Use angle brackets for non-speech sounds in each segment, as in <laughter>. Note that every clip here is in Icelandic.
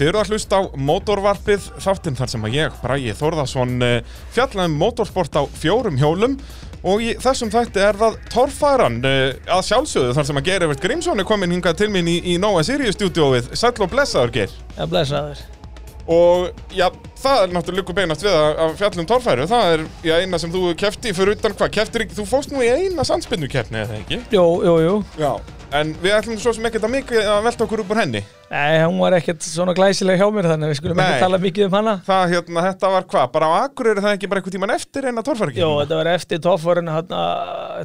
Þið eru að hlusta á Mótorvarpið, þáttinn þar sem að ég, Bragi Þórðarsson, eh, fjalla um motorsport á fjórum hjólum og í þessum þætti er það torfæran eh, að sjálfsögðu þar sem að Geir Evert Grímsson er komin hingað til mín í, í Nóa Sirius stúdióið, sæll og blessaður Geir. Já, blessaður. Og já, það er náttúrulega líka beinast við að að fjalla um torfæru, það er já, eina sem þú kefti fyrir utan hvað, keftir ekki, þú fóst nú í eina sandspinnukeppni eða ekki? Jú, jú, jú. Já. En við ætlum svo sem ekkert að mikið að velta okkur upp úr henni. Nei, hún var ekkert svona glæsileg hjá mér þannig að við skulum Nei. ekki tala mikið um hana. það hérna, þetta var hvað, bara á Akureyri er það ekki bara einhvern tíman eftir eina torfæringi? Jú, þetta var eftir toffvarinu hérna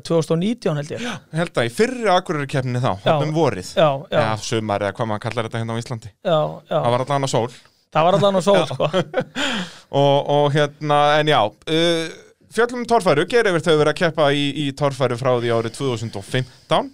2019 held ég. Já, Held að í fyrri Akureyri keppni þá, Já. hann um vorið. já, já, Eða sumar eða hvað maður kallar þetta hérna á Íslandi. já. Það var alltaf hana sól. Það var alltaf nú sól, <laughs> sko. Og, og hérna, en já, uh, fjöllum um torfæru, Gerið þau verið að keppa í, í torfæru frá því árið 2015.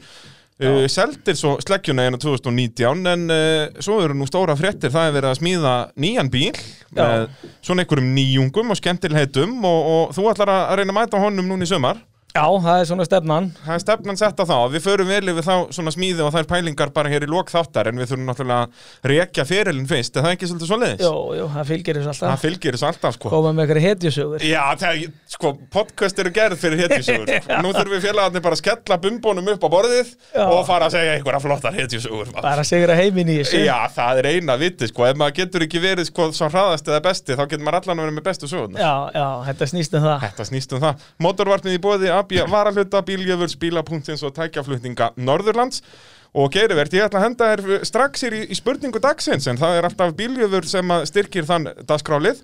Uh, seldir svo sleggjuna hérna 2019 en uh, svo eru nú stóra fréttir það er verið að smíða nýjan bíl með svona einhverjum nýjungum og skemmtilheitum og, og þú ætlar að að reyna að mæta honum núna í sumar Já, það er svona stefnan. Það er stefnan sett á þá, við förum vel yfir þá svona smíði og þær pælingar bara hér í lok þáttar en við þurfum náttúrulega að rekja fyrirlin fyrst, er það ekki svolítið svo leiðis? Jú, jú, það fylgir þessu Það alltaf. fylgir þessu alltaf sko. Koma með eitthvað hetjusögur. Já, það, er- sko, podcast eru gerð fyrir <laughs> hetjusögur sko. Nú þurfum við félagarnir bara að skella bumbónum upp á borðið Já. og fara að segja einhverja flottar hetjusögur maður. Bara sigra heiminn í þessu. Já, það er eina viti sko, ef maður getur ekki verið sko svo hraðast eða besti, þá getur maður allan að vera með bestu sögurnar. já, já, þetta snýst um það. Þetta snýst um það. Mótorvarpnið í bóði AB, varaluta, bíljöfur, spílapunktins og tækjaflutninga Norðurlands. Og Geirivert, ég ætla að henda þér strax hér í, í spurningu dagsins, en það er alltaf bíljöfur sem að styrkir þann dagskrálið.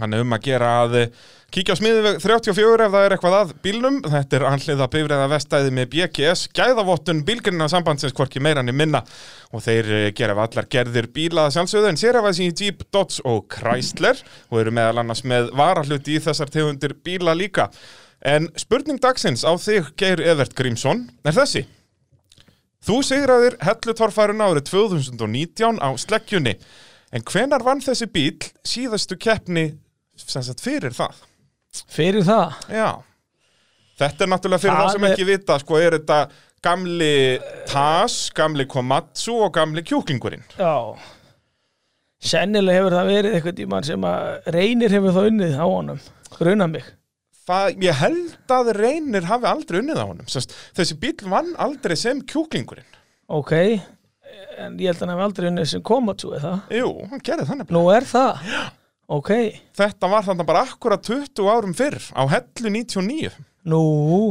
Þannig um að gera að eh, kíkja á smiðið 34 ef það er eitthvað að bílnum. Þetta er anhliða bifræða vestæði með BGS, gæðavottun, bílgrina sambandsins, hvorki meira niður minna. Og þeir eh, gera við allar gerðir bíla að sjálfsögðu en sérafæðs í Jeep, Dodge og Chrysler og eru meðal annars með varahluti í þessar tegundir bíla líka. En spurning dagsins á þig, Geir Evert Grímsson, er þessi. Þú sigraðir hellutorfærun árið 2019 á sleggjunni. En hvenar vann þessi bíl síðastu keppni sem sagt fyrir það? Fyrir það. Já. Þetta er náttúrulega fyrir Það það sem er- ekki vita, sko, er þetta gamli TAS, gamli Komatsu og gamli kjúklingurinn. Já. Sennilega hefur það verið eitthvað tímann sem að reynir hefur það unnið á honum. Gruna mig. Það, ég held að reynir hafi aldrei unnið á honum. Sest, þessi bíl vann aldrei sem kjúklingurinn. Ok, en ég held að hann hef aldrei unnið sem komatsu eða það. Jú, hann gerði þannig. Nú er það? Já. Ok, Þetta var þannig bara akkurat 20 árum fyrr á hellu 99. nú,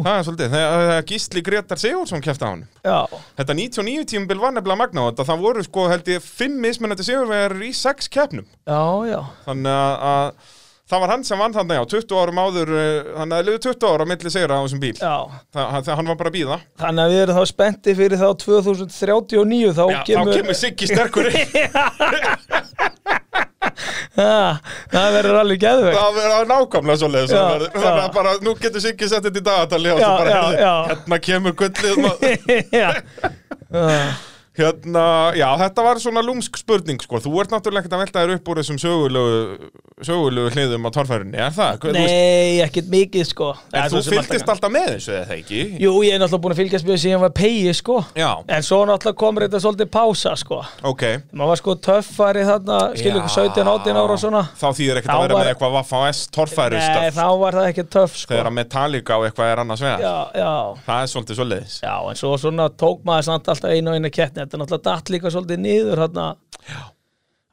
Það er svolítið, þegar þegar Gísli Gretar Sigurðsson kæfti á honum. já, Þetta 99 tímubil var nefnilega magna á þetta, það voru sko held ég fimm mismunandi sigurvegar í sex keppnum. já, já, Þannig að, að það var hann sem vann þarna, já, 20 árum áður, eh, þannig að liðu 20 ára á milli sigra á þessum bíl. já. Það, það, hann var bara að býða. Þannig að við erum þá spendi fyrir þá 2039, þá Já, kemur... Þá kemur Siggi sterkur inn, <laughs> Ha, það verður alveg geðvegt. það verður nákvæmlega svo leiðis. Já, Þannig að já. bara, nú getur Siggi sett þetta í dagatali og Já, svo bara, já, heyrðu, já. hérna kemur gullið. <laughs> ma- já, Ah, Hérna, já, þetta var svona lúmsk spurning, sko. Þú ert náttúrulega ekkert að velta þér upp úr þessum sögulegu, sögulegu hliðum á torfærunni, er það? Þú veist, Ah, nei, ekkert mikið sko. Það er En þú svo sem fylgdist gaman. alltaf með þessu eða það ekki? Jú, ég er náttúrulega búin að fylgjast mjög síðan var pegi sko. Já, En svo náttúrulega komur þetta svolítið pása sko. ok. Maður var sko töffari þarna, skilur ykkur 17, 18 ára og svona. Þá þýðir ekkert Þá að vera var- með eitthvað Vaffa S torfærustöf Nei, þá var það ekki töff sko. þegar að Metallica og eitthvað er annars vegar. já, já, Það er svolítið svoleiðis. já, en svo svona tók maður samt alltaf einu og einu kettni þetta er náttúrulega datt líka svolítið niður hérna.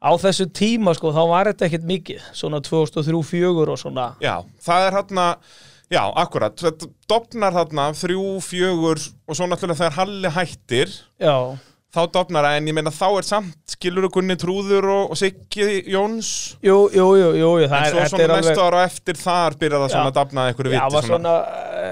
á þessu tíma sko, þá var þetta ekkert mikið svona 2003-04 og svona Já, það er hérna, já, akkurat, þetta dopnar þarna þrjú, fjögur og svo náttúrulega þegar Halli hættir, já, þá dopnar það, en ég meina þá er samt skilur Gunni Trúður og, og Siggi Jóns. jú, jú, jú, jú, jú En það svo er, þetta svona er næstu alveg ára á eftir þar byrjar það svona Já. að dafna einhverju já, viti var svona. svona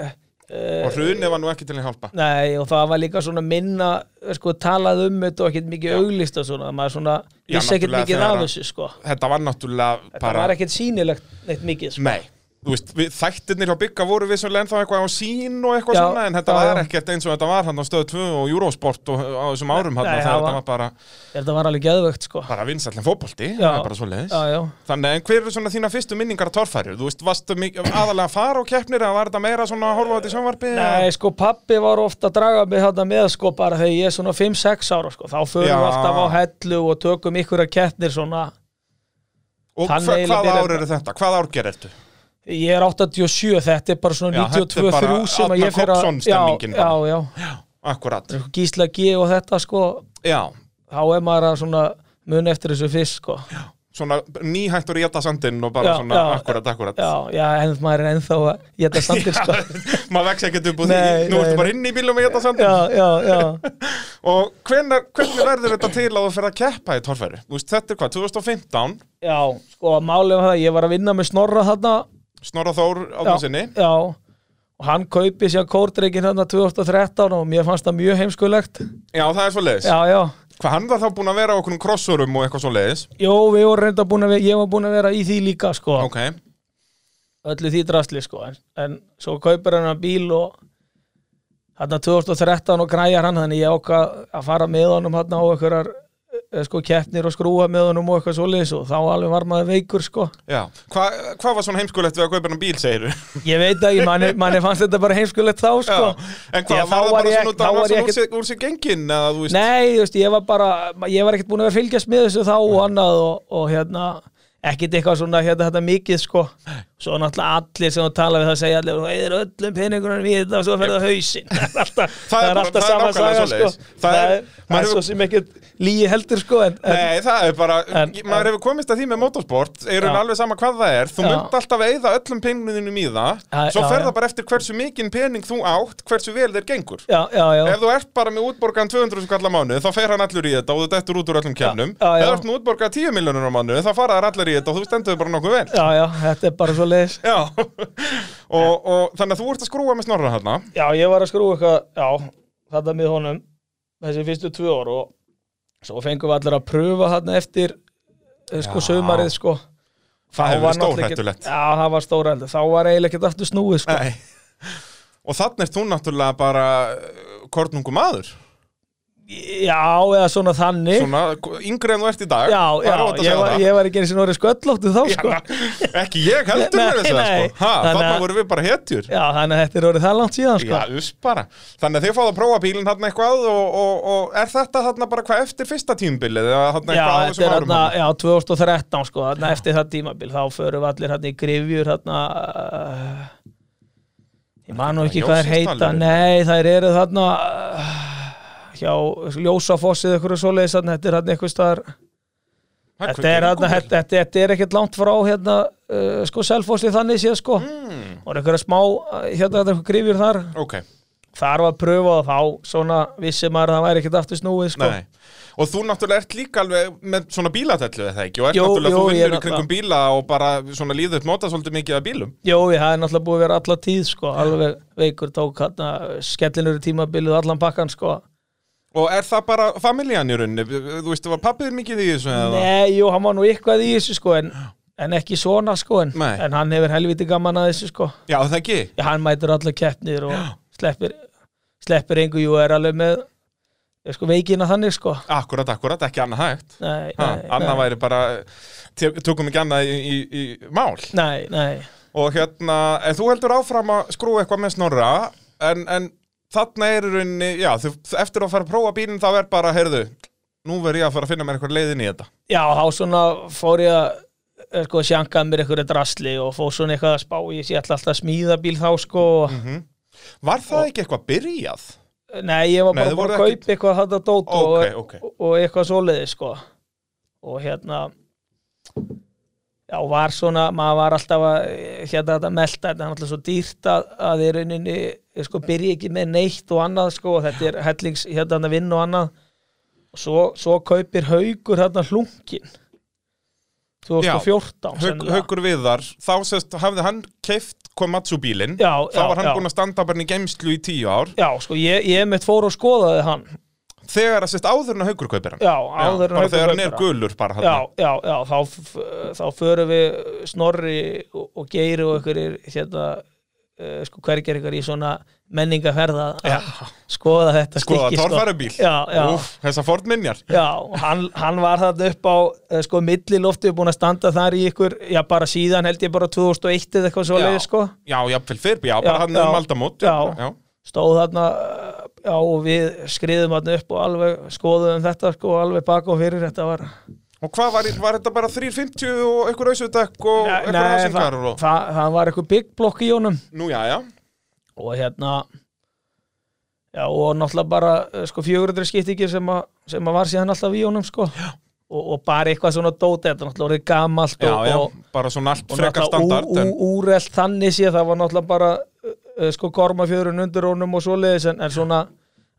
uh, Og hrunið var nú ekki til að hjálpa. nei, og það var líka svona minna eh, sko, talað um þetta og ekkert mikið auglist og svona, maður svona Já, vissi ekkert náttúrulega mikið þegar af að- þessu sko Þetta var náttúrulega það bara... Mm. var ekkert sýnilegt neitt mikið sko. Nei, þú veist, við, þættirnir hjá Bygga voru vissulega ennþá eitthvað á sín og eitthvað Já, svona en þetta já, var já. ekkert eins og þetta var hann á stöð 2 og Eurosport og á þessum árum hann nei, það það þetta var- var bara, Þetta var alveg geðvögt sko bara vinsallin fótbolti Já. það er bara svo leiðis Já, já þannig en hver eru svona þína fyrstu minningar að torfæru þú veist, varstu mikið- aðalega að fara á keppnir eða var þetta meira svona að horfa á þetta í sjónvarpi Nei, sko, pappi var ofta að draga mig þarna með, sko, bara þegar ég er svona 5-6 ára, sko, þá förum Já. við alltaf á hellu og tökum ykkur að kettnir svona, og þannig hva, eiginlega hvað byrjar ár eru þetta? hvað ár gerir þetta? ég er 87, þetta er bara Já, svona þetta er 92-3 bara sem að ég Árna fyrir að, Kobzon-stemmingin já, bara. já, akkurat, já, gísla G og þetta, sko, já þá er maður að svona mun eftir þessu fyrst, sko, já, svona nýhættur í jæta sandinn og bara Já, svona já, akkurat, akkurat já, en maður er ennþá að geta standir, sko, <laughs> maður vex ekkert upp úr því Nei, nú nei, ertu nei. bara inn í bílum í jæta já, já, já, Og hvenar, hvernig verður þetta til að þú fyrir að keppa í torfæru? Þú veist, þetta er hvað, 2015, já, sko, málið var það, ég var að vinna með Snorra þarna, Snorra Þór Árnarsinni. já, já, og hann kaupi sér kórdreikin hérna 2013 og mér fannst það mjög heimskulegt Já, það er svo leiðis. já, já, Hvað hann var þá búinn að vera á okkur krossurum og eitthvað svo leiðis? jú, við vorum reynda búin að vera, ég var búin að vera í því líka sko, Ok, öllu því drastli sko en, en svo kaupir hann að bíl og hérna 2013 og græjar hann, þannig ég áka að fara með honum hérna á einhverjar eh, sko keppnir og skrúa með honum og eitthvað svoleiðis og þá alveg var maður veikur sko já. Hva, hvað var svona heimskulegt við að kaupa hennar bíl, segir þú? ég veit ekki, manni, manni fannst þetta bara heimskulegt þá Já, sko en hvað, Já, þá var það var bara ég- svona út þá að hann var var ég svona úr sér, úr sér gengin, eða þú veist? Nei, þú veist, ég var bara ég var ekkert búin að vera að fylgjast með þessu þá og annað og, og hérna ekkert eitthvað svona hérna þetta mikið sko svo náttúrulega allir sem þú tala við það segja allir, þú eður öllum peningunum í þetta og svo ferðu á hausinn <laughs> það er alltaf, Það er það bara- er það alltaf er sama nákvæmlega saga sko svoleiðis. Það það er- er, maður það er hefur- svo sem ekkert lígi heldur sko en, en Nei, það er bara, En- maður hefur komist að því með motorsport, er hún Já. alveg sama hvað það er, þú Já. mynd alltaf að eyða öllum peningunum í það, Já, svo já, fer já. það bara eftir hversu mikinn pening þú átt, hversu vel þeir gengur. já, já, já, Ef þú ert bara með útborgaðan 200 skallar mánu þá fer hann allur í þetta og þú dettur út úr öllum kemnum Já, já, já. Ef þú ert með útborgaðan 10 miljonur á mánu þá fara þær allir í þetta og þú stendur þig bara nokkuð vel já, já, þetta er bara svo leiðis Já <laughs> og, og þannig að þú ert að skrúa með snorra hérna Já, ég var að skrúa eitthvað, já, þetta með honum þessi fyrstu tvö ár og svo fengum við allir að pröfa þarna eftir eh, sko Já. sömarið sko Það Þá hefur var verið náttúrulega ekkert- stórhættulegt Já, það var stórhættulegt, þá var eiginlega ekkert aftur snúið sko Nei Og þannig ert þú náttúrulega bara kornungu maður Já, eða svona þannig Svona yngri en þú ert í dag Já, Það já, er óhætt að ég segja var, það. ég var ekki eins og orðið sköllóttu þá <laughs> sko Já, Ekki ég heldur Nei, mér þess að nei. sko Ha, Þannig Þannig að- vorum við bara hetjur þannig að þetta er orðið það langt síðan sko Já, uss bara. Þannig að þið fáðu að prófa bílinn þarna eitthvað og, og, og er þetta þarna bara hvað eftir fyrsta tímbilið eða þarna Já, eitthvað á þetta þessum er árum? hérna, þarna? já, 2013 sko, hérna eftir það tímabil, þá förum við allir hérna í grifjur hérna uh, ég man nú ekki Þetta hvað er þær heita, ljósastalir. nei, þær eru þarna uh, hjá Ljósafossið eitthvað svoleiðis, þarna, þetta er hérna eitthvað staðar, Hvað, þetta er gengur hérna, vel? þetta, þetta, þetta er ekkert langt frá hérna, uh, sko, Selfossið þannig séð sko, Mm, og eitthvað smá, uh, hérna, þetta er eitthvað grifjur þar, ok, Sko. þar var pröfa og þá, svona, vissi maður að það væri ekkert aftur snúið sko. nei. Og þú náttúrulega ert líka alveg með svona bílatellu eða ekki og ert Jú, náttúrulega, jú, þú ég er vinnur í kringum bíla og bara svona líður upp nota svolítið mikið af bílum. Jó, ég hafði náttúrulega búið að vera alla tíð sko, alveg veikur tók hérna skellinur í tímabilið og allan pakkan sko. Og er það bara familjan í rauninni? Þú veist, var pappið mikið í þessu eða? Nei, jú, hann var nú eitthvað í þessu sko, en, en ekki svona sko, en, Nei. en hann hefur helviti gaman að þessu sko. Já, það ekki. Já, hann mætir alla keppnir og sleppir, sleppir engu, jú, er alveg með er, sko, veikina þannig sko. Akkurat, akkurat, ekki annað hægt. Nei, Ha, nei, annað nei, væri bara, tökum ekki annað í, í, í mál. nei, nei. og hérna, en þú heldur áfram að skrúa eitthvað með snorra en, en þarna er í rauninni, já, þú, eftir að fara að prófa bílinn þá er bara, heyrðu, nú verð ég að fara að finna mér eitthvað leiðin í þetta Já, þá svona fór ég að eh, sko, sjankaði mér einhverju drasli og fór svona eitthvað að spá, ég sé alltaf að smíða bíl þá sko, Mm. og Var það ekki eitthvað byrjað? Nei, ég var Nei, bara þið búin voruð að kaupa eitthvað þetta dót Ok, og, ok. og eitthvað svoleiði sko og hérna já, var svona, maður var alltaf að hérna þetta melta, þetta er alltaf svo dýrt að, að í rauninni, sko, byrja ekki með neitt og annað sko, og þetta er hellings hérna þarna vinn og annað og svo, svo kaupir haugur hérna hlunkin 2014 Hauk, sko sennilega. haukur Viðar, þá sést, hafði hann keift Komatsu bílinn Já, þá já, var hann já. búinn að standa bara í geimslu í tíu ár Já, sko, ég, ég mitt fór og skoðaði hann þegar að sérst áður en að haugur kaupir hann já, áður en bara Haukur þegar hann kaupir er gulur bara hann já, já, já, þá, f- þá förum við snorri og, og geiri og ykkur hérna, uh, sko, hverger ykkur í svona menningaferða að skoða þetta skoða Sko, stykki, sko. torfærubíl já, já, þessar Ford Minjar já, og hann, hann var þarna upp á eh, sko, millilofti búin að standa þar í ykkur, já, bara síðan held ég bara 2001 eða eitthvað svo Já. sko já, jafnvel fyrr, já, bara Já, hann er já. um aldamót Já. já, stóð þarna eh, já, og við skriðum þarna upp og alveg skoðum þetta sko, alveg bak og fyrir þetta var og hvað var, var þetta bara 350 og einhver auðsudekk og einhver rásingar það, og... það, það var eitthvað big block í honum nú, já, já, og hérna já, og náttúrulega bara eh, sko 400 skiptingir sem, að- sem að var síðan alltaf í honum sko og, og bara eitthvað svona dóti þetta er náttúrulega orðið gamalt já, og, já og, bara svona allt og frekar standard ú, en, ú, úrelt þannig sé það var náttúrulega bara uh, sko korma fjörun undir honum og svoleiðis en, en svona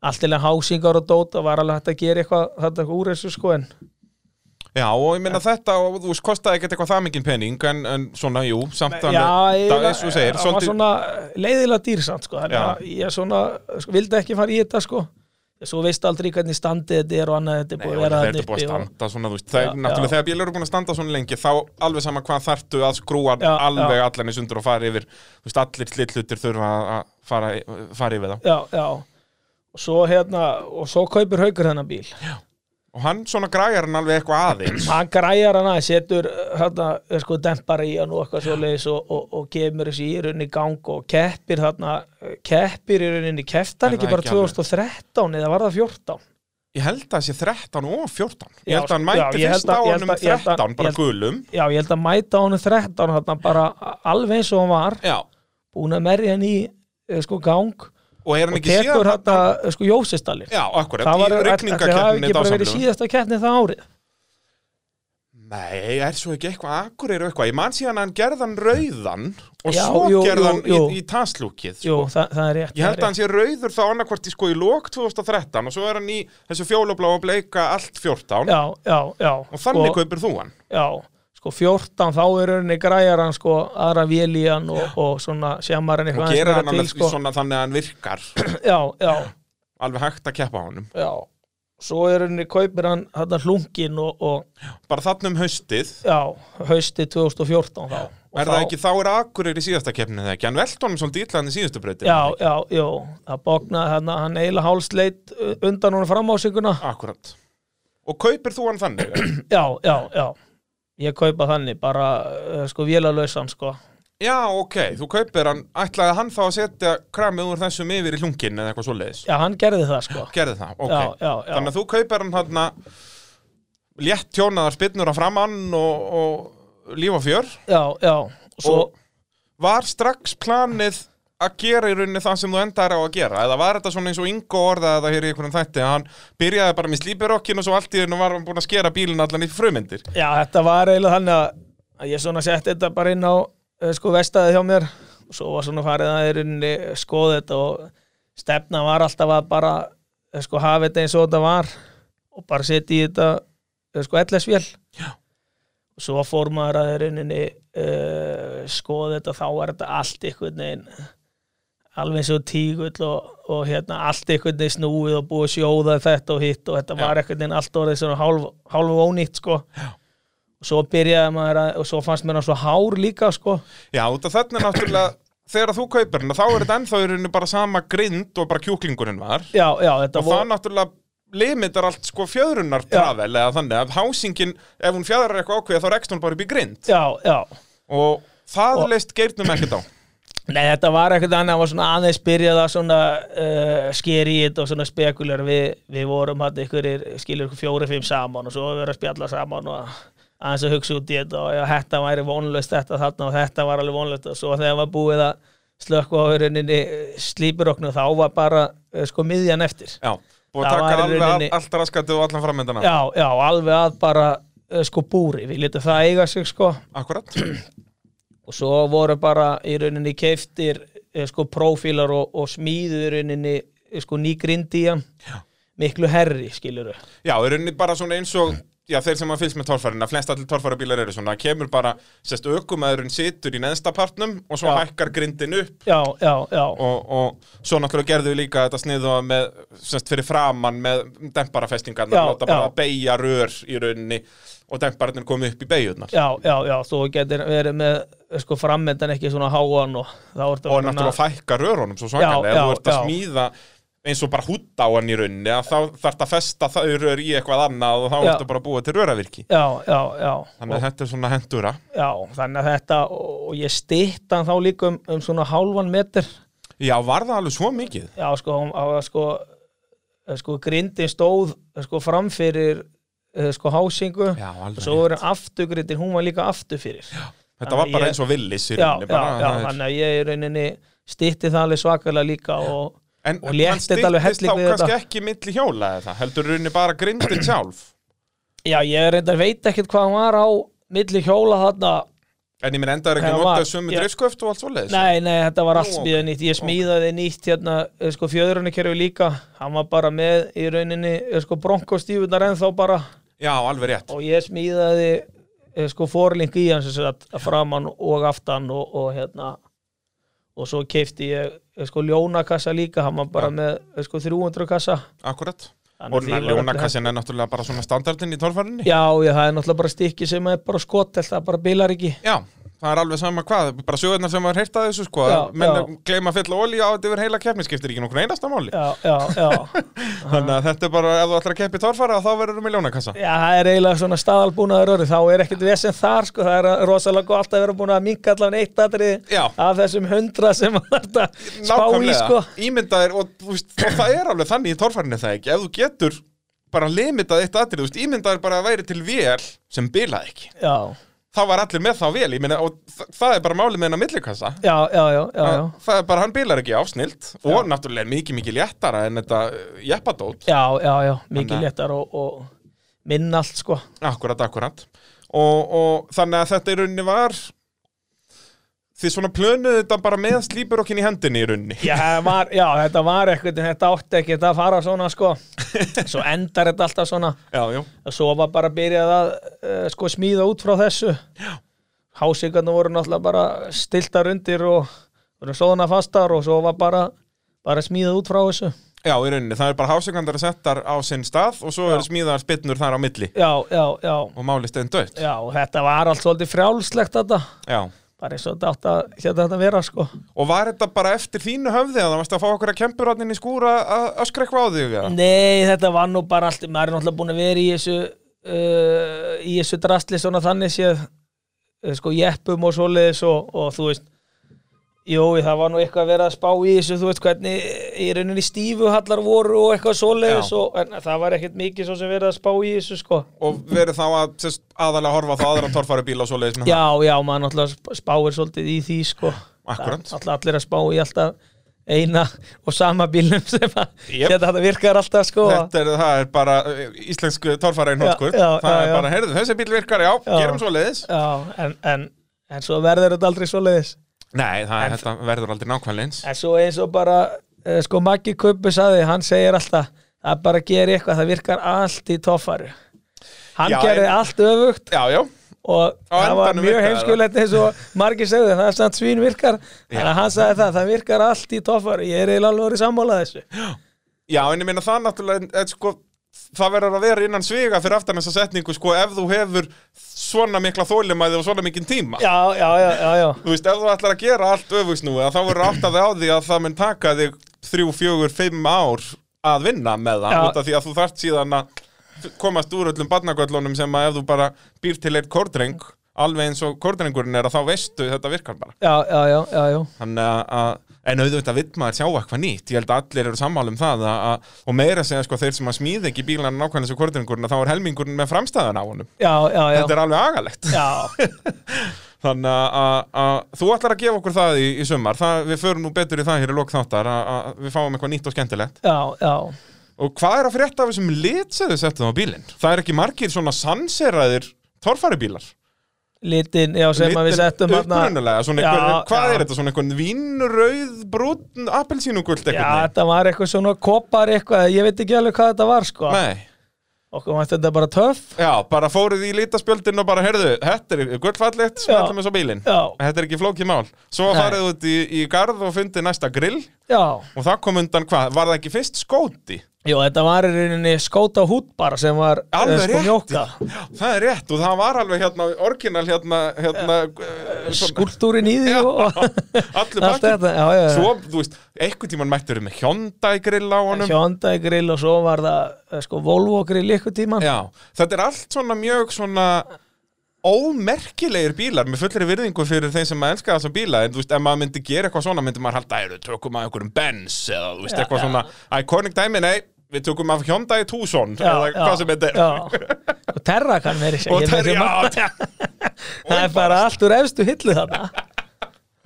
alltilega hásingar og dóta var alveg hægt að gera eitthvað þetta eitthvað úr þessu sko en já, og ég meina þetta, og, þú veist, kostaði ekkert eitthvað það mikinn pening, en, en svona, jú samt já, þannig, það- eiginlega, eins og þú segir, það var svolítið svona leiðilega dýrsamt sko, þannig Já. að ég svona sko, vildi ekki fara í þetta sko svo veist aldrei hvernig standið þetta er og annað þetta er Nei, búið og að vera það er þarna þetta búið að uppi og- standa svona, þú veist, það er Já, náttúrulega já. þegar bílar eru búin að standa svona lengi þá alveg sama hvað þarftu að skrúa Já, alveg já. allan í sundur og fara yfir þú veist, allir slitlutir þurfa að- að fara, fara yfir þá já, já og svo hérna, og svo kaupir haukur hennar bíl og hann svona græjar hann alveg eitthvað aðeins hann græjar hann aðeins, setur hérna, eh, sko, dempar í hann og eitthvað svoleiðis og, og, og kemur þessi í rauninni í gang og keppir þarna eh, keppir í rauninni, kepptar Er ekki það bara ekki alveg? 2013 eða var það 14 ég held að það sé 13 og 14 ég Já, held að hann já, mæti ég held fyrst á að- ég held honum að- ég held að- 13 bara ég held- gulum já, ég held að mæta honum 13 hérna, bara alveg eins og hann var já, búin að merja hann í eh, sko gang og er hann og ekki síðan tekur þetta sko Jósistallir já, akkurat, það var í ætli það hafi rigningakeppninni Sko, ekki bara verið dásamlegu. síðasta keppni það árið Nei, er svo ekki eitthvað akkurir og eitthvað, ég man síðan að hann gerðan rauðan og Já, svo jú, jú, gerðan jú. í, í taslúkið sko. Jú, það, það er Ég rétt, held það er að rétt. hann sé rauður þá annarkvort í sko í lók 2013 og svo er hann í þessu fjólubláa og bleika allt 14 já, já, já, og þannig sko, kaupir þú hann. já, sko 14 þá er rauninni græjar hann sko aðra vélían og, og svona sjamar hann Og eitthvað gera hann meira sko. alveg svona þannig að hann virkar já, já, <clears throat> alveg hægt að keppa á honum. já svo er rauninni kaupir hann hann hlungin og, og Bara þannig um haustið. já, hausti 2014 þá Og Er þá- það ekki, þá er Akureyri í síðasta keppnið það ekki, hann velt honum svolítið illa hann í síðustu breytið. Já, já, já, það bóknaði hann, hann eiginlega hálsleit uh, undan honum framásinguna Akkurat. Og kaupir þú hann þannig? <clears throat> Já, já, já Ég kaupa þannig, bara uh, sko vélalausan sko <clears throat> já, ok, þú kaupir hann, ætlaði hann þá að setja kramið úr þessum yfir í hlungin eða eitthvað svoleiðis? Já, hann gerði það sko Gerði það, ok. Já, já, já Þannig að þú kaupir hann hann létt tjónaðar spinnur að framann og, og líf og fjör Já, já Og Svo, og var strax planið að gera í rauninni það sem þú endar á að gera eða var þetta svona eins og Ingo orðaði það hér í einhvern þætti að hann byrjaði bara með slípirokkin og svo allt í hennu var hann búin að skera bílinn allan í frumindir já, þetta var eiginlega þannig að- að ég svona setti þetta bara inn á uh, sko vestaði hjá mér og svo var svona farið að erinni skoða þetta og stefna var alltaf að bara uh, sko hafa þetta eins og þetta var og bara setja í þetta uh, sko ellesvél Já og svo fór maður að erinni uh, skoða þetta þá var þetta allt einhvern veginn alveg eins og tígull og, og hérna allt einhvern veginn snúið og búið að sjóða þetta og hitt og þetta Já. var einhvern veginn allt orðið svona hálf, hálf ónýtt sko Já. og svo byrjaði maður að, og svo fannst mér hann svo hár líka sko Já, út af þarna náttúrulega þegar þú kaupir hann þá er þetta ennþá í rauninni bara sama grind og bara kjúklingurinn var já, já, þetta og það náttúrulega limitar allt sko fjöðrunar travel eða þannig að hásingin, ef hún fjöðrar eitthvað ákveða þá rekst hún bara upp í grind já, já og það Og- leist geirnum ekkert <coughs> á Nei, þetta var ekkert annað, það var svona aðeins byrjað að svona uh, skeri í þetta og svona spekular við, við vorum hann ykkur skilur ykkur fjóri fimm saman og svo við verðum að spjalla saman og aðeins að hugsa út í þetta og já, þetta væri vonlust þetta þarna og þetta var alveg vonlust og svo þegar var búið að slökku á höruninni slípuroknu þá var bara uh, sko miðjan eftir Já, búið að taka Það var í alveg rauninni- rauninni... allt raskatið og allan framöndana Já, já, alveg að bara uh, sko búri, við letum það eiga sig sko Akkurat, og svo voru bara í rauninni keiftir eh, sko prófílar og, og smíðu í rauninni eh, sko ný grind í hann miklu herri skiluru já, í rauninni bara svona eins og já, þeir sem að fylgst með torfærina, flest allir torfærabílar eru svona, kemur bara, sérst, ökumæðurinn situr í neðsta partnum og svo Já. hækkar grindin upp já, já, já, og, og svo náttúrulega gerðu við líka þetta sniðu með, semst fyrir framann með demparafestingarnar, Já, láta bara já. að beigja rör í rauninni og dempararnir komi upp í beigjurnar já, já, já þú getur verið með sko, framöndan ekki svona háan og þá ertu og náttúrulega fækka rörunum svo svakalega, Já, ef já, þú ert að já. smíða eins og bara hútt á hann í rauninni að þá þarf að festa þau rör í eitthvað annað og þá Já. ertu bara að búa til röravirki já, já, já, þannig að þetta er svona hendura já, þannig að þetta og ég stýttan þá líka um, um svona hálfan metur já, var það alveg svo mikið? Já, sko, hún, á, sko, eh, sko grindin stóð eh, sko, framfyrir eh, sko, hásingu já, alveg svo voru afturgrindin, hún var líka aftur fyrir Já, þetta var Þannig að bara ég- eins og villis í já, rauninni já, bara, það er- þannig að ég í rauninni stýtti það alveg svakalega líka og en og léttir hann þetta styttist alveg helling þá við kannski þetta. ekki milli hjóla eða það, heldur í rauninni bara grindin sjálf já, ég reyndar veit ekkert hvað hann var á milli hjóla þarna En ég minn endaður ekki Nei, að það nota var- sömu ég- driftsköft og allt svoleiðis Nei, nei, þetta var allt Nú, smíðað nýtt Ég smíðaði nýtt hérna, eh, sko, fjöðrunarkerfi líka Hann var bara með í rauninni, eh, sko, bronkostífunar ennþá bara Já, alveg rétt og ég smíðaði eh, sko forling í hans að framann og aftan og, og hérna og svo keipti ég eh, sko ljónakassa líka, hann var bara með eh, sko 300 kassa Akkurat Þannig Og því var öllu ljónakassin er náttúrulega bara svona standardinn í hægt. torfærinni Já, ég, það er náttúrulega bara stykki sem er bara skotelt, það bara bilar ekki það er alveg sama hvað Bara sögurnar sem maður heyrta þessu sko Já, Menn já. gleyma að fylla olí á þetta yfir heila keppni Skiptir ekki nokkur einasta máli Já, já, já Þannig að þetta er bara, ef þú ætlar að keppi torfæra þá verður þú með ljónakassa Já, það er eiginlega svona staðalbúnaður orðið, þá er ekkert vesen þar sko, það er rosalega gott að vera búin að minka allavega eitt atrið Já. af þessum hundra sem maður þarf að spá í sko Nákvæmlega, ímyndaðir og, þú veist, og það er alveg þannig í torfærinni það ekki Ef þú getur bara limitað eitt atrið þú veist, Ímyndaðir bara að væri til vél sem bilaði ekki Já, Þá var allir með þá vél, ég meina, og þa- það er bara málið með hennar millikassa já, já, já, já, já. það er bara, hann bílar ekki ásnilt og náttúrulega er mikið, mikið léttara en þetta uh, jeppadót, Já, já, já, mikið Þannig að- léttar og, og minn allt sko akkurat, akkurat og, og þannig að þetta í rauninni var því svona plönuðu þetta bara með slípurokkin í hendinni í rauninni Já, það var, já þetta var ekkert en þetta átti ekkert að fara svona <laughs> sko Svo endar þetta alltaf svona já, já, og svo var bara byrjað að uh, sko smíða út frá þessu Já Hásingarnir voru náttúrulega bara stiltar undir og voru svoðna fastar og svo var bara, bara smíðað út frá þessu já, í rauninni, það er bara hásingandar að settar á sinn stað og svo eru smíðar spynnur þar á milli Já, já, já og málið stein dött Já, þetta var allt svolítið frjálslegt þetta já, bara eins og þetta átti að hérna þetta vera sko og var þetta bara eftir þínu höfði að það varst að fá okkur að kempur inn í skúra að öskra eitthvað á þig eða? Nei, þetta var nú bara allt maður er náttúrulega búin að vera í þessu uh, í þessu drastli svona þannig séð uh, sko jeppum og svoleiðis og, og þú veist Jói, það var nú eitthvað að vera að spá í þessu þú veist hvernig í rauninni stífuhallar voru og eitthvað svoleiðis Já. og en, það var ekkert mikið svo sem verið að spá í þessu sko og verið þá að sérst, aðalega horfa á það aðra torfari bíla og svoleiðis með það Já, já, maður náttúrulega sp- spáir svolítið í því sko Akkúrat. Það- náttúrulega Allir að spá í alltaf eina og sama bílum sem að Jep. þetta virkar alltaf sko Þetta er, það er bara uh, íslensku torfara í notkvöld Já, já, Það já, er já. bara, heyrðu, þessi bíl virkar, já, Já. gerum svo leiðis Já, en, en, en svo verður þetta aldrei svo leiðis. Nei, það er, þetta verður aldrei nákvæmlega eins En svo eins og bara, eh, sko Maggi Kuppu saði, hann segir alltaf, það bara gerir eitthvað, það virkar allt í toffaru. Hann Já, gerði en- allt öfugt Já, já, og það var endanum mjög virkaði heimskulegt eins og margir segði, það er samt svín virkar, þannig að hann sagði það, það virkar allt í toffaru, ég er eiginlega alveg orðið sammálað þessu. já, en ég meina það náttúrulega er, sko, Það verður að vera innan sviga fyrir aftan þessa setningu sko, ef þú hefur svona mikla þólimæði og svona mikinn tíma Já, já, já, já, já. Þú veist, ef þú ætlar að gera allt öfugsnúið að þá verður átt að þið á því að það mun taka þig þrjú, fjögur, fimm ár að vinna með það, Já. út af því að þú þarft síðan að f- komast úr öllum barnagöllunum sem að ef þú bara býr til eitt kordreng alveg eins og kordrengurinn er að þá veistu þetta virkar bara Já, já, já, já, já. Þannig að, að en auðvitað vill maður sjá eitthvað nýtt, ég held að allir eru sammála um það að, að, og meira segja sko þeir sem að smíði ekki bílana nákvæmlega sem kordrengurinn að þá er helmingurinn með framstæðan á honum Já, já, já. Þetta er alveg agalegt Já, Þannig að- að að þú ætlar að gefa okkur það í, í sumar það, Við förum nú betur í það hér í lok þáttar að, að Við fáum eitthvað nýtt og skemmtilegt já, já. Og hvað er að frétta af þessum lit sem þið settum á bílinn? Það er ekki margir svona sanseraðir torfaribílar Litin, já, sem að við settum Upprunalega, svona Já, einhver, hvað já. er þetta? Svona einhvern vínrauð, brún, appelsínugult Já, eitthvað þetta var eitthvað svona kopar eitthvað, ég veit ekki alveg hvað þetta var sko Nei okkur vant þetta bara töff Já, bara fóruð í lítaspjöldin og bara, heyrðu, þetta er gullfallegt, Já. smellum við svo bílinn. Já. Þetta er ekki flókið mál. Svo Nei. farið út í, í garð og fundið næsta grill já, og það kom undan hvað? Var það ekki fyrst skóti? Jó, þetta var í rauninni skóta hút bara sem var eh, Alveg rétt. mjóka. Já, það er rétt og það var alveg hérna, orginal hérna, hérna, eh, svona- Skúltúrin í því Já, og <laughs> allur allt pakkin. þetta. Já, já, já. Svo, þú veist, einhvern tímann mættur með Hyundai grill á honum. Hyundai grill og svo var það eh, sko Volvo grill ykkur tíman. Já, þetta er allt svona mjög svona ómerkilegir bílar með fullri virðingu fyrir þeim sem að elska þessa bíla en þú veist, ef maður myndi gera eitthvað svona myndi maður halda, eru, tökum að einhverjum Benz eða þú veist, Já, eitthvað já. svona iconic dæmi, nei, við tökum af Hyundai Tucson eða hvað sem þetta er Já. Og Terrakan er ekki. og það er, já, það Það er bara allt úr efstu hillu þarna.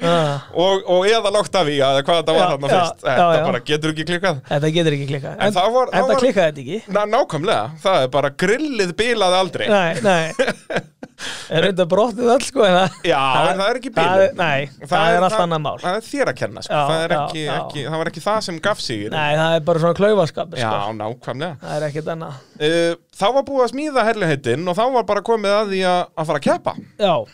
Ah, og, og eða lágt af í eða hvað þetta var Já, þarna já, fyrst já, þetta já. bara getur ekki klikkað Þetta getur ekki klikkað. En, það var- það enda var- klikkaði þetta ekki. Ná, nákvæmlega, það er bara grillið bílað aldrei Nei, nei. Það er reynda brotnið öll sko. en það- Já, en það er ekki bílum. það er- Nei, það, er allt annað mál. Það er þér að kenna, sko. Já, það, er já, ekki, já. Ekki, það var ekki það sem gaf sig Nei, það er bara svona klaufaskapir Já, sko. nákvæmlega Það er ekkert annað. uh, Þá var búið að smíða herliheitinn og þá var bara komið að því að, að fara að keppa Já,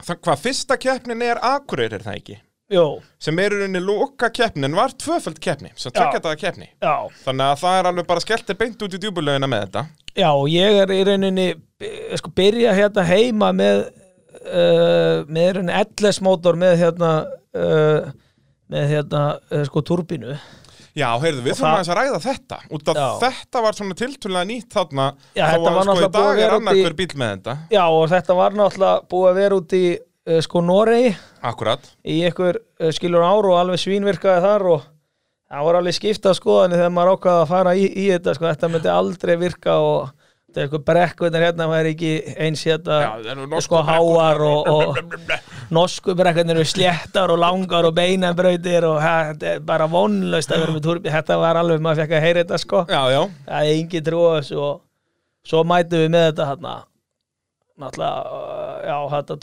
Þa, Hvað fyrsta keppnin er Akureyri er það ekki jú, sem er í rauninni loka keppnin var tvöföld keppni sem Já. tvekja þetta keppni já. Þannig að það er alveg bara skelltir beint út í djúbulögina með þetta Já, og ég er í rauninni eh, sko byrja hérna heima með uh, með í rauninni LS mótor með hérna uh, með hérna uh, sko turbinu Já, heyrðu, við Og þurfum það- aðeins að ræða þetta út af Já. þetta var svona tiltölulega nýtt þarna Já, þá sko, þetta var í náttúrulega búið að dag er vera út annar í- hver bíl með þetta Já, og þetta var náttúrulega búið að vera út í uh, sko Noregi Akkurat í einhver uh, skilur ár og alveg svínvirkaði þar og það var alveg skipta skoðanir þegar maður ákvaði að fara í, í þetta sko, þetta myndi aldrei virka og þetta er eitthvað brekkunar hérna maður er ekki eins hérna Já, það eru norsku sko háar og, og Blablabla. norsku brekkarnir eru sléttar og langar og beinabrautir og ha, þetta er bara vonlaust að vera með turbi þetta var alveg, maður fekk að heyra þetta sko Já, já það er engin trú á þessu og svo mætum við með þetta hérna náttúrulega, uh, já, þetta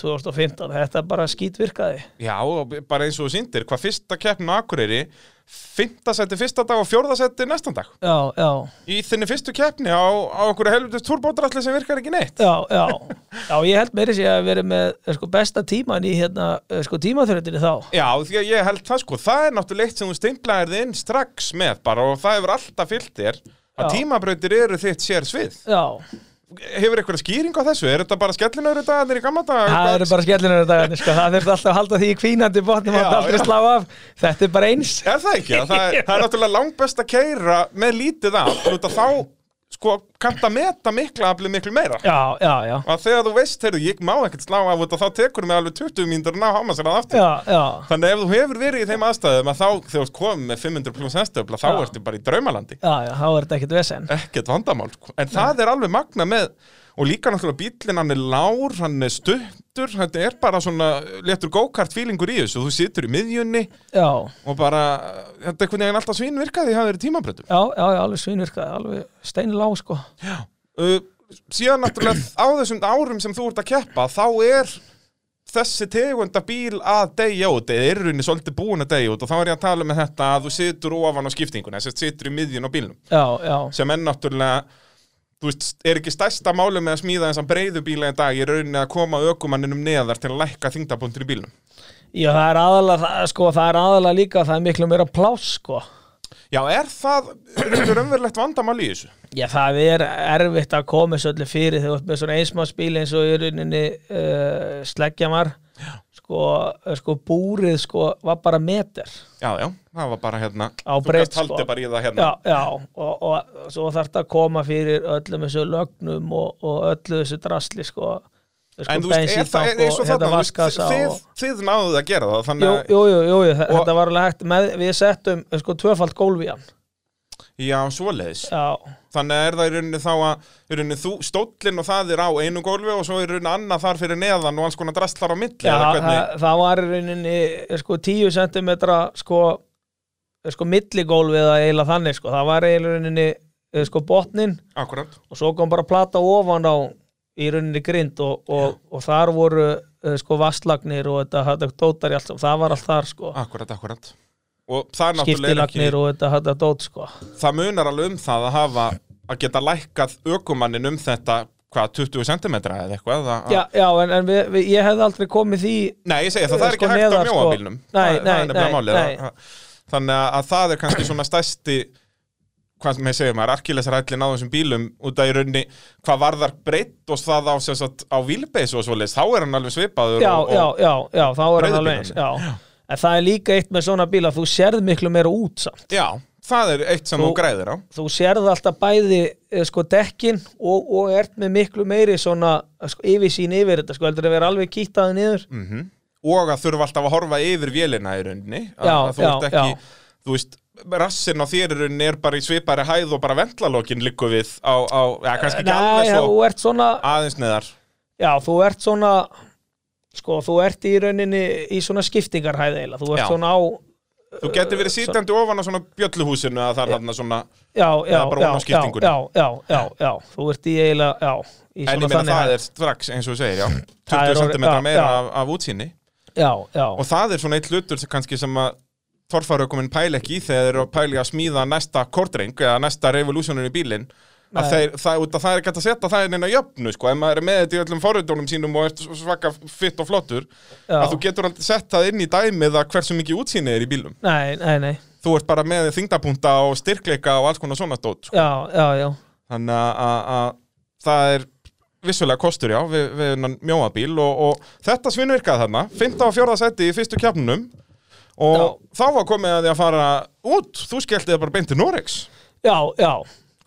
2015 þetta bara skítvirkaði Já, og b- bara eins og þú sýndir, hvað fyrsta keppn á Akureyri, fymta seti fyrsta dag og fjórða seti næstan dag. já, já, Í þinni fyrstu keppni á, á einhverju helvitist turbótralli sem virkar ekki neitt. já, já já, ég held meiri sér að vera með eh, sko, besta tíman í hérna, eh, sko, tímaþröndinni þá Já, því að ég held það sko, það er náttúrulega eitt sem þú stimplaðir þið inn strax með bara og það hefur alltaf fyllt þér að Já. tímabrautir eru þitt sér svið. já, Hefur eitthvað skýring á þessu? Er þetta bara skellinöður þetta í gamla dag? Það eru bara skellinuður dagarnir sko. Það þurfti alltaf að halda því í kvínandi botnum Já, að aldrei já. slá af Þetta er bara eins Er það <laughs> ekki? Það er, það er náttúrulega langbest að keira með lítið af, þú veit að þá sko, kannt að meta mikla aflið miklu meira. Já, já, já að þegar þú veist, heyrðu, ég má ekkert slá af þetta, þá tekur mig alveg 20 mínútur að ná háma sér að aftur. Já, já, Þannig ef þú hefur verið í þeim aðstæðum að þá, þegar þú ert komið með 500 pluss hestöfla, þá Já. ertu bara í draumalandi. já, já, þá er þetta ekkert vesen Ekkert vandamál, sko. En það er alveg magna með, og líka náttúrulega bíllinn, hann er lár, hann er stuttur, þetta er bara svona, letur go-kart feelingur í þessu, þú situr í miðjunni Já, og bara, þetta er einhvern veginn alltaf svín virkaði, það er tímabröndum. já, já, já alveg svínvirkaði Alveg steinlá sko Uh, síðan náttúrulega á þessum árum sem þú ert að keppa þá er þessi tegunda bíl að deyja út eða er rauninni svolítið búin að deyja út og þá er ég að tala með þetta að þú situr ofan á skiptinguna þess að situr í miðjun á bílnum Já, já, sem er náttúrulega þú veist, er ekki stærsta máli með að smíða þessan breiðu bíla í dag, ég er rauninni að koma ökumanninum neðar til að lækka þingdabundur í bílnum já, það er aðalega það, sko, það er aðalega líka að Það er miklu meira pláss sko Já, er það raunverulegt vandamál í þessu? Já, það er erfitt að koma þessu öllu fyrir þegar þú ert með svona einsmáspíl eins og í rauninni uh, sleggjamar sko, eh, sko, búrið sko, var bara meter Já, já, það var bara hérna Á þú breidd, gast haldið sko. bara í það hérna já, já, og, og svo þarf þetta að koma fyrir öllum þessu lögnum og, og öllu þessu drasli sko, sko En þú veist, er það er bensíntank eins og þarna, þú veist, vaskasa þið, og, þið náðuð að gera það, hérna jú, þannig að, jú, jú, jú, jú, þe- Og- þetta var alveg hægt með, við settum eh, sko tvöfald gólf í hann já, svoleiðis. já, Þannig að er það í rauninni þá að, í rauninni þú, stóllinn og það er á einu gólfi og svo er rauninni annað þar fyrir neðan og alls konar drast þar á milli, já eða það, hvernig? það var í rauninni eh, sko 10 cm sko, eh, sko milligólf eða eiginlega þannig sko, það var eiginlega í rauninni eh, sko botnin Akkurat. og svo kom bara plata ofan á í rauninni grind og, og, og þar voru uh, sko vasslagnir og þetta þetta dótar í allt saman. það var allt þar sko Akkurat, akkurat. Og það er Ah, Ah. náttúrulega skiptilagnir ekki, og þetta þetta dót sko það munar alveg um það að hafa að geta lækkað ökumannin um þetta hvað, 20 cm eða eitthvað að, já, já, en, en við, við, ég hefði aldrei komið því Nei, ég segi það, það er ekki Sko, hægt á neðar, sko. mjóabílnum Nei, það, það nei, er nefnilega nei, málið nei. að- að- Þannig að- að það er kannski svona stærsti hvað með segir maður, arkilesrætlin á þessum bílum út af í raunni hvað varðar breytt og það á, sem sagt, á vílbeis og svoleiðis, þá er hann alveg svipaður já, og, já, og, já, já, þá er hann Breiðu alveg eins já. en það er líka eitt með svona bíla þú sérð miklu meira út samt já, það er eitt sem Þú- þú græðir á þú sérð alltaf bæði eh, sko dekkin og, og ert með miklu meiri svona eh, sko, yfirsýn yfir þetta sko heldur að vera alveg kýttaði niður Mhm. og að þurfa alltaf að horfa yfir vélina í rauninni að, Já, að þú já, ert ekki, já. þú veist rassin á þér í rauninni er bara í svipari hæð og bara ventlalókin liggur við á, á ja, kannski ekki Nei, alveg þú svo ert svona aðeins neðar já, þú ert svona sko, þú ert í rauninni í svona skiptingarhæði eiginlega, þú ert Já. svona á Þú getur verið sitjandi ofan á svona bjölluhúsinu að það er þarna svona já, bara já, já, ofan á já, skiptingunni. já, já, já, já þú ert í eiginlega, já, En ég í svona meina það hæð. er strax eins og þú segir, já Það er 20 orðið- cm já, meira já. af, af útsýni já, já, Og það er svona eitt hlutur sem kannski sem að Torfaraukuminn pæla ekki í þegar þeir eru að pæli að smíða næsta kortring eða næsta revolutionin í bílinn að Nei. þeir, það, út að það er ekki hægt að setja það inn að jöfnu sko, ef maður er með þetta í öllum forröndunum sínum og ert svaka fitt og flottur já. að þú getur alltaf sett það inn í dæmið að hversu mikið útsýni er í bílum nei, nei, nei, þú ert bara með þingdapunta og styrkleika og alls konar svona stótt sko. já, já, já þannig að- að að það er vissulega kostur já við, við þennan mjóabíl og, og þetta svinvirkaði þarna 15 og 14 seti í fyrstu kjapnunum og þá var komið að því að fara út, þú skellti það bara beint til Norex já, já,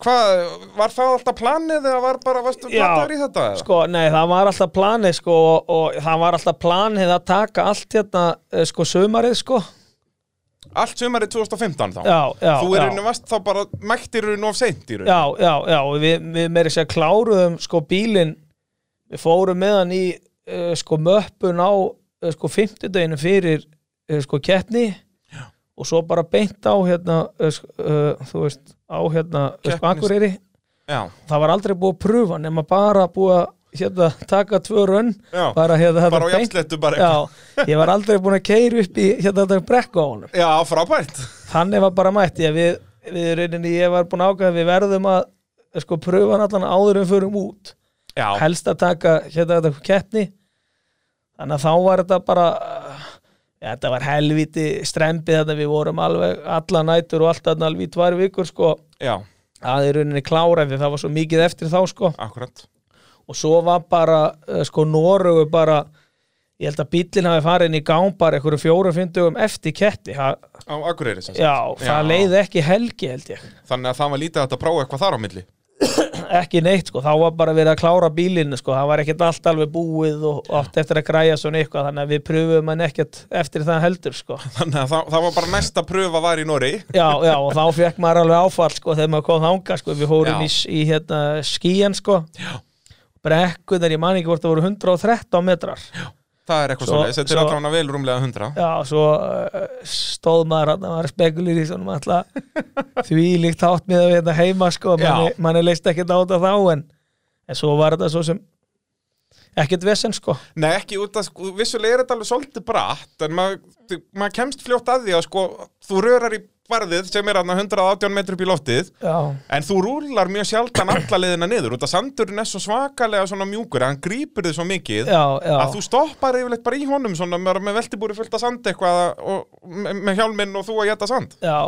Hvað, var það alltaf planið eða var bara, varstu Já. plattaður í þetta? eða? Sko, nei, það var alltaf planið sko, og, og það var alltaf planið að taka allt hérna, eh, sko, sömarið sko. Allt sumarið 2015 þá Já, já, Þú er já. einu vast þá bara mættir einu of seint í raun Já, já, já, og við, við meiri sér kláruðum sko bílinn, við fórum með hann í uh, sko möppun á uh, sko fimmtudeginu fyrir uh, sko keppni og svo bara beint á hérna, uh, sko, uh, þú veist, á hérna, uh, sko Keppnis- Akureyri. Já, Það var aldrei búið að pröfa nema bara búið að hérna, taka tvö rönn, já. bara hérna, bara á beint jafnslettu bara Já, ég var aldrei búin að keira upp í hérna þetta brekku á honum. já frábært Þannig var bara mætt ég við, við rauninni, ég var búin að ákveða að við verðum að sko pröfa hann allan áður en við förum út. Já, Helst að taka hérna þetta keppni. Þannig að þá var þetta bara, ja, þetta var helviti strempið þetta við vorum alveg alla nætur og allt þarna alveg í tvær vikur sko já, að í rauninni klára því það var svo mikið eftir þá sko akkurat og svo var bara eh, sko Norugu bara ég held að bíllinn hafi farið inn í gám bara einhverju fjóru fymtugum eftir ketti ha, Á Akureyri sem sagt já, það leiði ekki helgi held ég <clears throat> Þannig að það var lítið hægt að prófa eitthvað þar á milli ekki neitt sko, þá var bara verið að klára bílinn sko, það var ekkert allt alveg búið og og átt eftir að græja svona eitthvað þannig að við pröfum hann ekkert eftir það heldur sko. Þannig að það, það var bara næsta pröfa var í Nóri já, já, og þá fekk maður alveg áfall sko, þegar maður kom þanga, sko, við fórum Já. í, í hérna, skíjan sko brekkunar, ég man ekki hvort það voru 113 metrar Það er eitthvað Svo- svo leiðis, þetta er svo- allavega vel rúmlega 100 Já, svo uh, stóð maður að maður spekulir í svona alltaf því líkt hátt með að við hérna heima sko, Já. manni, manni leist ekkert á þetta þá en, en svo var þetta svo sem ekkert vesen sko Nei ekki út að, sko, vissulega er þetta alveg svolítið bratt En maður mað kemst fljótt að því að sko Þú rörar í barðið sem er aðna 118 metri upp í loftið Já, En þú rúlar mjög sjaldan alla leiðina niður Út að sandurinn er svo svakalega svona mjúkur Hann grípur þið svo mikið já, já að þú stoppar yfirleitt bara í honum svona bara með veltibúri fullt að sand eitthvað og, með, með hjálminn og þú að geta sand Já,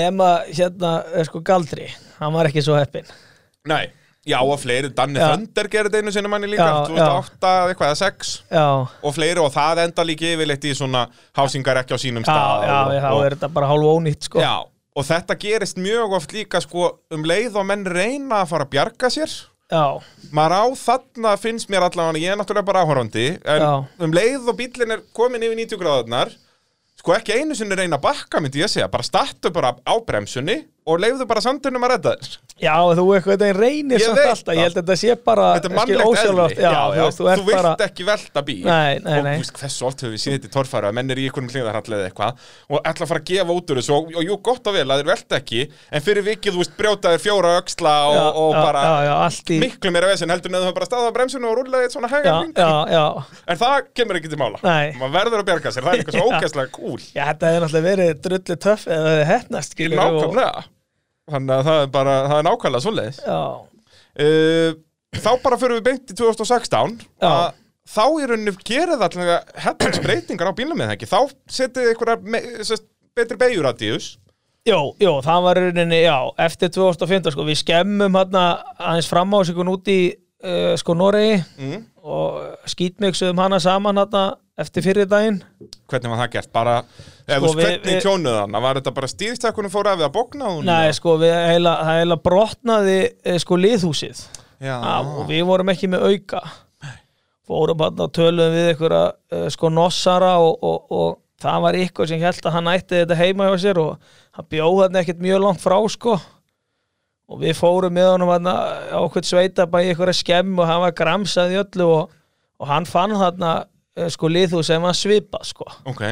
nema hérna eh, sko galdri, hann var ekki svo heppin Nei, já og fleiri, Danni Já. Þönder gerir þetta einu sinni manni líka, Já, 2008 eitthvað eða 6 Já, og fleiri og það enda líka yfirleitt í svona hásingar ekki á sínum já, stað já, og, já, þá og, er þetta bara hálf ónýtt sko já, og þetta gerist mjög oft líka sko um leið og menn reyna að fara að bjarga sér já, maður á þarna finnst mér allavega ég er náttúrulega bara áhorfandi en Já. um leið og bíllinn er komin yfir 90 gráðarnar sko ekki einu sinni reyna að bakka myndi ég segja, bara startu bara á bremsunni og leiðu bara sandunum að redda þér já, þú eitthvað þetta reynir Ég samt veit alltaf, ég það. held að þetta sé bara þetta er mannlegt ósjálfrátt, eðli já, þú veist, þú ert vilt bara ekki velta bíl Nei, nei, og nei. þú veist hversu oft höfum við séð þetta í torfæru að menn er í einhverjum hliðarhall eða eitthvað og ætla að fara að gefa út úr þessu og, og jú, gott og vel að þeir velta ekki en fyrir vikið, þú veist, brjóta þér fjóra öxla og, já, og já, bara já, já, allt í, miklu meira vesinn heldur en að þú hefur bara staðið á bremsunni og rúlaði eitt svona hægan já, já, já, En það kemur ekki til mála Nei. Maður verður að bjarga sér, það er eitthvað svo <laughs> Já. ógæslega kúl já, þetta hefði náttúrulega verið drullu töff eða hefði hefnast skilur, Nákvæmlega Þannig að það er bara, það er nákvæmlega svoleiðis. já, Uh, þá bara fyrir við beint í 2016 Já. að þá í rauninu gerir það allavega hefnins breytingar á bílum með það ekki. Þá setið einhverjar me, sest, betri beigur að díus. Jó, jó, það var í rauninni, já, eftir 2015, sko, við skemmum hérna aðeins fram á sig út í, uh, sko, Noregi Mm. og skýtmiksuðum hana saman hérna eftir fyrir daginn. Hvernig var það gert? Bara, eða þú veist, Sko, við- hvernig við- tjónuð hann? Var þetta bara stýrstakunum fór af því að bókna hún? Nei, sko, við heila, það heila brotnaði, eh, sko, liðhúsið Já, af og við vorum ekki með auka. Fórum hérna og töluðum við ykkur að, uh, sko, nossara og, og, og það var ykkur sem held að hann ætti þetta heima hjá sér og hann bjóð hann ekkert mjög langt frá, sko. og við fórum með honum hana, á okkur sveitabæ í einhverja skemm og hann var gramsað í öllu og, og hann fann þarna eh, sko liðhús sem var svipað sko. Ok,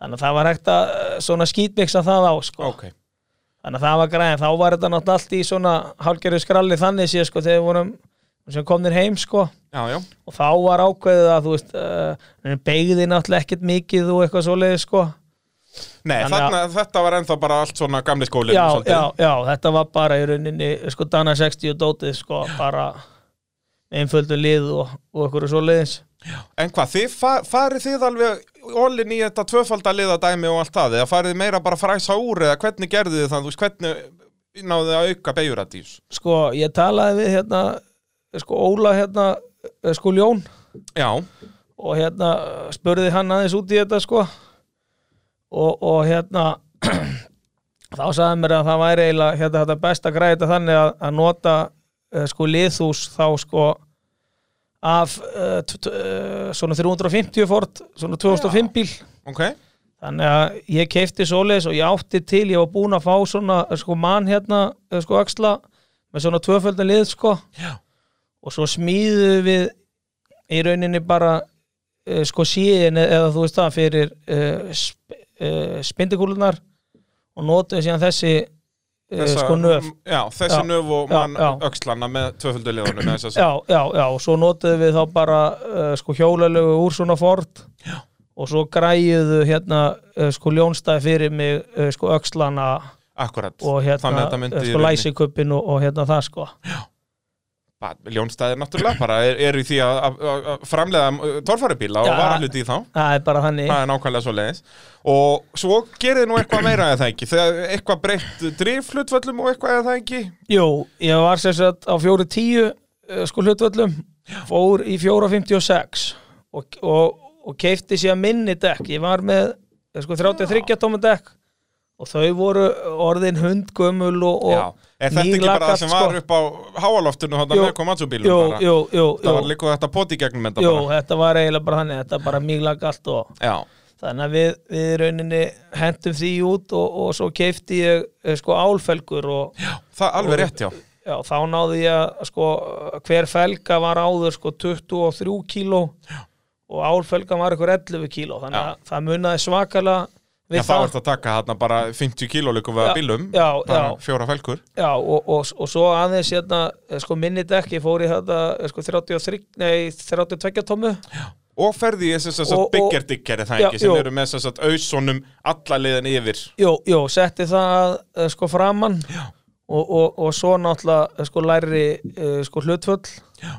þannig að það var hægt að eh, svona skýtmiksa það á sko. ok. þannig að það var græðin, þá var þetta náttúrulega allt í svona hálgerðu skralli þannig sé sko, þegar við vorum sem komnir heim sko Já, já. og þá var ákveðið að þú veist uh, beigði náttúrulega ekkert mikið og eitthvað svoleiði sko Nei, Þannig að- þarna, þetta var ennþá bara allt svona gamli skólinn. já, svolítið. já, já, þetta var bara í rauninni sko Dana 60 og dótið sko bara einföldu lið og, og okkur svo liðins En hvað, þið fa farið þið alveg ólinn í þetta tvöfaldaliða dæmi og allt það, eða farið þið meira bara að fræsa úr eða hvernig gerðu þið það, þú veist, hvernig náðu þið að auka beigjurardís? sko ég talaði við hérna sko Óla hérna eh, sko Ljón Já, og hérna eh, spurði hann aðeins út í þetta sko og, og hérna <clears throat> þá sagði mér að það væri eiginlega hérna þetta best að græða þetta þannig að, að nota eh, sko liðhús þá sko af uh, uh, svona 350 fort svona 2005 bíl ok, þannig að ég keifti svoleiðis og ég átti til, ég var búinn að fá svona eh, sko mann hérna, eh, sko axla með svona tvöföldin lið sko Já. og svo smíðu við í rauninni bara eh, sko síðin eða þú veist það fyrir uh, sp uh, spindikúlunar og notuðu síðan þessi uh, Þessa- sko nöf Já, þessi Já, nöf og já, mann já. öxlana með tvöfaldaliðunum með þess að já, já, já, og svo notuðu við þá bara uh, sko hjólalögu úr svona Ford Já. og svo græjuðu hérna uh, sko ljónstæði fyrir mig uh, sko öxlana akkurat, og hérna þannig að þetta myndi í eh, sko rauninni- læsikuppin og, og hérna það sko Bara, ljónstæðir náttúrulega bara er, er í því að- að að- að framlega torfarubíla og Já. varahluti í þá. það er bara þannig Það er nákvæmlega svo leiðis Og svo gerði nú eitthvað meira eða það ekki Þegar eitthvað breytt driflutvöllum og eitthvað eða það ekki Jú, ég var sem sagt á 4.10 eh, sko hlutvöllum fór í 4.56 og, og, og keifti sér minni dekk ég var með eh, sko 33 tóma dekk og þau voru orðin hundgömmul og, Já, og er þetta ekki bara það nýlakat, sem sko. var upp á háaloftinu þannig Jú, með komatsubílum Jú, bara jú, jú, Það var jú, líka þetta poti gegnum þetta jú, bara þetta var eiginlega bara þannig, þetta bara mjög lag allt og Já, þannig að við, við í rauninni hentum því út og, og svo keifti ég eh, sko álfelgur og já. það er alveg rétt já þá náði ég að, sko hver felga var áður sko 23 kíló já. og álfelgan var ykkur 11 kíló þannig að það munaði svakalega við Já, þá ert að taka þarna bara 50 kílóleikum við Já, að bílum já, bara já. Fjóra felgur Já, og, og, og svo aðeins hérna, eh, sko minni dekki fór í þetta eh, sko 33, nei 32 tómu Og ferði ég þess að Og- og- byggjardikkari það Já, ekki sem jú. eru með þess að auðsónum alla leiðin yfir Jó, jó, setti það eh, sko framann Já. og, og, og svo náttúrulega eh, sko læri eh, sko hlutfull Já.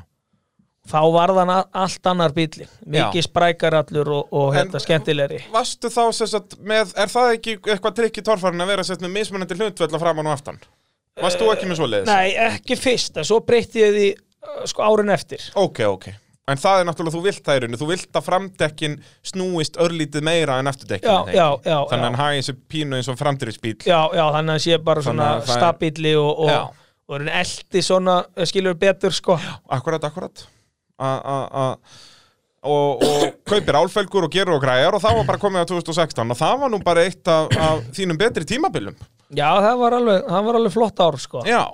þá var þann allt annar bíli mikið sprækar allur og, og En- hérna skemmtilegri Vastu þá sem sagt með, er það ekki eitthvað trikk í torfarinn að vera sett með mismunandi hlutvella framan og aftan? Varst þú ekki með svo leiðis? Nei, ekki fyrst, en svo breytti ég því eh, sko árin eftir Ok, ok. En það er náttúrulega, þú vilt það í rauninu, þú vilt að framdekkin snúist örlítið meira en afturdekkin. Já, já, já, Þannig að hann já. hagi þessu pínu eins og framdýrisbíl. Já, já, þannig að hann sé bara svona Þannig að það er- stabíli og, Já. og, og hann eldi svona eh, skilur betur sko Akkurat, akkurat. A, a, a. Og, og kaupir álfelgur og gerur og græjar og það var bara komið á 2016 og það var nú bara eitt af, af þínum betri tímabilum. Já, það var alveg, það var alveg flott ár sko Já,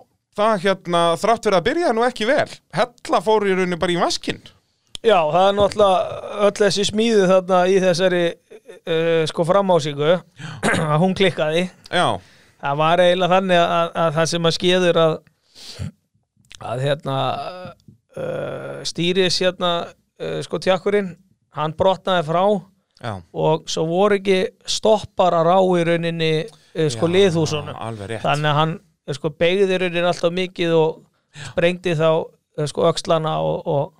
það hérna, þrátt fyrir að byrja nú ekki vel. Hella fór í rauninu bara í vaskinn. Já, það er náttúrulega eh, öll þessi smíðu þarna í þessari uh, sko framásíku <clears throat> að hún klikkaði Já, það var eiginlega þannig að, að það sem að skeður að að hérna uh, stýris hérna uh, sko tjakkurinn, hann brotnaði frá já. og svo voru ekki stoppar að rá í rauninni uh, sko Já, liðhúsunum Alveg rétt. þannig að hann eh, sko, beigðir er alltaf mikið og sprengdi þá eh, sko, öxlana og, og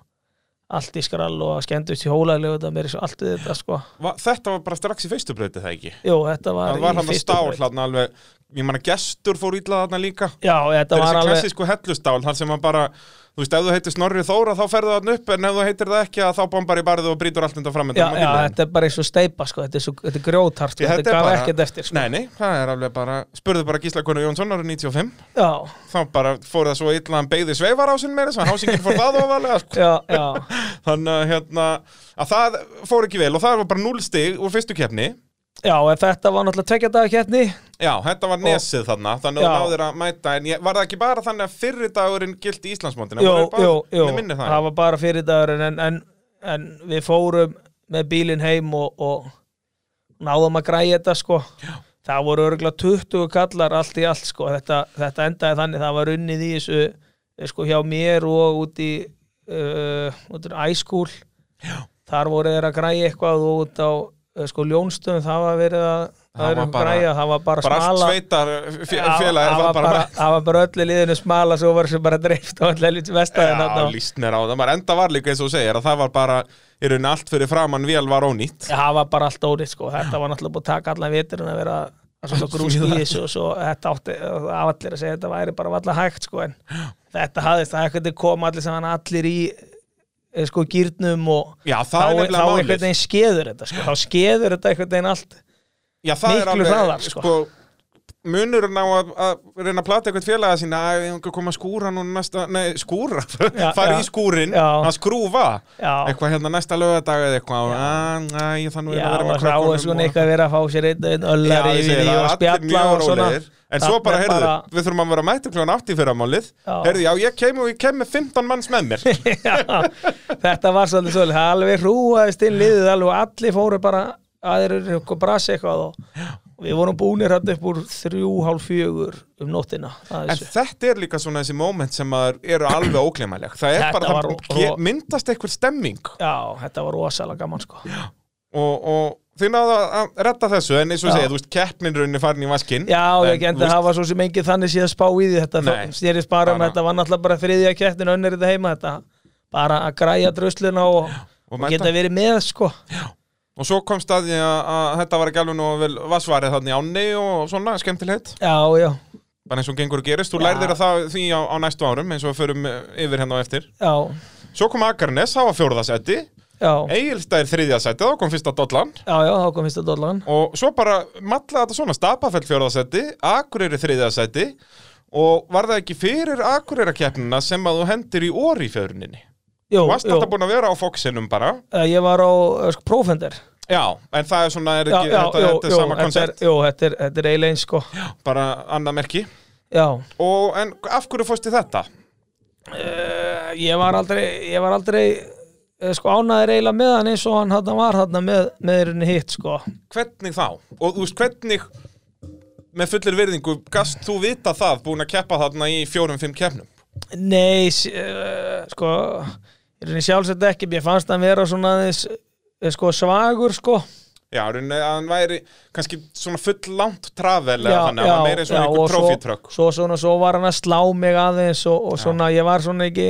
allt í skrall og skemmtist í hólalegu þetta mér er svo allt við þetta sko Va, þetta var bara strax í feistubreyti það ekki Jú, þetta var, Það var í hann að fyrstu stál braut. hann alveg Ég manna gestur fór illa þarna líka Já, þetta Það er var þessi alveg klassísku hellustál þar sem hann bara Þú veist, ef þú heitir Snorri Þóra þá ferðu hann upp en ef þú heitir það ekki að þá bombar í barðu og brýtur allt undan fram Já, já, þetta er bara eins og steipa sko, þetta er, svo, þetta er grjótart sko, Ég, þetta þetta er gaf bara- ekkert eftir sko. Nei, nei, það er alveg bara Spurðu bara Gísla Konu Jónsson árið 95 Já, Þá bara fór það svo illa að hann beigði sveifarásinn meira sem hásingin fór það ofalega sko. já, já, Þannig að hérna að það fór ekki vel og það var bara 0 stig úr fyrstu keppni já, en þetta var náttúrulega tvekja daga keppni Já, þetta var nesið þarna, þannig að Já. þú náður að mæta en ég, var það ekki bara þannig að fyrri dagurinn gilt í Íslandsmóndina? Jú, jú, jú, Mér minni það það var bara fyrir dagurinn en, en, en við fórum með bílinn heim og, og náðum að græja þetta sko já. það voru örgulega 20 kallar allt í allt sko, þetta, þetta endaði þannig það var unnið í þessu eh, sko hjá mér og út í uh, út í æskúl þar voru þeir að græja eitthvað og út á eh, sko ljónstöðum það var verið að Það það, var það, bara- græja, það var bara, Bara allt smala sveitar Já, félagið það var bara, bara það var bara öllu liðinu smala svo var sem bara dreift á öllu helviti vestæðin Já, lístnir á það, maður enda var líka eins og þú segir að það var bara, í rauninni allt fyrir framann vél var ónýtt það var bara allt órið sko þetta var náttúrulega búið að taka allan viturinn að vera að <laughs> svona grúst í þessu og svo þetta átti það var allir að segja þetta væri bara valla hægt sko en þetta hafðist það ekkert kom allir sem hann allir í eh, sko gýrnum og Já, það þá, er þá nefnilega einhvern málið veginn skeður þetta sko þá skeður þetta einhvern veginn allt Já, það er miklu alveg, hraðar, sko. munurinn á að, að reyna að plata eitthvað félaga sína að ég koma að skúra nú næsta, nei, skúra Já, <laughs> fara í já. skúrin, Já. að skrúfa já, eitthvað hérna næsta lögadag eða eitthvað að, að, ég þannig já að vera og með þá er svona eitthvað verið að fá sér einn og einn öllar Já, ég segi yfir því það, og allir spjalla mjög og svona rólegir. En svo Þarna bara, er heyrðu, við þurfum að vera mættum kljóðan átt í fyrramálið Já. Heyrðu, já, ég kem og ég kem með 15 manns með mér <laughs> Já, þetta var svolítið svolítið það alveg hrúaðist inn liðið alveg og allir fóru bara aðrir eitthvað brasi eitthvað og og við vorum búinir hann upp úr þrjú, hálf fjögur um nóttina að En þessu. þetta er líka svona þessi moment sem maður eru alveg óklemæleg Það er Þetta bara, var það ro- ge- ro- myndast einhver stemming Já, þetta var rosalega gaman sko Já, og, og þið náðu að- að redda þessu en eins og Já. segja, þú veist, keppnin rauninni farin í vaskinn ég ekki enda það var svo sem engin þannig síðan spá í því þetta Nei, þá snýrist bara um bara- þetta var náttúrulega bara þriðja kettin önnur þetta heima þetta bara að græja drusluna og, og og mæta. geta verið með sko Og svo kom staði að, að þetta var ekki alveg nú vel vassvarið þannig ánni og svona, skemmtilegt Já, já, Bara eins og gengur og gerist, þú Já. lærðir að það því á, á næstu árum eins og við förum eh, yfir hérna á eftir já, Svo kom Akarnes, það var fjórðasetti já Egilstær þriðjasetti, þá kom fyrsta dollan Já, já, þá kom fyrsta dollan og svo bara matlaði þetta svona Stapafell fjórðasetti, Akureyri þriðjasetti og var það ekki fyrir Akureyrakeppnina sem að þú hendir í orri í fjöruninni Jú, Þú varst jú. alltaf búin að vera á Foxinum bara Eh, Ég var á eh, sko, Profender Já, en það er svona, er ekki, þetta, þetta er sama þetta er, koncept jú, þetta er, þetta er eiginlega eins sko bara annað merki Já, og en af hverju fórst í þetta? uh, ég var aldrei ég var aldrei eh, sko ánæður eiginlega með hann eins og hann hann var hann með, með henni hitt sko Hvernig þá? Og þú veist, hvernig með fullir virðingu, gast þú vita það búin að keppa þarna í fjórum-fimm keppnum? Nei, uh, sko ég er henni sjálfsett ekki, mér fannst hann vera svona aðeins eh, sko svagur sko Já, í rauninni að hann væri kannski svona full langt travel eða Já, þannig, að hann já, var meira eins og já, einhver og svo- trófítrökk svo, svona, svo var hann að slá mig aðeins og, og svona, ég var svona ekki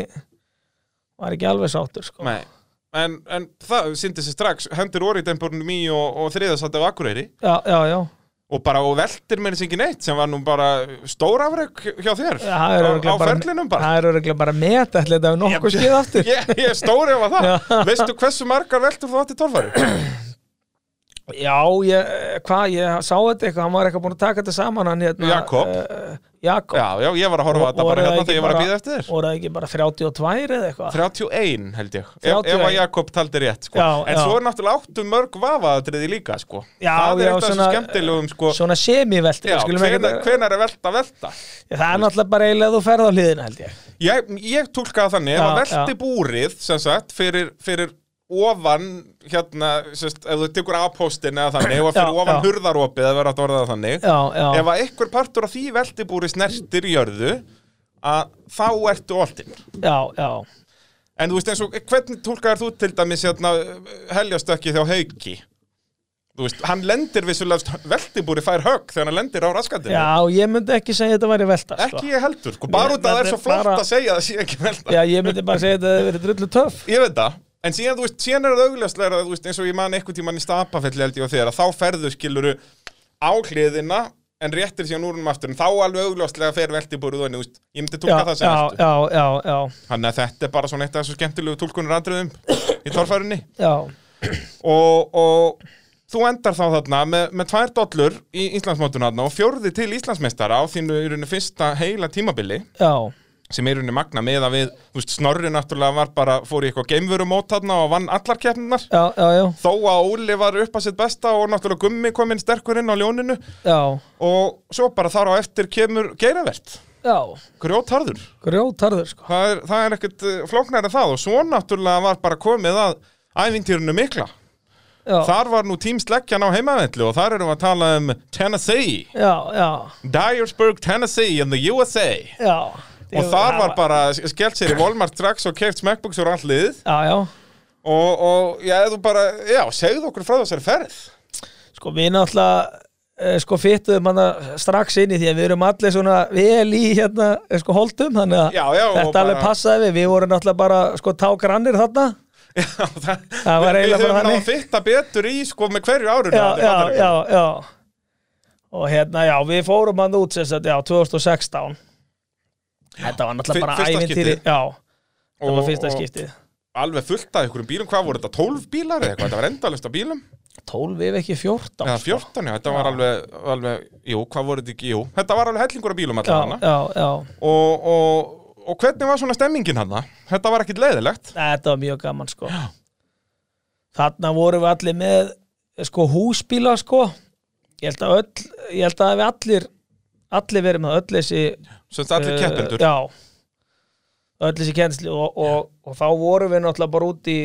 var ekki alveg sáttur sko Nei, en, en það sýndi sér strax, hendur orðið einbúrnum í og, og þriðasandi af Akureyri Já, já, já og bara og veltir meira sér ekki neitt sem var nú bara stórafrek hjá þér Já, það er á, á örugglega bara- ferlinum bara Það er örgulega bara met ætli þetta er nokkuð skið aftur Ég, ég er stóri af það, Já. veistu hversu margar veltur þú átti tólfari? <coughs> Já, ég, hvað, ég sá þetta eitthvað hann var eitthvað búin að taka þetta saman hann hérna Jakob. eh, Jakob, Já, já, ég var að horfa á Og- þetta voru bara það hérna ekki þegar ég var að bara- býða eftir þér voru það ekki bara 32 eða eitthvað 31 held ég, ef, 31. ef að Jakob taldi rétt sko. Já, en já. svo er náttúrulega áttu mörg vafaðatriði líka sko. Já, það er já, eitt af þessum svona- skemmtilegum sko. Svona semivelt já, hvenar, Það hvenar er velta velta er náttúrulega bara eiginlega þú ferð á hliðina held ég ég, ég tólkaði þannig, ef Já, að velti búrið sem sagt, fyrir, fyrir ofan hérna, sérst, ef þú tekur A-postin eða þannig, og fyrir Já, ofan já. hurðaropið eða verið að orða það þannig Já, já, ef að einhver partur af því veltibúri snertir jörðu að þá ertu oltinn já, já En þú veist eins og, hvernig tólkaðar þú til dæmis hérna, heljastu ekki þjá hauki? Þú veist, hann lendir vissulega, veltibúri fær högg þegar hann lendir á raskandinu. Já, ég myndi ekki segja að þetta væri velta sko. Ekki ég heldur, sko, bara Nei, út að það þetta er er svo flott bara- að segja að það sé ekki velta. Já, ég myndi bara segja að þetta hefði verið drullu töff Ég veit það, en síðan, þú veist, síðan er það augljóslega, þú veist, eins og ég man einhvern tímann í stapafelli held ég og þér, að þá ferðu skiluru á hliðina, en réttir síðan úr um aftur, en þá alveg augljóslega fer veltibúrið þannig, þú veist, ég myndi já, túlka það sem já, eftir. já, já, já, Þannig að þetta er bara svona eitt af þessu skemmtilegu túlkunur í torfærunni. já og, og þú endar þá þarna með, með tvær dollur í Íslandsmótuna þarna og fjórði til Íslandsmeistara á þínu í rauninni fyrsta heila tímabili Já, sem er í rauninni magna með að við, þú veist, Snorri náttúrulega var bara, fór í eitthvað geimvörumót þarna og vann allar keppninar já, já, já, þó að Óli var upp að sitt besta og náttúrulega Gummi kom inn sterkur inn á ljóninu já, og svo bara þar á eftir kemur geiravert, já grjótharður Grjótarður, sko það er, það er ekkert eh, flóknær en það og svo náttúrulega var bara komið að ævintýrinu mikla Já, Þar var nú tímsleggjan á heimavelli og þar erum við að tala um Tennessee, já, já, Dyersburg, Tennessee in the USA. já Og þar var bara skellt sér í Walmart strax og keift smekkbuks úr allt liðið Já, já og, og já, þú bara, já, segðu okkur frá þessari ferð. Sko, við náttúrulega eh, sko fyttuðum hana strax inn í því að við erum allir svona vel í hérna eh, sko holdum þannig að Já, já, og þetta alveg bara- passaði við við vorum náttúrulega bara sko tágrannir þarna Já, það, Það var eiginlega Við bara höfum náðu að þannig. fitta betur í, sko, með hverju árinu. já, já, já, já og hérna, já, við fórum hann út sem sagt, já, 2016 þetta var Fyr- náttúrulega bara fyrsta ævintýri skiptið. já, Og- það var fyrsta og- skiptið Alveg fullt af einhverjum bílum, hvað voru þetta, 12 bílar eða eitthvað, þetta var endalist af bílum. 12 ef ekki 14 Eða sko. 14, já, þetta var alveg, alveg, jú, hvað voru þetta ekki, jú, þetta var alveg hellingur af bílum allavega já, já, já, og, og, og hvernig var svona stemmingin hann þetta var ekkit leiðilegt Nei, þetta var mjög gaman sko þarna vorum við allir með eh, sko húsbíla sko ég held að öll, ég held að við allir allir verið með öll þessi sem þetta allir eh, keppendur já öll þessi kennsli og, og, og þá vorum við náttúrulega bara út í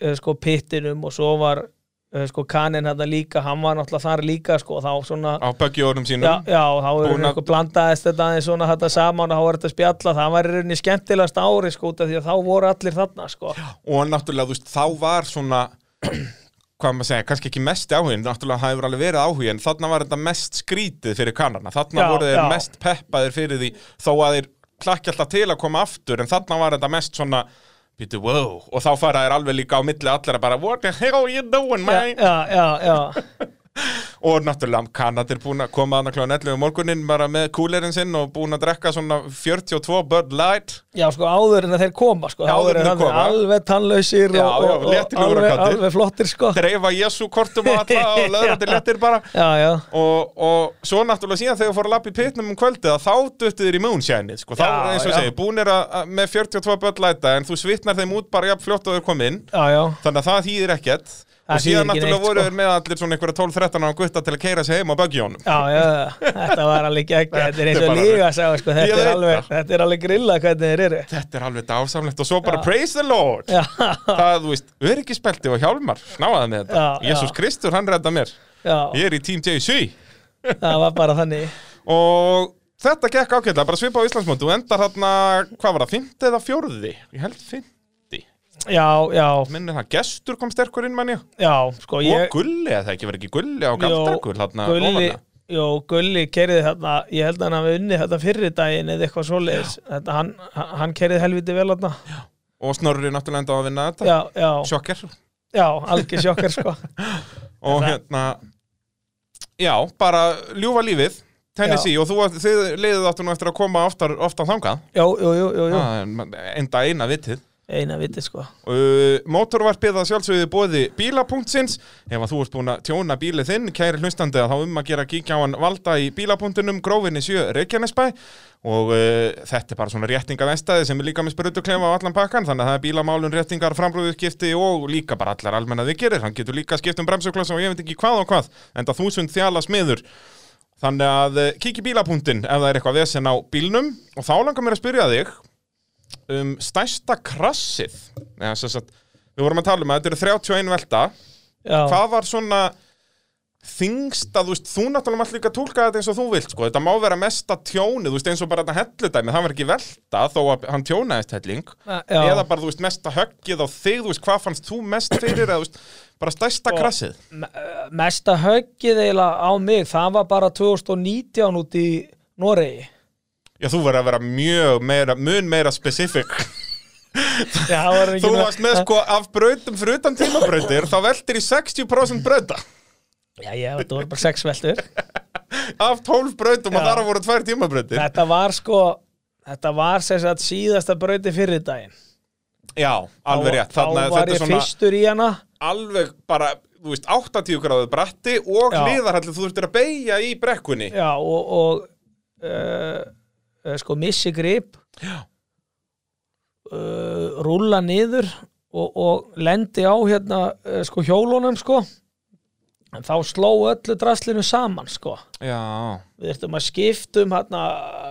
eh, sko pittinum og svo var eh, sko kaninn hann líka, hann var náttúrulega þar líka sko þá svona á böggjóðunum sínum Já, já, þá erum Búin við að- eitthvað blandaðist þetta aðeins svona þetta saman og þá var þetta spjalla, það var í rauninni skemmtilegast ári sko út af því að þá voru allir þarna sko. og náttúrulega þú veist þá var svona hvað maður segja, kannski ekki mest áhugin náttúrulega það hefur alveg verið áhugi en þarna var þetta mest skrítið fyrir kannarna þarna Já, voru þeir já. mest peppaðir fyrir því þó að þeir klakki alltaf til að koma aftur en þarna var þetta mest svona Pítu, wow, og þá fara þér alveg líka á milli allara bara, what the hell are you doing, man? Já, já, já, já, Og náttúrulega Kanadir búin að koma að kláðan 11 um morgunin bara með kúlerinn sinn og búin að drekka svona 42 Bud Light já, sko áður en að þeir koma sko, Já, áður en áður en þeir að þeir koma. alveg tannlausir Já, og, já, og, og léttilegur á alveg, kaldið. alveg flottir sko. dreifa Jésu kortum og alla og löðrandi léttir bara Já, já, og, og svo náttúrulega síðan þegar fór að lappa í pitnum um kvöldið að þá duttu þér í moonshine sko, þá Já, eins og já. segi, búin er að, að með 42 Bud Light en þú svitnar þeim út bara jafn fljótt og þau kom inn já, já, þannig að það þýðir ekkert Það og síðan þýðir ekki náttúrulega neitt, voru sko. þeir með allir svona einhverja 12-13 án gutta til að keira sig heim á böggjónum já, já, þetta var alveg ekki, þetta er eins Þetta er og bara- líga sá, sko, Ég þetta er, veit alveg, þetta er alveg grilla hvernig þeir eru. þetta er alveg dásamlegt og svo bara praise the lord Já, það, þú veist, öryggisbelti og hjálmar snáðaði með þetta, Já, Jésús já. Kristur, hann redda mér já, ég er í Team JC það var bara þannig. og þetta gekk ákveðlega, bara svipa á Íslandsmóti og endar þarna, hvað var það, fymti eða fjórði ég held fymti, Já, já, minnir það gestur kom sterkur inn manni já, sko, og ég... gulli, eða það ekki verið ekki gulli á galdrakul þarna, Gulli, ofarlega. jó, Gulli kerði þarna ég held að hann hafi unni þetta fyrri daginn eða eitthvað svoleiðis þetta, hann, hann- hann kerði helviti vel þarna já, og snorri náttúrulega enda á að vinna þetta já, já, sjokker algjör sjokkar sko og Það- hérna já, bara ljúfa lífið Tennessee og þú, þið leiðið áttu nú eftir að koma oftar, oftar þangað jú, jú, jú, jú, jú. Það er enda eina vitið eina viti sko Uh, mótorvarpið að sjálfsögðu bóði bílapunktsins ef að þú ert búin að tjóna bílið þinn kæri hlustandi að þá um að gera kíkja á hann valda í bílapunktunum grófinni sjö Reykjanesbæ og uh, þetta er bara svona réttingavestaði sem er líka með sprutuklefa á allan pakkan þannig að það er bílamálun réttingar, frambrúðuskipti og líka bara allar almenna þið gerir hann getur líka skipt um bremsuklassa og ég veit ekki hvað og hvað enda þúsund þjala smiður þannig að uh, kíkja bílapunktin ef það er eitthvað vesen á bílnum og þá langar mér að spyrja þig um stærsta krassið Eða, sem sagt, við vorum að tala um að þetta eru 31 velta já, hvað var svona þingsta, þú veist, þú náttúrulega mátt líka tólka þetta eins og þú vilt, sko, þetta má vera mesta tjónið, þú veist, eins og bara þetta helludæmi það var ekki velta þó að hann tjónaðist helling já, eða bara, þú veist, mesta höggið á þig, þú veist, hvað fannst þú mest fyrir eða, þú veist, bara stærsta Sko, krassið Me- eh, mesta höggið eiginlega á mig það var bara 2019 út í Noregi Já, þú verður að vera mjög meira, mun meira <laughs> specific. Já, <laughs> það var ekki Þú með- varst með sko af brautum fyrir utan tímabrautir, þá veltir í 60% brauta. Já, já, þetta voru bara sex <laughs> veldur Af 12 brautum og Já. þar að voru tvær tímabrautir. Þetta var sko Þetta var sem sagt síðasta brauti fyrir daginn Já, alveg rétt. Þannig Þá að var þetta ég er svona fyrstur í hana alveg bara, þú veist, 80 gráðu bratti og Já. hliðarhallið þú þurftir að beigja í brekkunni. Já, og, og uh, uh, sko missi grip uh, rúlla niður og, og lendi á hérna uh, sko hjólunum sko en þá sló öllu draslinu saman sko Já, við ertum að skiptum hérna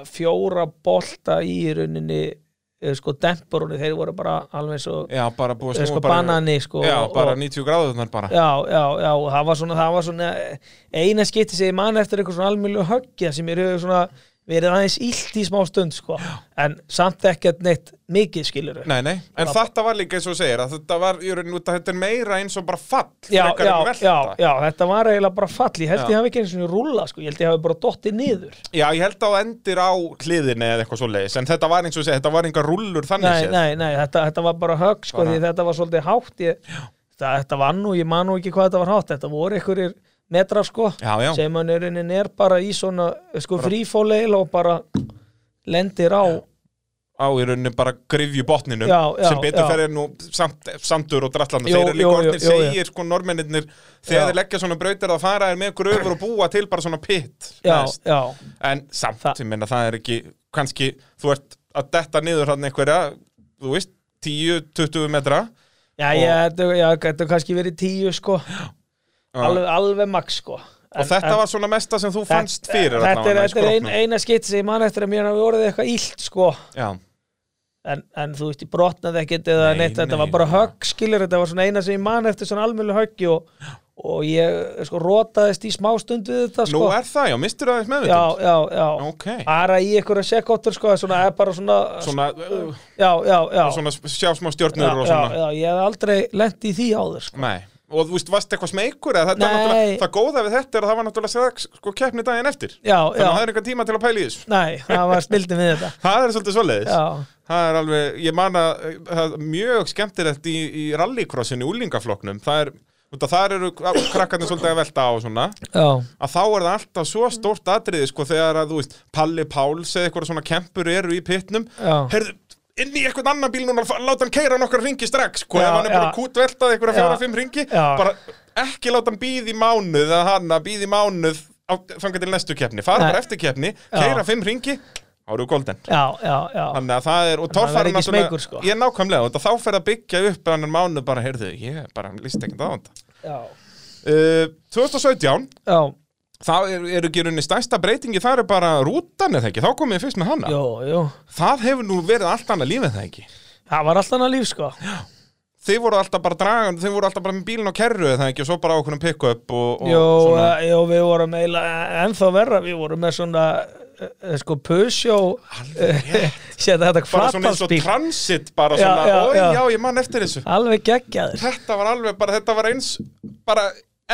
fjóra bolta í rauninni eh, sko demparunni, þeir voru bara alveg eins og já, bara búið eh, að sko snúa bara... banani sko Já, og- bara og, 90 gráðunar bara. já, já, já, og það var svona, það var svona eh, eina skipti sem ég man eftir eitthvað svona almjölu höggja sem ég hefur svona verið aðeins illt í smá stund sko en samt ekkert neitt mikið skilur Nei, nei, en þetta var líka eins og þú segir að þetta var, ég raunin út að þetta er meira eins og bara fall, já, frekar já, en velta. já, já, þetta var eiginlega bara fall ég held Já. ég hafi ekki eins og rúla sko, ég held ég hafi bara dottið niður Já, ég held að það endir á hliðinni eða eitthvað svo leiðis, en þetta var eins og segja, þetta var engar rullur þannig nei, séð. nei, nei, þetta, þetta var bara högg sko, Bara- því þetta var svolítið hátt ég, þetta, þetta var nú, ég man nú ekki hvað þetta var hátt þetta voru einhverjir metrar sko Já, já, sem hann er, er bara í svona sko, frífóleil og bara lendir á á í rauninni bara grifju botninum, Já, já, sem betur já. fer er nú samt, samtur og drallandi, Jú, þeir eru líka jú, jú, orðnir jú, jú. segir sko normenninir, þegar Já. þeir leggja svona brautir að fara er með gröfur og búa til bara svona pitt, já, neðst. já, en samt, Þa- ég meina það er ekki, kannski, þú ert að detta niður hann einhverja, þú veist, 10-20 metra, já, ég, þetta, já, þetta kannski verið tíu sko alveg, alveg max sko og þetta var svona mesta sem þú fannst fyrir þetta er, allavega sko. í þetta er ein, skrokknum. eina skitt sem ég man eftir að mér hafi orðið eitthvað illt sko Já. en, en þú veist, ég brotnaði ekkert eða Nei, neitt, þetta nei, var bara nei. högg skilur, þetta var svona eina sem ég man eftir svona almjölu höggi og, og ég sko rótaðist í smá stund við þetta Nú sko. er það, já, mistur aðeins já, meðvitund já, já Ok. bara í einhverja sekóttur sko, svona, eða bara svona, Svona, uh, já, já, já, svona sjá smá stjórnur já, og já, svona já, ég hef aldrei lent í því áður sko. Nei, og þú veist, varst eitthvað smeykur eða þetta var Nei. náttúrulega, það góða við þetta er að það var náttúrulega strax, sko keppni daginn eftir já, þannig já, að það er einhver tíma til að pæla í þessu nei, það var snildið við þetta Það er svolítið svoleiðis já, Það er alveg, ég man að eh, það er mjög skemmtilegt í, í rallycrossinu úlingafloknum, það er út að þar eru krakkarnir svolítið að velta á og svona já, að þá er það alltaf svo stórt atriði sko þegar að þú veist Palli Páls eða eitthvað svona kempur eru í pitnum Já. herðu inn í eitthvað annan bíl núna fa- láta hann keira nokkar ringi strax sko Já, ef hann er já. búin að kútveltað eitthvað Já. fjóra-fimm ringi Já. bara ekki láta hann býði mánuð að hann að býði mánuð á- þangað til næstu keppni fara Nei. bara eftir keppni keira fimm ringi áruðu golden já, já, já. Þannig að það er, og Þannig að það torfæra er ekki smeykur, sko. ég er nákvæmlega, og þá fer að byggja upp annan mánuð bara, heyrðu, ég bara líst ekkert á þetta. já, Uh, 2017, já. Það er, er ekki rauninni stærsta breytingi, það er bara rútan eða ekki, þá komið ég fyrst með hana. Jú, jú. Það hefur nú verið allt annað lífið það ekki. það var alltaf annað líf sko Þið voru alltaf bara dragan, þið voru alltaf bara með bílinn á kerru eða ekki og svo bara okkur um pick-up og, og Jó, svona. eh, jó, við vorum eiginlega ennþá verra, við vorum með svona eh, eh, sko pusjó sér þetta bara svona eins og flatarspíl transit bara Já, svona, já, oi, já. já. ég man eftir þessu. alveg geggjaður Þetta var alveg bara, þetta var eins, bara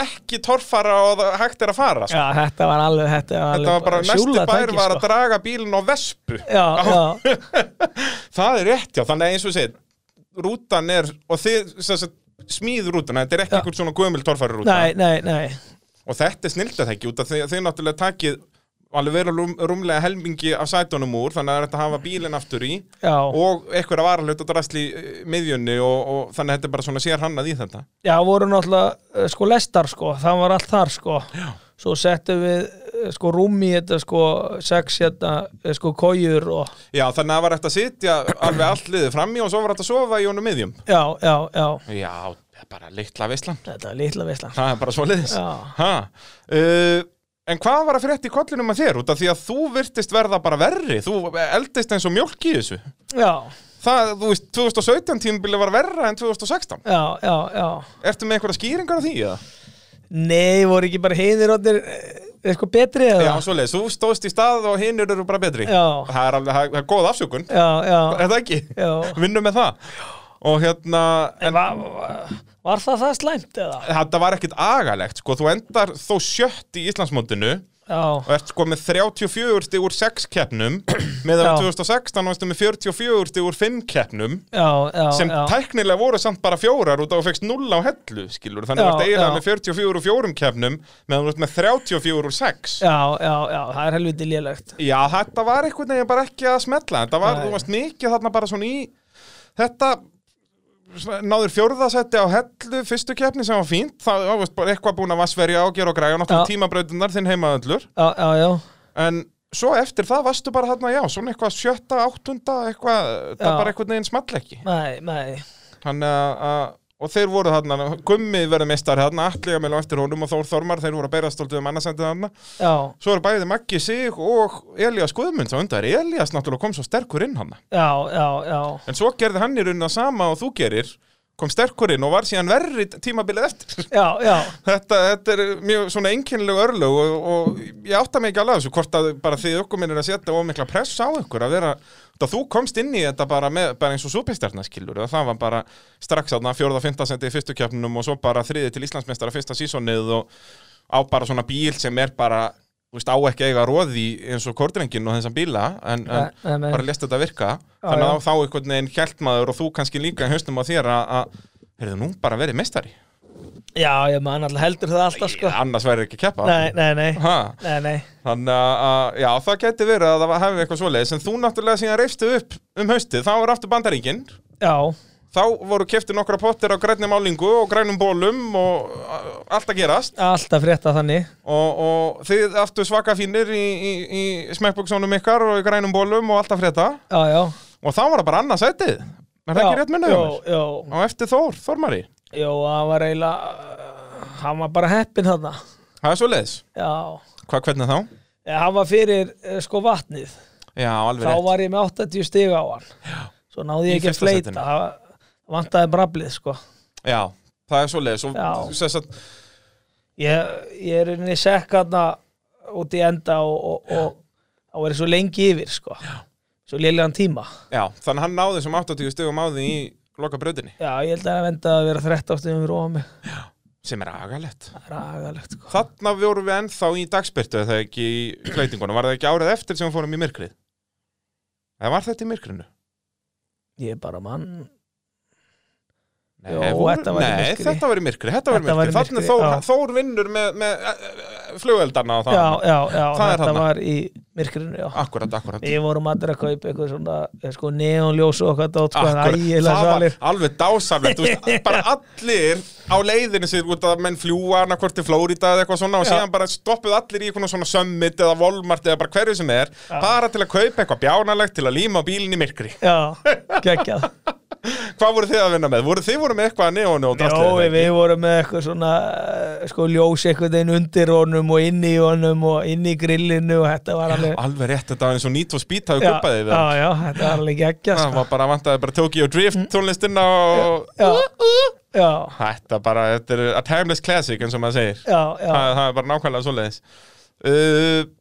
ekki torfara og það- hægt er að fara. Sko. Já, þetta var alveg, þetta var alveg Þetta var bara, næsti sjúla bær tæki, var að sko. draga bílinn á vespu. Já, já, Það er rétt, já, þannig að eins og segir rútan er, og þið sem sagt, smíð rútan, þetta er ekki Já. einhvern svona gömul torfæri rúta, nei, nei, nei og þetta er snilda það ekki, út af því að þið náttúrulega takið alveg vera rúm, rúmlega helmingi af sætunum úr, þannig að þetta hafa bílinn aftur í Já, og einhverja varalötu drasli í, eh, miðjunni og, og þannig að þetta er bara svona sér hannað í þetta já, voru náttúrulega eh, sko lestar sko, það var allt þar sko já. Svo settum við eh, sko rúmi þetta sko, sex hérna eh, sko kójur og Já, þannig að það var eftir að sitja alveg allt liðið frammi og svo var þetta að sofa í honum miðjum Já, já, já, Já, það er bara litla veislan þetta er litla veislan Það er bara svo liðis Já, uh, En hvað var að frétta í kollinum að þér? Út af því að þú virtist verða bara verri Þú eldist eins og mjólk í þessu já, Það, þú veist, 2017 tímabili var verra en 2016 já, já, já Ertu með einhverja skýringar á því? Eða? Nei, voru ekki bara heiðir orðnir eh, sko betri Já, eða? svoleiðis, þú stóðst í stað og hinnur eru bara betri Já. Það er alveg, það er- það er góð afsökun já, já, Er það ekki? já. Vinnum með það Og hérna, En, en Var það það slæmt eða? Þetta var ekkit agalegt, sko, þú endar þó sjött í Íslandsmótinu og Já, ert sko með 34 stig úr 6 keppnum <clears throat> meðan Já. 2016 varstu með 44 stig úr 5 keppnum já, já, sem já. tæknilega voru samt bara fjórar út á að fegst 0 á hellu, skilur þannig Já, að þetta eiginlega já. með 44 úr 4 keppnum meðan þú ert með 34 úr 6 já, já, já, það er helviti lélegt Já, þetta var einhvern veginn bara ekki að smetla þetta var, Nei. þú varst mikið þarna bara svona í þetta svona, náður fjórðasetti á hellu fyrstu keppni sem var fínt, það það varst bara eitthvað búin að vassverja og gera og græja og náttúrulega Já. tímabrautunar þinn heimaðallur, Já, já, já, en svo eftir það varstu bara þarna, já, svona eitthvað sjötta, áttunda eitthvað, Já. það bara einhvern veginn small ekki nei, nei hann að að- og þeir voru þarna, gummið verið meistari þarna, allega meðlega eftir honum og Þór Þormar þeir voru að berast stoltið um annarsendið þarna Já, Svo eru bæði Maggi Sig og Elías Guðmunds á undar. Elías náttúrulega kom svo sterkur inn hann. já, já, já En svo gerði hann í raunin að sama og þú gerir, kom sterkur inn og var síðan verri tímabilið eftir. Já, já, Þetta, þetta er mjög svona einkennileg örlög og, og ég átta mig ekki alveg á þessu hvort að bara þið okkur minnir að setja of mikla press á ykkur að vera, það þú komst inn í þetta bara, með, bara eins og súpistjarnaskilur og það var bara strax aðna fjórða, fymta senti í fyrstu keppnum og svo bara þriði til Íslandsmeistara fyrsta sísonið og á bara svona bíl sem er bara þú veist, á ekki að eiga róði eins og kordrengin og þessan bíla en, en Nei, nei, nei. bara lest þetta virka Já, þannig já. að þá einhvern veginn hjælt maður og þú kannski líka í haustum á þér að, að heyrðu nú bara verið meistari já, ég man alltaf heldur það alltaf sko annars væri ekki að keppa Nei, nei, nei, Ha, nei, nei þannig að, að, já, það geti verið að það var- hefði eitthvað svoleiðis, en þú náttúrulega síðan reifstu upp um haustið, þá er aftur bandaríkin Já, þá voru kefti nokkra pottir á grænni málingu og grænum bólum og a- allt að gerast alltaf frétta þannig og, og þið aftur svaka fínir í, í, í smekkbuksónum ykkar og í grænum bólum og allt að frétta Já, já og þá var það bara annað sætið er það Já, ekki rétt munið hjá Jó, mér? jó, á eftir Þór, Þormari jó, hann var eiginlega Hann var bara heppinn þarna það er svoleiðis, Já, hvað hvernig þá? Eh, hann var fyrir eh, sko vatnið já, alveg Þá rétt var ég með 80 stig á hann Svo náði Í ég ekki að fyrsta fleita setinu. Það vantaði brablið sko já, það er svoleiðis og, Já. sem sagt, Ég, ég er inn í sekkarna út í enda og, og, og þá er ég svo lengi yfir sko já. Svo lélegan tíma já, þannig að hann náði sem 80 stegum á því í loka bröðinni Já, ég held að hann venda að vera 13 stigum fyrir ofan mig sem er agalett Það er agalegt sko þarna vorum við ennþá í dagspyrtu eða það ekki í fleitingunum, var það ekki árið eftir sem við fórum í myrkrið eða var þetta í myrkrinu? Ég er bara mann Nei, Jó, voru- þetta var í nei, myrkri. þetta var í myrkri, þetta var í Þetta var í myrkri. Þarna er myrkri, Þór, já. Þór vinnur með, með eh, flugeldarna og það Já, já, Það já, er þetta þarna. var í myrkrinu já. Akkurat, akkurat Við vorum allir að kaupa eitthvað svona eh, sko, neonljós og hvað dót sko, en Akkurat, ægilega það var salir alveg dásamlegt þú <laughs> veist, bara allir á leiðinu sér út að menn fljúa hana hvort til Flórida eða eitthvað svona og Já. síðan bara stoppuð allir í eitthvað svona summit eða Walmart eða bara hverju sem er bara til að kaupa eitthvað bjánalegt til að líma á bílinn í myrkri Já, <laughs> geggjað Hvað voru þið að vinna með? Voru þið voru með eitthvað að neónu og Já, drastlið, við, eða ekki? við vorum með eitthvað svona eh, sko, ljós eitthvað einn undir honum og inn í honum og inn í grillinu og þetta var alveg Alveg rétt, þetta var eins og nýtt og spýt hafi já, kuppaði við já, hann. já, þetta var alveg geggjað Það sko. Mm. var bara vantaði bara Tokyo Drift tónlistina og Já, já, Þetta bara, þetta er a timeless classic eins og maður segir já, já, það, það er bara nákvæmlega svoleiðis uh,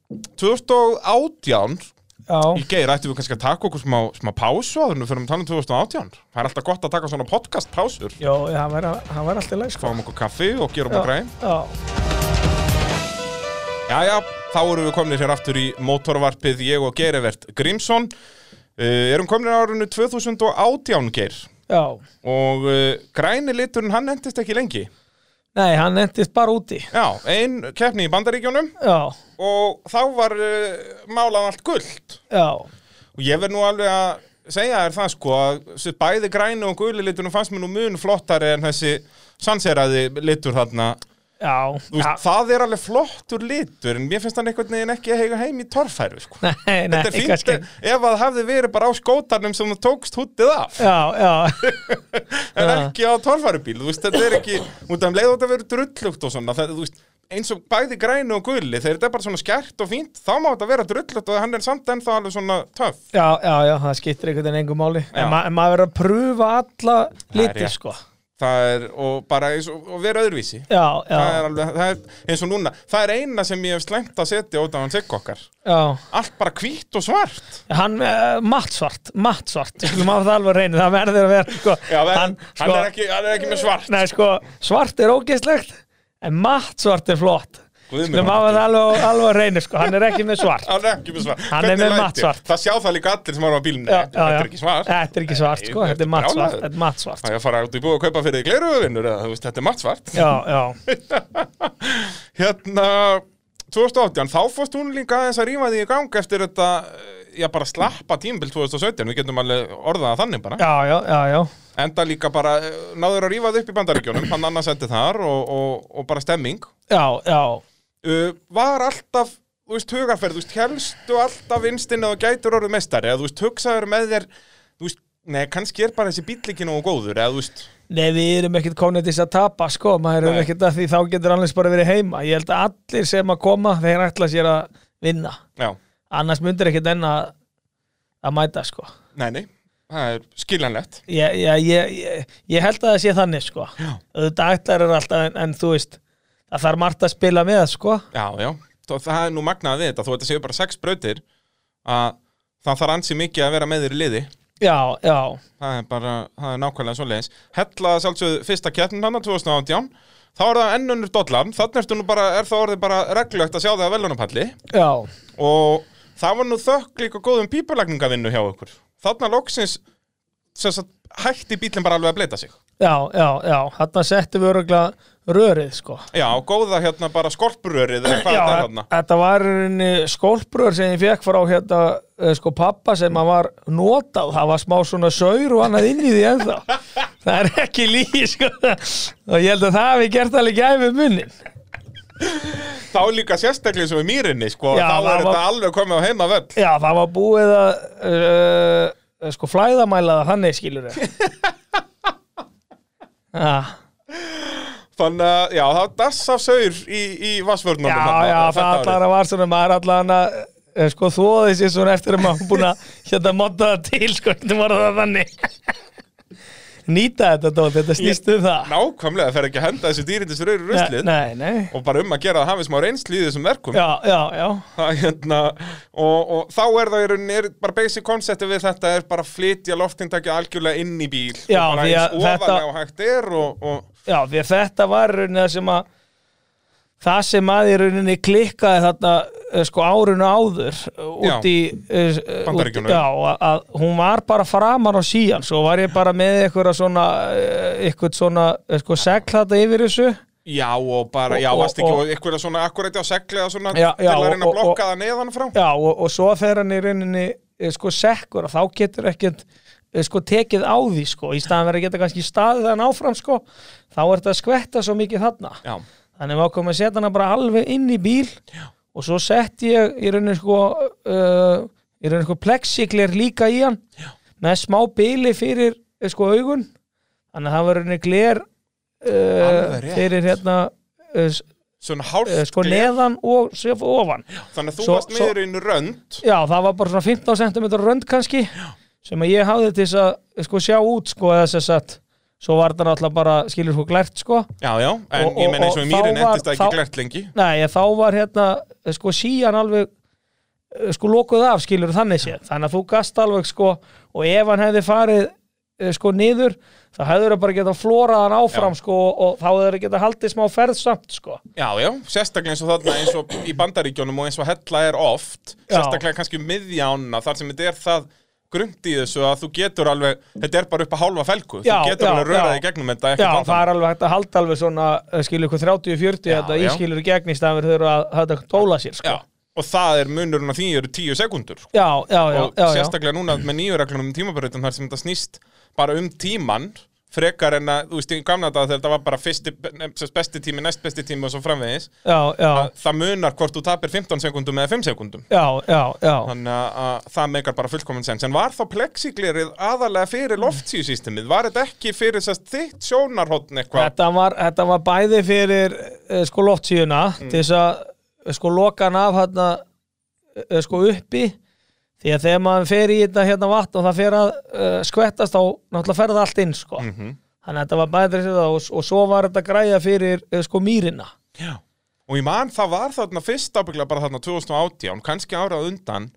2018 já, í geir ættum við kannski að taka okkur smá, smá pásu áður en við fyrir að tala um 2018 það er alltaf gott að taka svona podcast pásur já, já, hann var, hann var alltaf læg sko. fáum okkur kaffi og gerum Já, okkur grein já, já já, þá erum við komnir hér aftur í mótorvarpið ég og geirivert Grímsson uh, erum komnir á árinu 2018 geir já og uh, græni liturinn hann endist ekki lengi Nei, hann endist bara úti já, ein keppni í bandaríkjónum Já, og þá var uh, málað allt gullt já, Og ég verð nú alveg að segja þér það sko að þessi bæði grænu og guli litunum fannst mér nú mun flottari en þessi sanseraði litur þarna. já, Þú já. <laughs> veist, það er alveg flottur litur en mér finnst hann einhvern veginn ekki að heiga heim í torfæru sko. Nei, nei, Þetta er fínt kannski ef að það hafði verið bara á skótarnum sem þú tókst húttið af Já, já, en Já. ekki á torfærubíl, þú veist, þetta er ekki út af leið átt að vera drullugt og svona það, þú veist, eins og bæði grænu og gulli þegar þetta er bara svona skert og fínt, þá má þetta vera drullugt og hann er samt ennþá alveg svona töff já, já, já, það skiptir einhvern veginn engum máli Já. En, ma en maður verður að pröfa alla er liti, rétt. sko það er, og bara eins og, og vera öðruvísi já, já, það er alveg, það er, eins og núna það er eina sem ég hef slengt að setja út af hann sigg okkar já allt bara hvítt og svart hann, uh, mattsvart, mattsvart við skulum hafa það alveg reynu, það verður að vera sko, Já, hann, hann, sko, er ekki, hann er ekki með svart nei, sko, svart er ógeðslegt en mattsvart er flott Guð minn skulum hafa það alveg, alveg að reynu sko, hann er ekki með svart hann er ekki með svart Hann er Hvernig með læt ég? mattsvart. það sjá það líka allir sem eru á bílum Nei, Já, já, þetta já. er ekki svart þetta er ekki svart, Nei, sko, þetta er mattsvart brjálaður. þetta er mattsvart, það er að fara út í búið að kaupa fyrir gleruðuvinnur eða þú veist, þetta er mattsvart já, já hérna 2018, þá fórst hún líka aðeins að rífa því í gang eftir þetta eh, já bara slappa tímbil 2017 við getum alveg orðað það þannig bara já, já, já, já, enda líka bara eh, náður að rífa það upp í bandaríkjónum hann annars sendi þar og, og, og bara stemming já, já. uh, var alltaf þú veist, hugarferð, þú veist, helstu alltaf vinstinn að þú gætur orðið mestari eða þú veist, hugsaður með þér þú veist, nei, kannski er bara þessi bíll ekki nógu góður eða þú veist, Nei, við erum ekkert komin til þess að tapa, sko, maður Nei. erum ekkert að því þá getur annars bara verið heima. Ég held að allir sem að koma, þeir ætla sér að vinna. já, Annars myndir ekkert enn að, að mæta, sko. nei, nei það er skiljanlegt Ég, ég, ég, ég, ég held að það sé þannig, sko. Já. Þetta ætlar er alltaf, en, en þú veist, það þarf margt að spila með, sko. já, já, Þó, það er nú magnað við þetta þó þetta séu bara sex brautir að það þarf ansi mikið að vera með þér í liði Já, já, það er bara, það er nákvæmlega svoleiðis hella þess alveg fyrsta keppnin hann 2018 þá er það ennunur dollarn þannig ertu nú bara, er það orðið bara reglulegt að sjá það að velunapalli já, og það var nú þökk líka góðum pípulagningavinnu hjá okkur þarna loksins sem sagt, hætti bílinn bara alveg að bleita sig já, já, já. Þarna settum við öruglega rörið, sko. já, og góða hérna bara skorpurörið eða hvað Já, þetta er þa- hérna þetta var í rauninni skólbröður sem ég fekk frá hérna eh, sko pappa sem að var notað, það var smá svona saur og annað inn í því ennþá <laughs> það er ekki líi sko og ég held að það hafi gert alveg gæfi munnin þá líka sérstaklega sem í mýrinni sko, Já, þá það er var- þetta alveg komið á heima völl já það var búið að uh, sko flæðamæla það þannig skilur <laughs> þau já, þannig að, já, það dass af saur í, í já, vassvörnum já það allara var svona maður allan að eh, sko þóði sér svona eftir að maður búin að <laughs> hérna modda það til sko, þetta var það þannig <laughs> nýta þetta dót, þetta snýst um það nákvæmlega fer ekki að henda þessu dýrindis raur í ruslið nei, nei, og bara um að gera að hafi smá reynsli í þessum verkum já, já, já Það, hérna, og, og þá er það í rauninni er bara basic concepti við þetta er bara að flytja loftindaki algjörlega inn í bíl Já, og bara því að eins þetta- ofalega og hægt er og, og já, því að þetta var í rauninni það sem að það sem að í rauninni klikkaði þarna eh, sko árunu áður eh, Já. út í eh, eh, út, Bandaríkjunum. já, að, að hún var bara framan á síjan svo var ég bara með einhverja svona eh, einhvern svona eh, sko segl þetta yfir þessu já og bara, Og- já, og- varst ekki og- og einhverja svona akkurat á segli eða svona Já, já, til að reyna og- að blokka það neðan frá já, og, og svo þegar hann í rauninni eh, sko sekkur að þá getur ekkert eh, sko tekið á því sko í staðan verið að geta kannski staðið hann áfram sko þá er þetta að skvetta svo mikið þarna já, þannig við ákveðum að setja hana bara alveg inn í bíl Já. og svo sett ég í rauninni sko uh, í rauninni sko plexiglir líka í hann Já. með smá bíli fyrir eh, sko augun þannig að það var í rauninni gler uh, Alveg rétt. fyrir hérna uh, svona hálft sko gler. neðan og svo ofan þannig að þú Svo- varst svo- meður einu rönd Já, það var bara svona 15 cm rönd kannski sem að ég hafði til þess að sko, sjá út sko eða sem sagt svo var það náttúrulega bara skilur sko glært sko já, já, en Og- ég og- meina eins og í og mýrin þá var- endist það ekki þá- glært lengi Nei, þá var hérna eh, sko síjan alveg eh, sko lokuð af skilur þannig séð þannig að þú gast alveg sko og ef hann hefði farið eh, sko niður þá hefður það bara geta flórað hann áfram sko og þá hefur það geta haldið smá ferð samt sko Já, já, sérstaklega eins og þarna eins og í bandaríkjónum og eins og hella er oft Já. sérstaklega kannski um miðjána þar sem þetta er það grunt í þessu að þú getur alveg, þetta er bara upp að hálfa felgu Já, þú getur já, alveg rörað já. í gegnum þetta Já, ekkert það vandamál. er alveg hægt að halda alveg svona eh, skilur ykkur 30-40 Já, þetta já. ískilur gegn hérna í staðan verður að þetta tóla sér sko Já, og það er munurinn að því eru tíu sekundur já, já, já, og já, já. sérstaklega núna með nýju reglunum um tímabrautum þar sem þetta snýst bara um tíman frekar en að, þú veist, í gamla dag þegar þetta var bara fyrsti, sem sagt, besti tími, næst besti tími og svo framvegis, já, já, það munar hvort þú tapir 15 sekundum eða 5 sekundum já, já, já. þannig að, að það meikar bara fullkominn sens en var þá plexiglerið aðalega fyrir loftsýjusýstemið, var þetta ekki fyrir sest, þitt sjónarhóttn eitthvað Þetta, var, þetta var bæði fyrir eh, sko loftsíðuna Mm. til þess að eh, sko loka hann af hérna eh, sko uppi því að eh, þegar maður fer í þetta hérna vatn og það fer að uh, skvettast þá náttúrulega fer það allt inn sko Mhm. þannig að þetta var bæðið sér það og, og svo var þetta græja fyrir eh, sko mýrina Já. Og ég man það var þarna fyrst ábygglega bara þarna 2018, kannski árað undan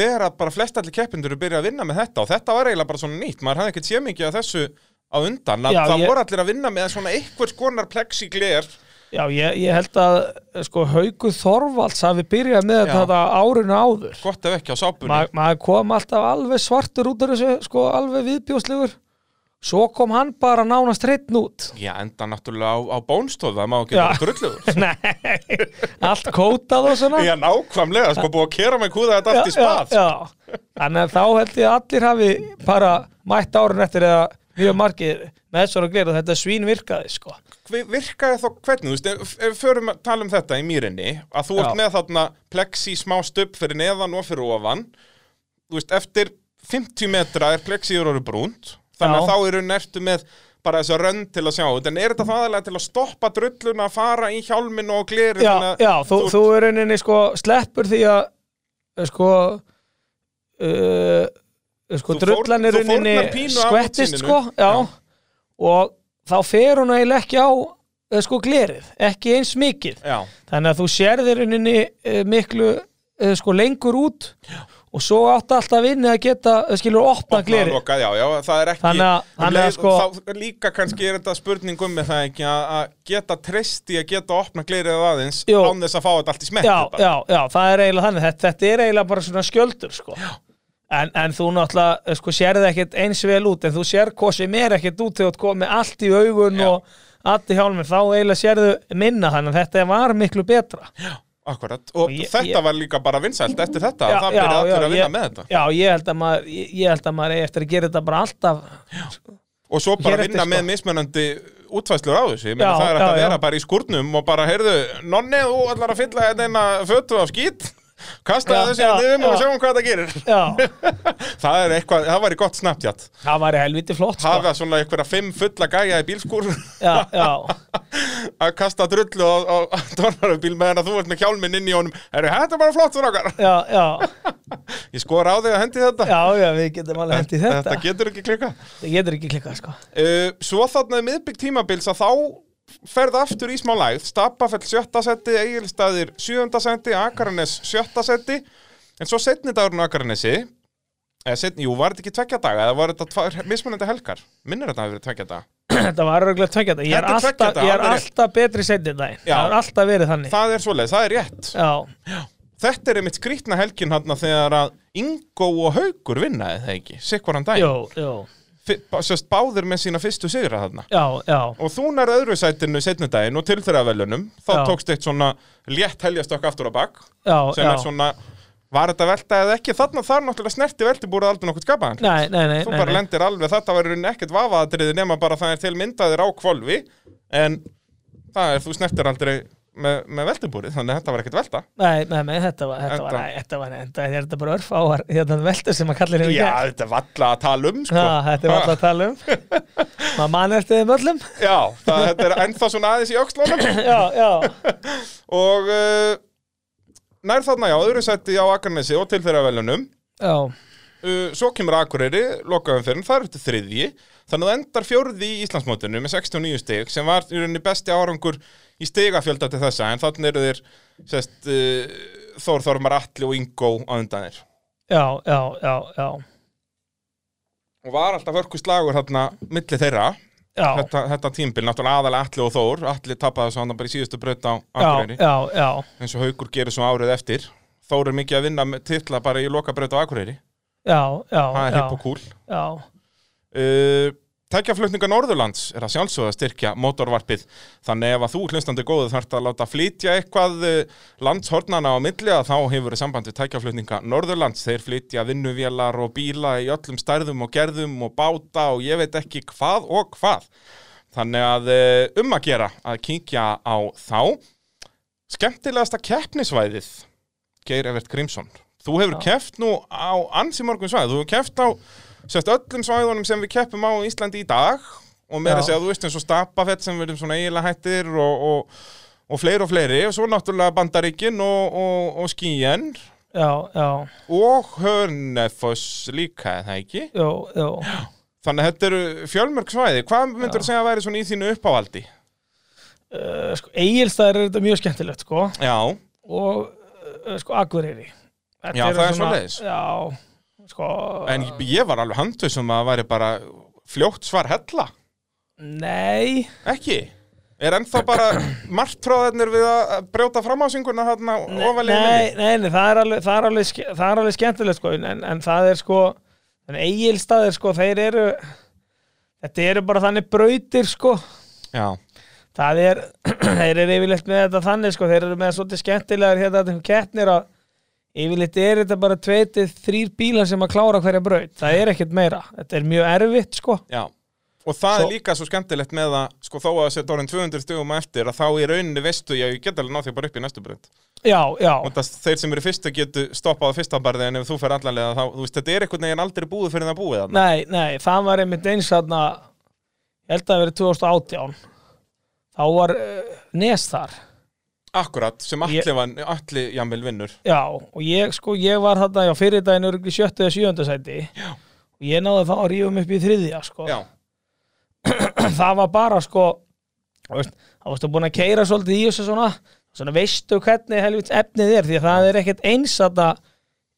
þegar að bara flest allir keppindur eru byrjað að vinna með þetta og þetta var eiginlega bara svona nýtt maður hafði ekkert sé mikið af þessu á undan að Já, það ég- voru allir að vinna með svona einhvers konar plexigler já ég, ég held að eh, sko haugu Þorvalds hafi byrjað með Já. þetta árinu áður gott ef ekki á sápunni Ma, maður kom alltaf alveg svartur út af þessu sko alveg viðbjóðslegur svo kom hann bara nánast hreittn út Já, enda náttúrulega á, á bónstóð það má ekki vera Já. grulluður nei, allt kótað og svona <laughs> Já, nákvæmlega, sko búið að kera með kúða þetta allt í spað já, já. þannig að þá held ég að allir hafi bara mætt árun eftir eða mjög margir með svona glir og þetta svín virkaði sko Hvi- virkaði þá hvernig, þú veist, ef- ef við förum að tala um þetta í mýrinni, að þú Já. ert með þarna plexi smá stöpp fyrir neðan og fyrir ofan, þú veist, eftir 50 metra er plexiður orðu brúnt, þannig að Já. þá eru nertu með bara þessu rönn til að sjá þetta, en er þetta það aðlega til að stoppa drulluna að fara í hjálminu og gleru, já, þannig að já, þú, þú er rauninni sko sleppur því að eh, sko uh, Þú sko fórn- drullan er þú fórnar rauninni pínu af skvettist útsýninu. sko já. Já. og þá fer hún eiginlega ekki á eh, sko glerið, ekki eins mikið já, þannig að þú sérðir rauninni eh, miklu eh, sko lengur út já. og svo átt alltaf inni að geta eh, skilur opna opnað og glerið lokað, já, já, það er ekki, Þannig að- um þannig að leið- sko- þá líka kannski er þetta spurning um með það ekki að að geta treyst í að geta opna glerið aðeins Jú. án þess að fá þetta allt í smetti já, bara. já, já, það er eiginlega þannig þetta, þetta er eiginlega bara svona skjöldur sko. en, en þú náttúrulega eh, sko, sérði ekkert eins vel út en þú sér hvað sem er ekkert út þegar þú ert komið allt í augun Já. og allt í hjálmur þá eiginlega sérðu minna þannig að þetta var miklu betra Akkurat, og ég- þetta ég- var líka bara vinsælt eftir þetta, Já, það já, byrjaði allir já, að vinna ég- með þetta já, ég held að maður, ég, ég held að maður eigi eftir að gera þetta bara alltaf og svo bara Hér vinna eftir, sko. með mismunandi útfæslur á þessu, ég meina Já, það er hægt já, að já. vera bara í skúrnum og bara, heyrðu, nonni, þú ætlar að fylla þetta eina fötu af skít kastaði Já, þessu já, hérna um og já. sjáum hvað það gerir <laughs> já, það er eitthvað, það væri gott snapptjátt það var helviti flott sko. hafa svona einhverja fimm fulla gæja í bílskúr <laughs> já, já, að kasta drullu á, á, á tónarabíl meðan að þú ert með hjálminn inn í honum Heyrðu, þetta er bara flott, strákar já, já, ég skora á þig að hendi þetta já, já við getum alveg hendið þetta þetta getur ekki klika þetta getur ekki klikkað sko. Uh, svo þarna í miðbygg tímabils að þá ferð aftur í smá lægð Stapafell sjötta seti, Egilstaðir sjöunda seti, Akarnes sjötta seti en svo setni dagurinn á Akaranesi eða setni, jú, var þetta ekki tvekja daga eða var þetta tvær mismunandi helgar minnir þetta að hafa verið tvekja daga <clears throat> þetta var örgulega tveggja dag ég er, Þetta er tveggja alltaf, daga, ég er alveg rétt. alltaf betri setni dag Já. það er alltaf verið þannig það er svoleið, það er rétt já, þetta er einmitt skrýtna helgin hann þegar að Ingo og Haugur vinna eða ekki, sikkur hann jú, daginn jú, Fi- bá- sérst báðir með sína fyrstu sigra þarna já, já Og þú nær öðru sætinu setnudaginn og til þeirra velunum, þá Já. tókst eitt svona létt helgjastökk aftur á bakk, já, sem já. er svona, var þetta velta eða ekki, þarna þar náttúrulega snerti veltibúrið aldrei nokkuð skapaðan. nei, nei, nei, Þú nei, bara nei. lendir alveg, þetta var í rauninni ekkert vafaðatriði nema bara það er til myndaðir á kvolfi, en það er, þú snertir aldrei með, með veltibúrið, þannig að þetta var ekkert velta. Nei, nei, nei, þetta var, þetta var, Enda. nei, þetta var, enda, þetta er þetta bara örfáar, hérna veldur sem maður kallir hérna Já, þetta er valla að tala um, sko. Já, þetta er alltaf að <laughs> tala um Maður mann eftir þeim öllum Já, það, þetta er ennþá svona aðeins í öxlónum. Já, já, Og uh, nær þarna, já, öðru sætti á Akarnesi og til þeirra velunum. já, uh, svo kemur Akureyri, lokaðum fyrir það er þetta þriðji, þannig að það endar fjórði í Íslandsmótinu með 69 stig sem var í rauninni besti árangur í stigafjölda til þessa, en þannig eru þeir sest, uh, Þór Þormar Atli og Ingo á undan þér já, já, já, já, og var alltaf örkustlagur þarna milli þeirra, já, þetta, þetta tímbil náttúrulega aðalega Atli og Þór, Atli tappaði svo hann bara í síðustu braut á já, Akureyri já, já, eins og Haugur gerir svo árið eftir Þór er mikið að vinna með titla bara í loka á Akureyri, já, já, það er já, hipp og kúl já, Uh, Tækjaflutninga Norðurlands er að sjálfsögða styrkja mótorvarpið þannig ef að þú hlustandi góðu þarft að láta flytja eitthvað uh, landshornana á milli að þá hefur við samband við tækjaflutninga Norðurlands þeir flytja vinnuvélar og bíla í öllum stærðum og gerðum og báta og ég veit ekki hvað og hvað þannig að uh, um að gera að kíkja á þá skemmtilegasta keppnisvæðið Geir Evert Grímsson þú hefur keppt nú á ansi mörgum svæðið þú hefur keppt á sérst öllum svæðunum sem við keppum á í Íslandi í dag og meira Já. að segja þú veist eins og Stapafett sem við erum svona eiginlega hættir og, og, og fleiri og fleiri og svo náttúrulega Bandaríkin og, og, og Skíen já, já, og Hörnefoss líka er það ekki já, já. Þannig að þetta eru fjölmörg svæði. Hvað myndur þú segja að væri svona í þínu uppávaldi? uh, sko, Egilstaðar er þetta mjög skemmtilegt sko Já, og uh, sko Akureyri Þetta Já, eru það er svona- svoleiðis. Já, sko en ég, ég var alveg handtöð sem að það væri bara fljótt svar hella. Nei, Ekki? Er ennþá bara <clears throat> margtróðarnir við að brjóta framásinguna þarna nei, ofalegið? nei, nei það, er alveg, það, er alveg, ske- það er alveg skemmtilegt sko, en, en það er sko en Egilstaðir sko, þeir eru þetta eru bara þannig brautir sko Já, það er, <clears throat> þeir eru yfirleitt með þetta þannig sko, þeir eru með svolítið skemmtilegar hérna þetta kettnir að yfirleitt er þetta bara tveitið þrýr bílar sem að klára hverja braut, það er ekkert meira þetta er mjög erfitt sko já. Og það Svo- er líka svo skemmtilegt með að, sko, þó að það setja orðin 200 stugum eftir, að þá í rauninni veistu, já, ég get alveg náð því bara upp í næstu breynd. já, já, Og það þeir sem eru fyrstu getu stoppað á fyrsta barði en ef þú fer allanlega, þá, þú veist, þetta er einhvern veginn aldrei búið fyrir það búið þarna. nei, nei það var einmitt eins þarna ég held að það verið 2018 þá var uh, nes þar Akkurat, sem allir, Ég- ég... var, allir jamil vinnur. Já, og ég sko, ég var þarna já, fyrir daginn örgli sjöttu eða sjöönda sæti já. og ég náði þá að rífum upp í þriðja sko. Já, <clears throat> það var bara sko þú veist, þá varstu búin að keira svolítið í þessu svona, svona veistu hvernig helvits efnið er því að það er ekkert eins þarna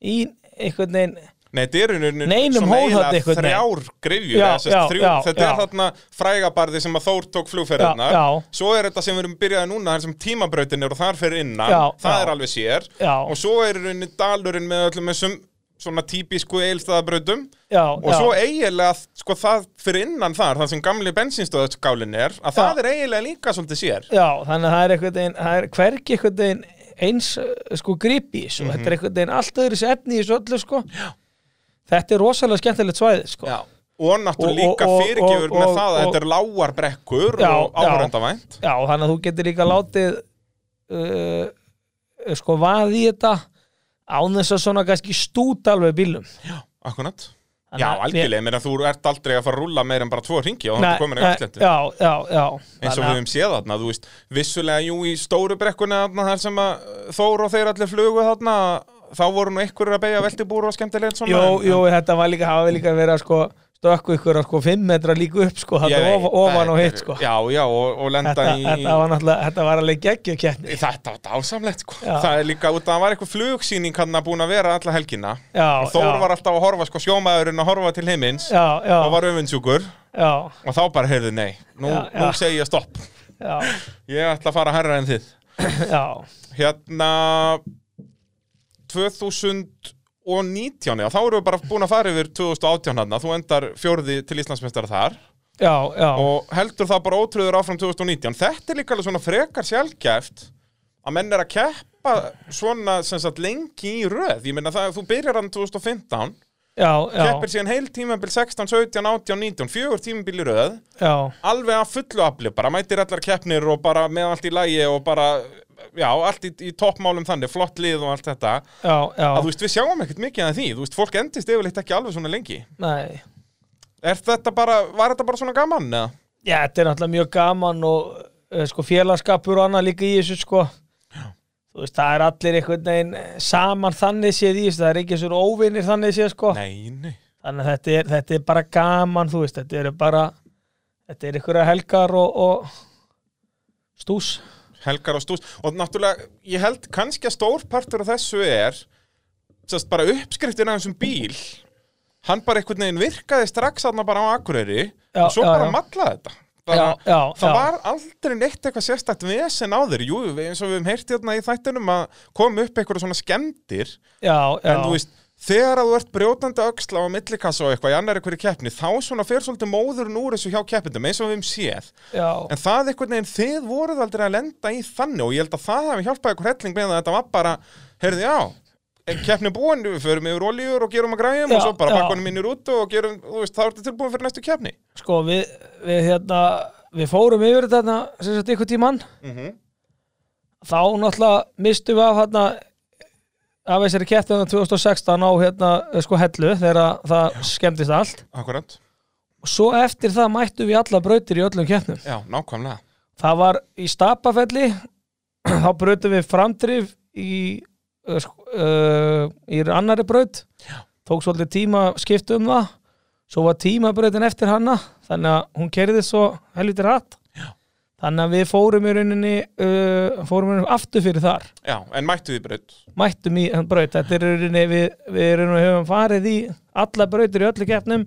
í einhvern veginn nei, þetta eru nú Neinum hól þarna einhvern veginn. þrjár grifjur, Já, eða sem sagt já, þrjú, já, þetta já. er þarna frægabarði sem að Þór tók flugferðarnar, Já, já. svo er þetta sem við erum byrjaði núna, þar sem tímabrautin er og þar fyrir innan, Já, það já. er alveg sér, Já. og svo er í rauninni dalurinn með öllum þessum svona típisku eilstaðabrautum já, og já, svo eiginlega, sko, það fyrir innan þar, það sem gamli bensinstöðskálin er, að Já. það er eiginlega líka svolítið sér. já, þannig að það er einhvern veginn það er hvergi einhvern veginn eins eh, sko grip í þessu, Mhm. þetta er einhvern veginn allt öðru efni í þessu öllu sko já. þetta er rosalega skemmtilegt svæði sko Já. Og náttúrulega Og- líka og- og- fyrirgefur með og- það að og- þetta er lágar brekkur Já, og já. áhverjandavænt. Já, þannig að þú getur líka látið uh, sko vað í þetta án þess að svona kannski stút alveg bílum Akkurat. Þannig Já, að- algjörlega, menn að þú ert aldrei að fara að rúlla meir en bara tvo ringi og Nei, þannig komin í nei, afslættu. Já, já, já Eins og við höfum séð þarna, þú veist, vissulega jú í stóru brekkuna þarna þar sem að Þór og þeir allir flugu þarna, þá voru nú einhverjur að beigja veltibúru og skemmtilegt svona. Jó, en- jó, þetta var líka, hafa líka verið að sko stökku ykkur að sko 5 metra líka upp sko, Ég þetta veit, of, ofan þetta og er- hitt sko Já, já, og, og lenda þetta, í... þetta var náttúrulega, þetta var alveg geggjökeppni Þetta var dásamlegt sko. Já. Það er líka út að það var eitthvað flugsýning hann að búin að vera alla helgina. Já, Og Þór já, var alltaf að horfa, sko, sjómaðurinn að horfa til himins. já, já, og var öfundsjúkur já, og þá bara heyrði nei, nú, Já, já. nú segi ég stopp já, ég ætla að fara herra en þið já, hérna 2019 já, þá erum við bara búin að fara yfir 2018 hann þú endar fjórði til Íslandsmeistar þar já, já, og heldur það bara ótröður áfram 2019 þetta er líka alveg svona frekar sjálfgæft að menn er að keppa svona sem sagt lengi í röð ég meina það, þú byrjar hann 2015 já, já, keppir síðan heil tímabil 16, 17, 18, 19 fjögur tímabil í röð já, alveg að fullu afli, bara mætir allar keppnir og bara með allt í lægi og bara já, allt í, í toppmálum þannig, flott lið og allt þetta, já, já, að þú veist, við sjáum ekkert mikið að því, þú veist, fólk endist yfirleitt ekki alveg svona lengi, nei er þetta bara var þetta bara svona gaman, eða? Já, þetta er náttúrulega mjög gaman og uh, sko, félagskapur og annað líka í þessu sko. Þú veist, það er allir einhvern veginn eh, saman þannig séð í þessu, það er ekki svo óvinnir þannig séð sko. Nei, nei, Þannig að þetta er, þetta er bara gaman, þú veist, þetta eru bara, þetta er einhverja helgar og, og stús. helgar og stús og náttúrulega, ég held kannski að stór partur af þessu er sérst bara uppskriftin af þessum bíl hann bara einhvern veginn virkaði strax þarna bara á Akureyri Já, og svo já, bara já. mallaði þetta bara, Já, já, það já. var aldrei neitt eitthvað sérstakt vesen á þér jú, við- eins og við höfum heyrt hérna í þættunum að koma upp eitthvað svona skemmtir Já, já, en þú veist, þegar að þú ert brjótandi öxla á millikassa og eitthvað í annar eitthvað keppni þá svona fer svolítið móðurinn úr þessu hjá keppindum eins og við höfum séð já, En það einhvern veginn, þið voruð aldrei að lenda í þannig og ég held að það hefði hjálpað ykkur helling með að þetta var bara, heyrðu já, er keppni búin, við förum yfir olíur og gerum að græjum Já, og svo bara já. bakkunum mínir út og gerum, þú veist, þá ertu tilbúin fyrir næstu keppni. sko, við, við hérna, við fórum yfir þetta, sem sagt, einhvern tímann, Mm þá náttúrulega mistum við af hérna af þessari keppnina 2016 á hérna sko hellu þegar að það skemmtist allt Akkurat, og svo eftir það mættum við alla brautir í öllum keppnum já, nákvæmlega. það var í stapafelli <clears throat> þá brautum við framdrif í, eh, uh, sko, uh, í annari braut tók svolítið tíma að skipta um það svo var tímabrautin eftir hanna þannig að hún kerði svo helviti rætt þannig að við fórum í rauninni uh, fórum í rauninni aftur fyrir þar Já, en mættu því braut mættum í hann braut þetta er í rauninni við, við erum og höfum farið í alla brautir í öllu keppnum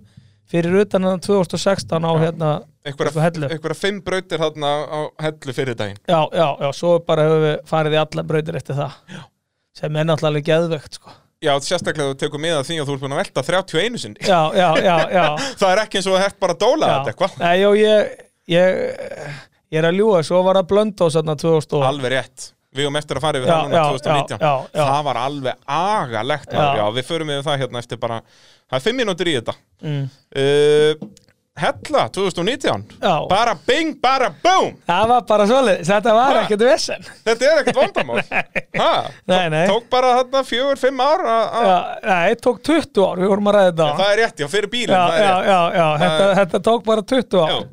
fyrir utan að 2016 á hérna Upp á Hellu. Einhverja einhverja fimm brautir þarna á hellu fyrir daginn já, já, já, svo bara höfum við farið í alla brautir eftir það já. sem er náttúrulega alveg geðvögt sko. Já, sérstaklega þú tekur miða af því að þú ert búin að velta 31 sinni <laughs> já, já, já, já, Það er ekki eins og það hert bara að dóla já. þetta eitthvað Nei, já, ég, ég ég er að ljúga, svo var það blönd á 2000 og, Alveg rétt Við höfum eftir að fara yfir Já, það núna já, 2019 já, já, já. Það var alveg agalegt Já. Já. já, við förum yfir það hérna eftir bara Það er fimm mínútur í þetta mm, uh, Hella 2019 já, Bara bing, bara boom það var bara svolítið þetta var Ha? ekkert vesen Þetta er ekkert vandamál Ha? <laughs> Nei, nei. Tók bara þarna fjögur, fimm ár að- að- Já, Nei, tók 20 ár, við vorum að ræða þetta Það er rétt, já, fyrir bílinn já, það er já, rétt. já, já, þetta, er- þetta tók bara 20 ár Já.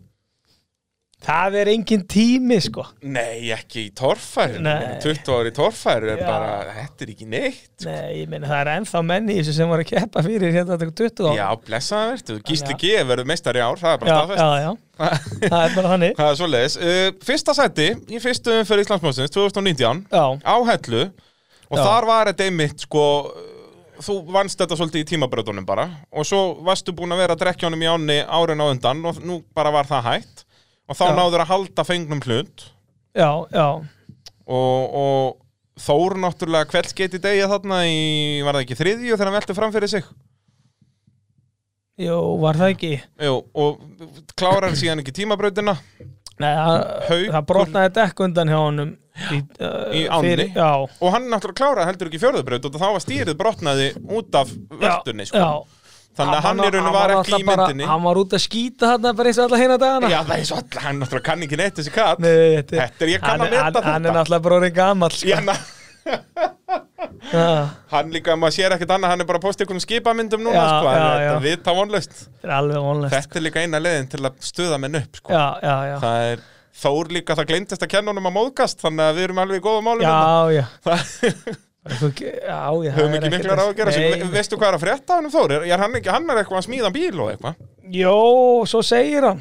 Það er engin tími, sko Nei, ekki í torfæru Nei. 20 ári í torfæru er Já. bara, þetta er ekki neitt Nei, ég meina, það er ennþá menn í þessu sem voru að keppa fyrir hérna þetta 20 ár Já, blessaða verður, gísli Þannig að- G verður meistar í ár, það er bara já, já, já. <laughs> staðfest það er bara þannig Það er svo leiðis uh, Fyrsta sæti í fyrstu umferð Íslandsmóðsins 2019 Já, á Hellu og Já. þar var þetta einmitt sko uh, þú vannst þetta svolítið í tímabröðunum bara og svo varstu búin að vera að drekja honum í ánni árin á undan og nú bara var það hægt og þá Já. náður að halda fengnum hlut já, já, og, og Þór náttúrulega kveldskeitt í degi þarna í, var það ekki þriðju þegar hann velti fram fyrir sig jú, var það ekki Jú, og klárar síðan ekki tímabrautina Nei, það, Haukur- það brotnaði dekk undan hjá honum Í, uh, Í ánni? fyrir- Já, og hann náttúrulega klárar heldur ekki fjörðubraut og þá var stýrið brotnaði út af vörtunni sko. já þannig að hann í rauninu var ekki í náttúrulega bara- myndinni Hann var út að skýta þarna bara eins og alla hérna dagana Já, það er svo alltaf, hann náttúrulega kann ekki neitt þessi katt Nei, þetta, er- Þetta er- ég kann hann að meta hann- þetta. Hann er náttúrulega bara orðin gamall sko. Ég, na, Já, Hann líka, maður sér ekkert annað, hann er bara að posta einhverjum skipamyndum núna, Já, sko, já, já, þetta já. við tá vonlaust Þetta er alveg vonlegt Þetta er líka eina leiðin til að stuða menn upp, sko Já, já, já Það er Þór líka, það gleymdist að kenna honum að móðgast, þannig að við erum alveg í góða málum hérna. Já, já <laughs> Það- Eitthvað- Já, Höfum já það er ekki ekkert- mikla ráð að gera sig, Nei. veistu hvað er að frétta hann um Þór? Er, er hann, ekki, hann er eitthvað að smíða bíl og eitthvað Jó, svo segir hann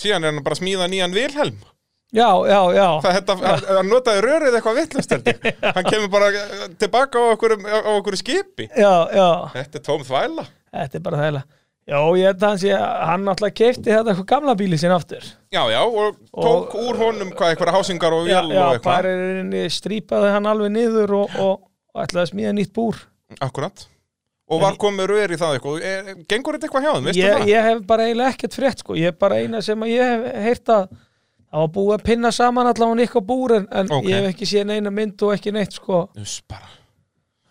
Síðan er hann bara að smíða nýjan Vilhelm Já, já, já Það þetta, hann- hann notaði rörið eitthvað vitlust <laughs> Hann kemur bara eh, tilbaka á okkur, á okkur skipi Já, já Þetta er tóm þvæla Þetta er bara þægilega Já, ég held að hann sé að hann náttúrulega keipti þetta eitthvað gamla bíli sinna aftur Já, já, og tók úr honum hvað eitthvað hásingar og vél Já, já, og eitthvað bara er inni, strýpaði hann alveg niður og, og, og ætlaði að smíða nýtt búr Akkurat Og var komið rör í það eitthvað Er- Gengur þetta eitthvað hjá þeim, veistu ég, það? ég hef bara eiginlega ekkert frétt sko. ég er bara eina sem að ég hef heyrt að það var búið að pinna saman allavega ykkar búr en, en Ókei. ég hef ekki séð neina mynd og ekki neitt sko. Uss bara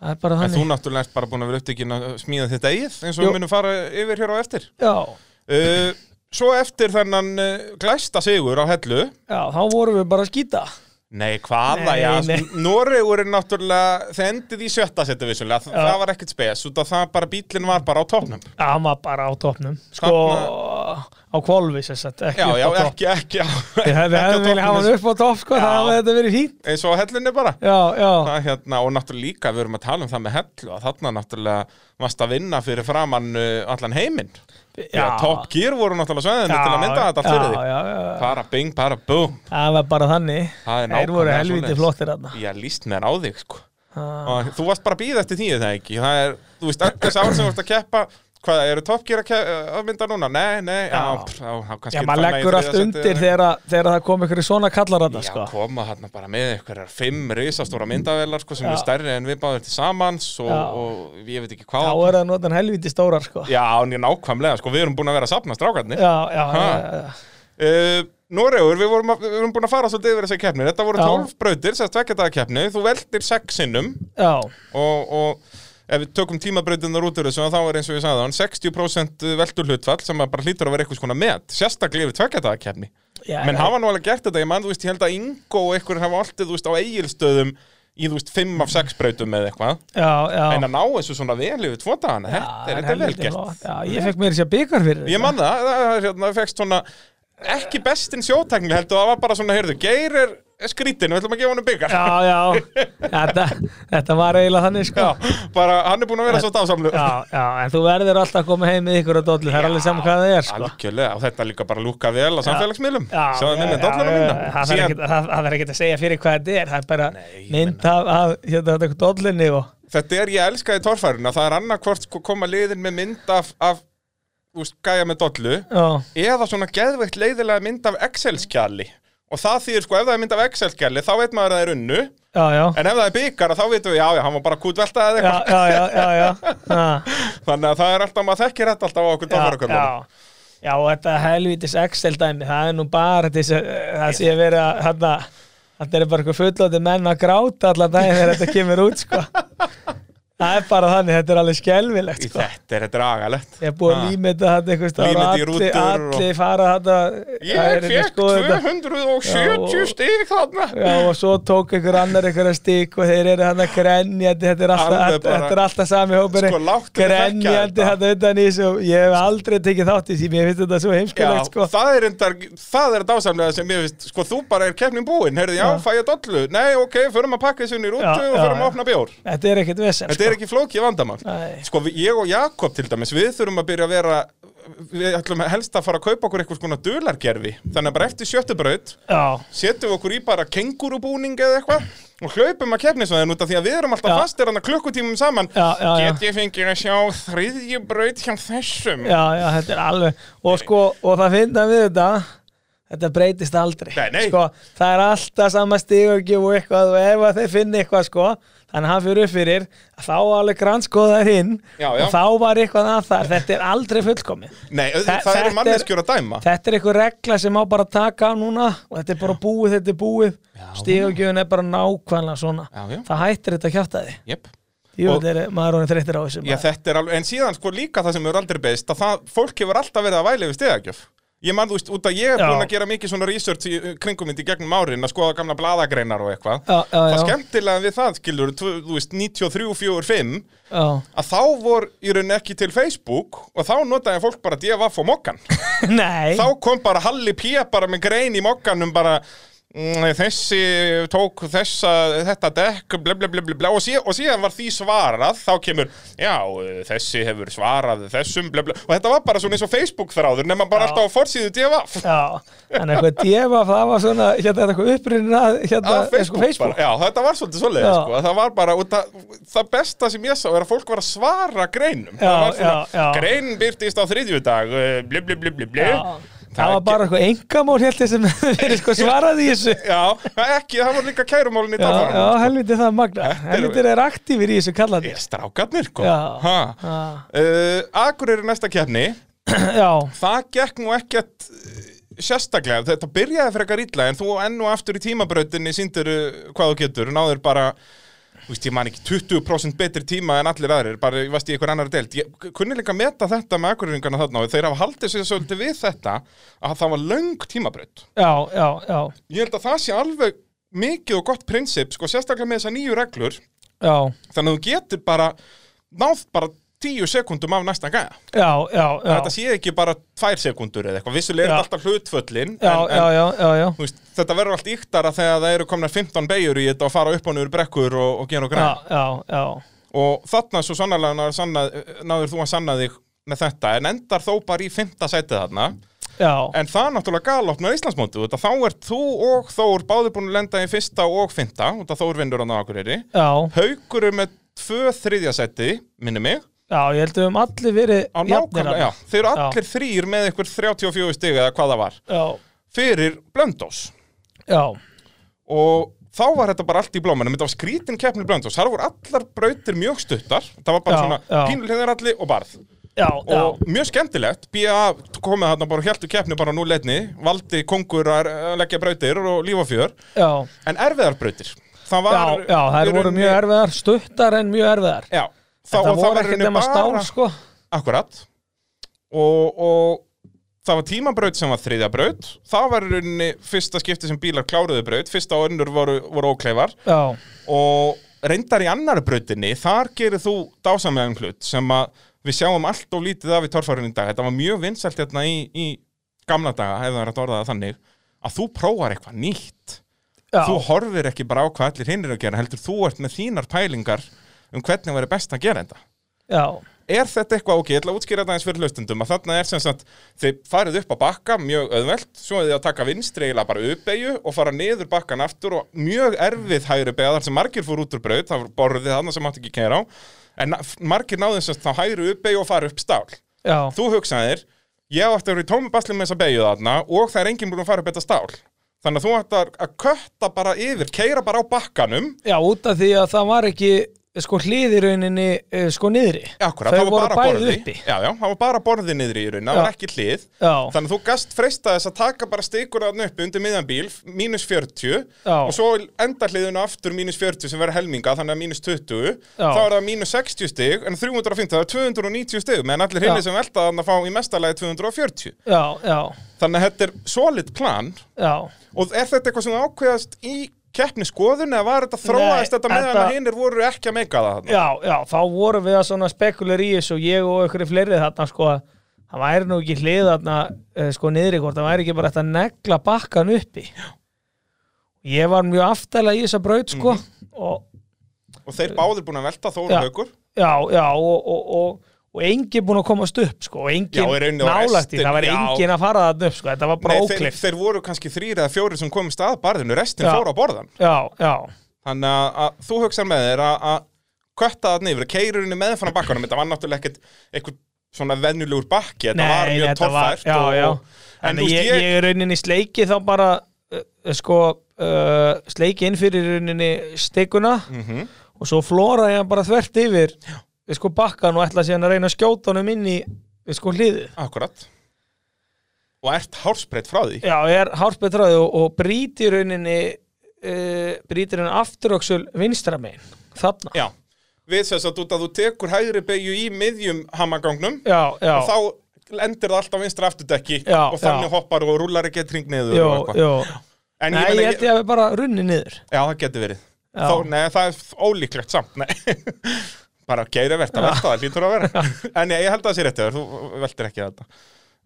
það er bara En þú þannig náttúrulega ert bara búin að vera upptekinn að smíða þetta eigið eins og Jú. við munum fara yfir hér á eftir já, uh, Svo eftir þennan uh, glæsta sigur á hellu já, þá vorum við bara að skýta Nei, hvaða, Nei, já, nei. nei. Noregur er náttúrulega, það endið í sjötta setja vissulega, Þa, Já. það var ekkert spes út af það bara bílinn var bara á topnum já, hann var bara á topnum sko, á kvolvi sem sagt ekki Já, upp já, á topp ekki, ekki, á- við hefum ekki á hef viljað hafa hann toppnum upp á topp sko, Já. það hefði þetta verið fínt eins og á hellunni bara já, já, það, hérna, og náttúrulega líka við erum að tala um það með hellu að þarna náttúrulega varst að vinna fyrir framann uh, allan heiminn Já, Top Gear voru náttúrulega sveðinni til að mynda þetta allt fyrir já, þig já, já, já. Bara bing, bara búm það var bara þannig Það er þeir voru nákvæmlega helviti svoleiðis. flottir þarna Ég líst mér á þig sko Ah. og þú varst bara að býða eftir því er það ekki það er, þú veist, öll þess ár sem þú varst að keppa hvað, eru Top Gear að, ke- að mynda núna? Nei, nei, já, Já. pff, já, já kannski Já, maður falla í leggur þriðja allt sæti undir eða- þegar, að- þegar það kom ykkur í svona kallar þarna, Já, sko. Mm. koma þarna bara með einhverjar fimm risastóra myndavelar sko, sem Já. er stærri en við báðum til samans og, Já. og ég veit ekki Þá hvað er það notan helviti stórar, sko. Já, Já, en ég nákvæmlega, sko, við erum búin að vera að sapna strákarnir já, já, Ha. já, já. uh, Noregur, við, vorum að, við erum búin að fara svolítið yfir þessar keppnir Þetta voru Já. 12 brautir, þess að tvekja daga keppni Þú veltir sex sinnum já, og, og ef við tökum tímabreytunar út úr þessu þá er eins og ég sagði hann 60% veldur eh, hlutfall sem að bara hlýtur að vera eitthvað svona met sérstaklega yfir tveggjadagakefni já. menn hafa nú alveg gert þetta, ég mann þú veist ég held að Ingo og einhverjir hafa alltaf þú veist á eigilstöðum í þú veist 5 af 6 breytum eða eitthvað Já, já. en að ná þessu svona vel yfir tvo dagana Já, þetta er þetta er vel helvíti flott. gert Já, ég fekk mér sér byggar fyrir ég mann hérna, það, það, það, það, það fekst svona ekki bestinn sjóteknileg heldur það var bara svona, heyrðu, Geir er skrítin, við ætlum að gefa honum byggar já, já, þetta, þetta var eiginlega þannig sko bara hann er búin að vera svo dásamlu já, já, en þú verður alltaf að koma heim með ykkur og dollu, það er alveg saman hvað það er sko algjörlega, og þetta líka bara lúka vel á samfélagsmiðlum Já, sjáðu minni, dolluna mína það þarf síðan, ekkert- það- það þarf ekki að segja fyrir hvað þetta er það er bara Nei, ég mynd af, af hérna, þetta dollunni og þetta er ég elskaði torfæruna það er annarkvort sko koma liðin með mynd af, af úst, gæja með dollu já, eða svona geðveikt leiðilega mynd af Excel-skjali og það þýðir sko, ef það er mynd af Excel-skjali þá veit maður að það er unnu já, já en ef það er byggar þá veitum við, já, já, hann var bara kútvelta eða já, eitthvað já, já, <laughs> já, já. Ha. þannig að það er alltaf, maður þekkir þetta alltaf á okkur já, dollarakömmum já. já, og þetta helvítis Excel dæmi, það er nú bara til þess að það sé að vera þarna Þetta er bara eitthvað fullandi menn að gráta allan daginn þegar þetta kemur út, sko. Það er bara þannig, þetta er alveg skelfilegt, Í sko. þetta er þetta er agalegt Ég er búið að Ha. límita þetta einhvers staðar og Límita í allir, rútur og- allir fara þetta. Ég fekk þetta. 270 Já, og- stík þarna Já, og svo tók einhver annar einhverja stík og þeir eru hann að grenjandi, þetta er alltaf, Alveg þetta, bara- þetta er alltaf sami hópurinn. Sko, láttu mig þekkja Grenjandi þetta. þetta utan í þessu, og ég hef aldrei tekið þátt í þessu, mér finnst þetta svo Já, heimskulegt, sko. það er endar, það er dásamlega sem ég veist, sko, þú bara er keppnin búinn, heyrðu, já, Já. fæ ég dollu, nei, ok, förum að pakka þessu inn í rútu Já, og já, förum að já. opna bjór. Þetta er ekkert vesen, sko. Þetta er ekki flókið vandamál. Nei. Sko, við- ég og Jakob til dæmis, við þurfum að byrja að vera, við ætlum helst að fara að kaupa okkur eitthvað skona dulargerfi, þannig að bara eftir sjöttu braut, Já, setjum við okkur í bara kengurubúning eða eitthvað og hlaupum að keppnisvæðin út af því að við erum alltaf Já. fastir hann að klukkutímum saman já, já, já. Get ég fengið að sjá þriðju braut hjá þessum? Já, já, þetta er alveg Og sko, og það finna við þetta Þetta breytist aldrei Nei, nei. Sko, það er alltaf sama stígugjöf og eitthvað og ef að þeir finna eitthvað sko þannig að hann fyrir upp fyrir þá var alveg grannskoðar hinn Já, já. og þá var eitthvað að þar þetta er aldrei fullkomið Nei, það, Þe- það eru þetta manneskjur að dæma Þetta er eitthvað regla sem má bara taka á núna og þetta er bara búið, þetta er búið stígugjöfun er bara nákvæmlega svona Já, já. það hættir þetta að kjáta því Jep. Jú, Og- þetta er maður honum þreyttir á þessu Já, maður. þetta er alveg, en síðan sko líka það sem eru aldrei beist að það, fólk hefur alltaf verið að væli við stiðagjöf Ég mann, þú veist, út að ég er Já. búin að gera mikið svona research í uh, kringum mynd í gegnum árin að skoða gamla bladagreinar og eitthvað Já, já, Það já. skemmtilega við það, skilur, þú þú veist, 93, 45 Já. <laughs> að þá vor í raun ekki til Facebook og þá notaði fólk bara DFF og Mokkan Nei þá kom bara Halli P. bara með grein í mokkanum bara mm, þessi tók þessa, þetta dekk bla bla bla bla bla og, síðan, og síðan var því svarað þá kemur, já, eh, þessi hefur svarað þessum bla bla og þetta var bara svona eins og Facebook þráður nema bara Já. alltaf á forsýðu DFF Já, en eitthvað djöfa það var svona, hérna eitthvað upprýnin að <laughs> hérna, Að Facebook, Facebook. bara. Já, þetta var svolítið svoleiðið, Já. sko. Það var bara, og það, það besta sem ég sá er að fólk var að svara greinum. Já, það var já, já. Grein byrtist á þriðjudag, eh, bli, bli, bli, bli, bli. Já, það var bara eitthvað engamól heldur sem <laughs> verið sko svaraði í þessu Já, ekki, það var líka kærumálin í Já, dagfaranum. já helviti það magna helviti er aktífir í þessu kallandi Ég strákarnir, sko. Já. Ha. Já, Uh, Akur eru næsta keppni. já, Það gekk nú ekkert uh, sérstaklega. Þetta byrjaði frekar illa, en þú enn og aftur í tímabrautinni síndir hvað þú getur. Náður bara, þú veist, ég man ekki 20% betri tíma en allir aðrir. Bara, ég veist, í einhver annar deild. Ég kunni líka að meta þetta með akureyringarna þarna. og Þeir hafa haldið sér svolítið við þetta að það var löng tímabraut. já, já, já, Ég held að það sé alveg mikið og gott prinsip, sko, sérstaklega með þessar nýju reglur. já, þannig að þú getur bara náð bara tíu sekundum af næsta gæja já, já, já. þetta sé ekki bara tvær sekundur eða eitthvað vissulega er Já. þetta alltaf hlutföllin já, en, já, en já, já, já. þú veist, þetta verður allt yktara þegar það eru komna 15 beigur í þetta og fara upp á nýjur brekkur og, og gera og græn Já, já, já, og þarna svo sannlega náður, sanna, náður þú að sanna þig með þetta en endar þó bara í fymta sætið þarna já, en það er náttúrulega galopnar Íslandsmótið þetta þá ert þú og Þór báður búin að lenda í fyrsta og fymta og það Þór vinnur á nákvæmri já, Haukur er með tvö þriðja sæti minni mig já, ég held að við um allir verið á nákvæmlega, já, þeir eru Já. allir þrýr með einhver 34 stig eða hvað það var já, fyrir Blöndós já, og þá var þetta bara allt í blómanum þetta var skrítin keppni Blöndós, þar voru allar brautir mjög stuttar, það var bara Já, svona já. pínulíðaralli og barð já, já, og mjög skemmtilegt, BA komið þarna bara og hjæltu keppni bara nú leitni valdi kongur að að leggja brautir og lífa fjör, já, en erfiðar brautir það var já, já, í þær voru rauninni- mjög erfiðar stuttar en mjög erfiðar já, þá, Þetta og það voru var í ekkert rauninni nema stál bara- sko Akkurat og, og það var tímabraut sem var þriðja braut Það var í rauninni fyrsta skipti sem bílar kláruðu braut Fyrsta og önnur voru, voru ókleifar Já, Og reyndar í annar brautinni Þar gerir þú dásamlegan hlut Sem að við sjáum allt og lítið af í torfærinu í dag Þetta var mjög vinsælt hérna í, í gamla daga Ef það er að orða það þannig Að þú prófar eitthvað nýtt Já. þú horfir ekki bara á hvað allir hinn eru að gera heldur þú ert með þínar pælingar um hvernig verður best að gera þetta já, er þetta eitthvað ok, ég ætla að útskýra þetta eins fyrir hlustundum að þarna er sem sagt, þið farið upp að bakka mjög öðvelt, svo er þið að taka vinstri eiginlega bara uppeyju og fara niður bakkan aftur og mjög erfið hægri beigja þar sem margir fór út úr braut, það voru borðið þarna sem mátti ekki kæra á, en na- margir náðu sem sagt þá hægri uppeyju og fara upp stál já, þú hugsaðir, ég átti að vera í tómi basli með þessa beigju þarna og það er enginn búin að fara upp þetta stál þannig að þú ætti að- að kötta bara yfir, keyra bara á bakkanum já, út af því að það var ekki eh, sko hlýðirauninni sko niðri Akkurat, Þau það var voru bara bæði borði uppi. Já, já, það var bara borði niður í raun, það Já. var ekki hlið Já. Þannig að þú gast freista þess að taka bara stikur þarna uppi undir miðan bíl, mínus 40 Já. og svo enda hliðuna aftur mínus 40 sem verður helminga, þannig að mínus 20 Já. þá er það mínus 60 stig en 350, það er 290 stig meðan allir hinni Já. sem velta þannig að fá í mestalagi 240 já, já, Þannig að þetta er solid plan já og er þetta eitthvað sem þú ákveðast í keppniskoðun eða var þetta þróaðist þetta meðan þetta- að hinnir voru ekki að meika það þarna? já, já, þá vorum við að svona spekulir í þessu og ég og ykkur fleiri þarna sko að það væri nú ekki hlið þarna eh, sko niðri hvort, það væri ekki bara þetta negla bakkan uppi já. ég var mjög aftæla í þessa braut sko Mhm. og og þeir báðir búin að velta Já. þóra haukur já, já, og, og, og og enginn búinn að komast upp sko, og enginn Já, í rauninni var nálægt í, restin, það var já. enginn að fara þarna upp sko, þetta var bara Nei, þeir, óklift þeir voru kannski þrýr eða fjórir sem komist að barðinu, restin Já. fór á borðan já, já, þannig að, að þú hugsaði með þeir að, að kötta það neyfur, keirurinn meðfram bakkanum þetta var náttúrulega ekkert eitthvað svona vennulegur bakki, þetta var Nei, mjög þetta var- torfært já, og, já. en en þú ég, veist, ég, ég, ég er rauninni sleiki þá bara uh, uh, sko uh, sleiki inn fyrir rauninni stikuna Mm. Mhm, og svo flóra ég hann bara þvert yfir við sko bakkan og ætla síðan að reyna að skjóta honum inn í við sko hliðið akkurat og ert hársbreytt frá því já, ég er hálfbetraði og, og brýti rauninni uh, brýti rauninni afturöksul vinstra megin þarna, já, við sess að út að þú tekur hægri beigju í miðjum hamagangnum já, já, og þá lendir það alltaf vinstra afturdekki Já, og þannig já. hoppar og rúlar ekki hring niður jú, og eitthvað. jú en nei, meina, ég held ég að við bara runni niður Já, það getur verið Já. Þó, Nei, það er ólíklegt samt Nei <laughs> Bara geiri verðt að velta það, lítur að vera En ég, ég held að það sé réttið, þú veltir ekki þetta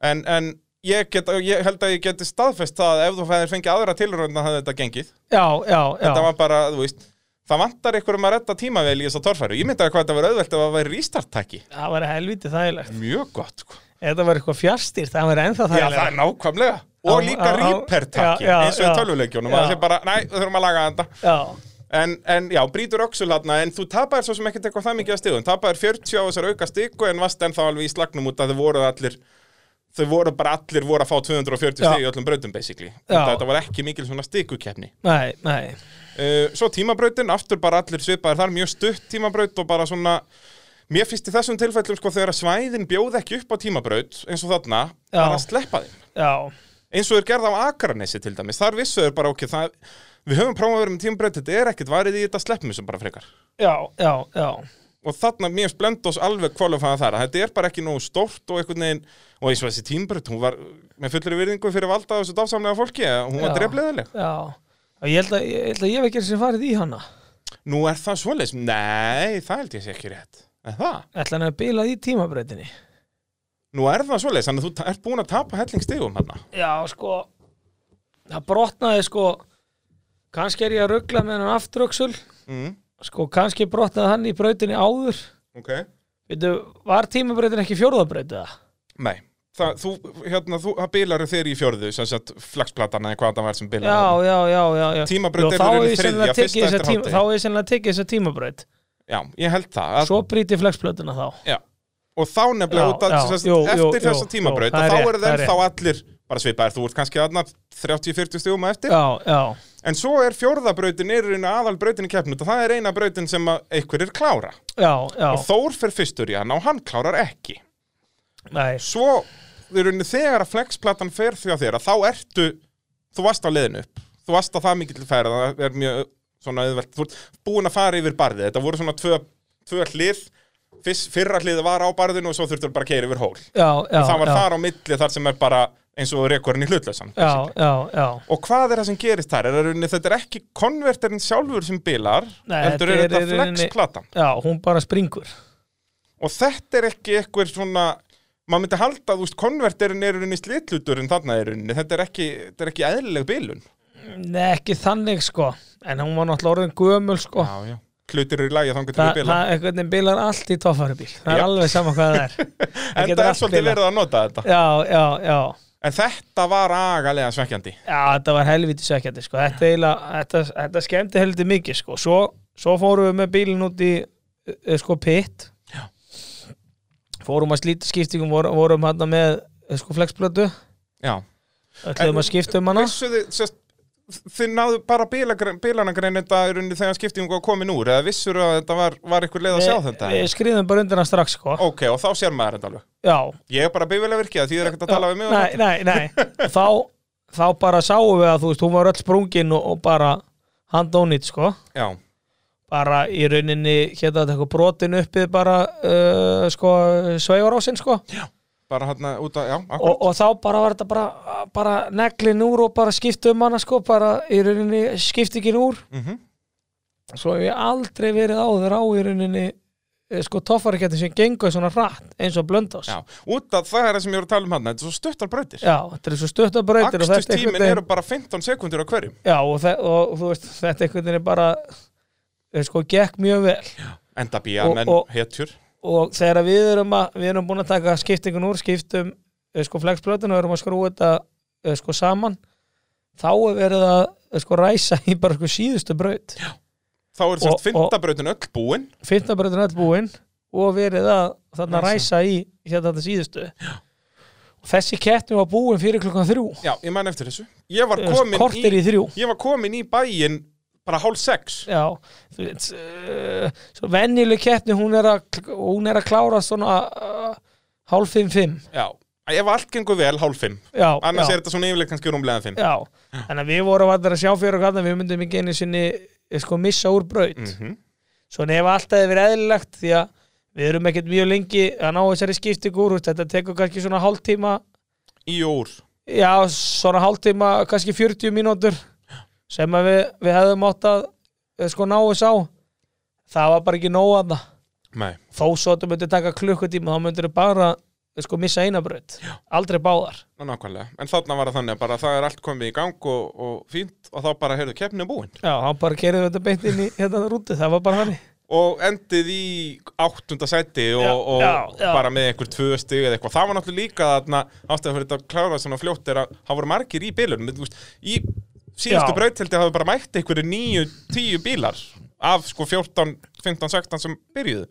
En, en ég, get, ég held að ég geti staðfest það að ef þú hefðir fengið aðra tilrönda hafði þetta gengið já, já, já, Þetta var bara, þú veist Það vantar ykkur um að redda tímavel í þess að torfæru Ég myndi að hvað þetta var auðvelt ef það væri restarttæki það var helviti þægilegt Mjög gott sko. Ef þetta var eitthvað fjárstýrt, það var ennþá Já, það þægilega er nákvæmlega Og Já, líka já, já. rýpertæki Já, já, eins og í já. tölvuleikjónum Já. Það sé bara, næ, við þurfum að laga þetta Já, En, en já, brýtur öxul hérna, en þú tapaðir svo sem ekkert eitthvað það mikið að stigum, tapaðir 40 á þessar auka stiku en vast ennþá alveg í slagnum út að þau voru allir, þau voru bara allir voru að fá 240 Já. stig í öllum brautum basically, Já. þetta, þetta var ekki mikil svona stikukefni. nei, nei Uh, svo tímabrautin, aftur bara allir svipaðir þar, mjög stutt tímabraut og bara svona, mér finnst í þessum tilfellum sko þegar að svæðin bjóð ekki upp á tímabraut eins og þarna, Já. bara að sleppa þeim Já, eins og er gerð á Akranesi til dæmis, þar vissu þau bara ok, það, við höfum prófað að vera með tímabraut, þetta er ekkert varið í þetta sleppum sem bara frekar. já, já, já og þarna mér splend oss alveg kvalifæða þar að þetta er bara ekki nógu stórt og einhvern veginn og eins og þessi tímbrut, hún var með fullri virðingu fyrir valda þessu dásamlega fólki að hún var Já. drefleðileg. Já, og ég held að ég, held að ég hef ekki sem farið í hana Nú er það svoleiðis, nei, það held ég sé ekki rétt. En það, Ætla hann að bilað í tímabreytinni nú er það svoleiðis, þannig að þú ta- ert búin að tapa hellingstegum hann. Já, sko Það brotnaði sko kannski er ég að ruggla með hann afturöksul Mm, sko kannski brotnaði hann í brautinni áður ok. Veitu, var tímabreytin ekki fjórðabreytið það? Nei, það, þú, hérna, þú, það bilaru þeir í fjörðu, sem sagt, flagsplatana eða hvað það var sem Já, bilaru. já, já, já, já. Tímabraut Jú, er í þá er rauninni ég sennilega þriðja, að tekið fyrsta þessa eftir tíma- hádegi. þá er ég sennilega að tekið þessa tímabraut Já, ég held það. Að, Svo brýti flexplötuna þá Já. Og þá nefnilega Já, út að já, já, jú, jú, eftir jú, þessa jú, tímabraut það og er þá rétt, eru það þeir er þá allir bara svipaðir, þú ert kannski aðna 30-40 stugum eftir Já, já, En svo er fjórðabrautin er einu aðal brautin í keppnut og það er eina brautin sem að einhverjir klára. já, já Og Þór fer fyrstur í hann og hann klárar ekki. Nei, Svo í rauninni, þegar að flexplatan fer því að þér að þá ertu, þú varst á leiðinu upp. Þú varst á það mikill færa, það er mjög svona auðvelt. Þú ert búin að fara yfir barðið. Þetta voru svona tvö, tvö hlið, Fyrst, fyrra hliðið var á barðinu og svo þurftur bara að keira yfir hól. já, já það var já. þar á milli þar sem er bara eins og rekorinn í hlutlausan. já, já, já Og hvað er það sem gerist þar? Er það rauninni, þetta er ekki konverterinn sjálfur sem bilar, Nei, heldur er þetta er þetta í rauninni- flexplatan. já, hún bara springur Og þetta er ekki eitthvað svona, maður myndi halda að þú veist, konverterinn er í rauninni slitluturinn þarna er í rauninni, þetta er ekki, þetta er ekki eðlileg bilun. Nei, ekki þannig sko en hún var náttúrulega orðin gömul sko já, já. Hlutir eru í lagi þangar til Þa, við bila það einhvern veginn bilar allt í toffarubíl það er Já. alveg sama hvað <laughs> það er En það getur er allt svolítið bilað. verið að nota þetta já, já, já, En þetta var agalega svekkjandi já, þetta var helviti svekkjandi sko. þetta, eiginlega- þetta, þetta skemmti helviti mikið sko. svo, svo fórum við með bílinn út í eh, sko pitt Já. fórum að slíta skiptingum vorum, vorum hann með eh, sko flexblötu Já ætluðum En- að skipta um hana Vissu þið, sérst, þið náðu bara bílanagrein þetta í rauninni þegar skiptingum var komin úr eða vissur að þetta var, var ykkur leið að sjá þetta við skriðum Eh, bara undir hann strax sko. Ok, og þá sér maður þetta alveg já, Ég er bara bífilega virkið því þið er ekkert að tala við mig um nei, nei, <laughs> nei. þá, þá bara sáum við að þú veist, hún var öll sprungin og, og bara handónýtt sko þetta. Já, bara í rauninni hérna þetta eitthvað brotin uppið bara uh, sko sveigarásinn sko bara hann út að, já, akkur og, og þá bara var þetta bara, bara neglin úr og bara skipta um hana sko bara í rauninni skiptingin úr mm svo hef ég aldrei verið áður á í rauninni eh, sko toffariketti sem gengur svona hratt eins og blöndás Já, út að það er það sem ég voru að tala um hann Þetta er svo stuttar brautir Já, þetta er svo stuttabrautir og þetta er einhvern Akstustímin veginn- eru bara 15 sekundur á hverjum Já, og, þe- og þú veist, þetta einhvern veginn er bara eh, sko, gekk mjög vel Enda Og- býja, menn og- hetjur og þegar við erum að við erum búin að taka skiptingun úr skiptum eh, sko, flexblötun og erum að skrúa þetta eh, sko, saman þá er verið að eh, sko, ræsa í bara sko, síðustu braut Þá er sérst Og- og- fintabrautin öll búin fimmtabrautin öll búin og verið að þarna Ræsa. ræsa í hérna þetta síðustu Já. og þessi kettni var búin fyrir klukkan þrjú Já, ég man eftir þessu Ég var Eh, sko, komin í, kortir í þrjú ég var komin í bæin bara hálf sex Já, þú veit uh, svo venjuleg keppni hún er að hún er að klára svona uh, hálf fimm fimm Já, ef allt gengur vel hálf fimm já, Annars já, er þetta svona yfirleitt kannski rúmlega fimm já. þannig að við vorum allir að sjá fyrir okkar við myndum ekki einu sinni eh, sko missa úr braut mm. Mhm. svo nefn alltaf hefur eðlilegt því að við erum ekkert mjög lengi að ná þessari skiptingu úr þú veist, þetta tekur kannski svona hálftíma Í og úr já, svona hálftíma kannski 40 mínútur sem að við, við hefðum átt að eh, sko ná þess á það var bara ekki nóg að það Nei, þó svo að þú myndir taka klukkutíma þá myndir þú bara sko missa eina braut aldrei báðar ná, nákvæmlega En þarna var það þannig að bara það er allt komið í gang og, og fínt og þá bara heyrðu keppni búin já, hann bara kerði þetta beint inn í hérna rúti það var bara þannig og endið í áttunda sæti og, Já, og já, já. bara með einhver tvö stig eða eitthvað, það var náttúrulega líka þarna ástæðan fyrir þetta að klára svona fljótt er að það voru margir í bílunum Þú veist, í síðustu Já. brautildi hafa bara mætt einhverju níu, tíu bílar af sko 14, 15, 16 sem byrjuðu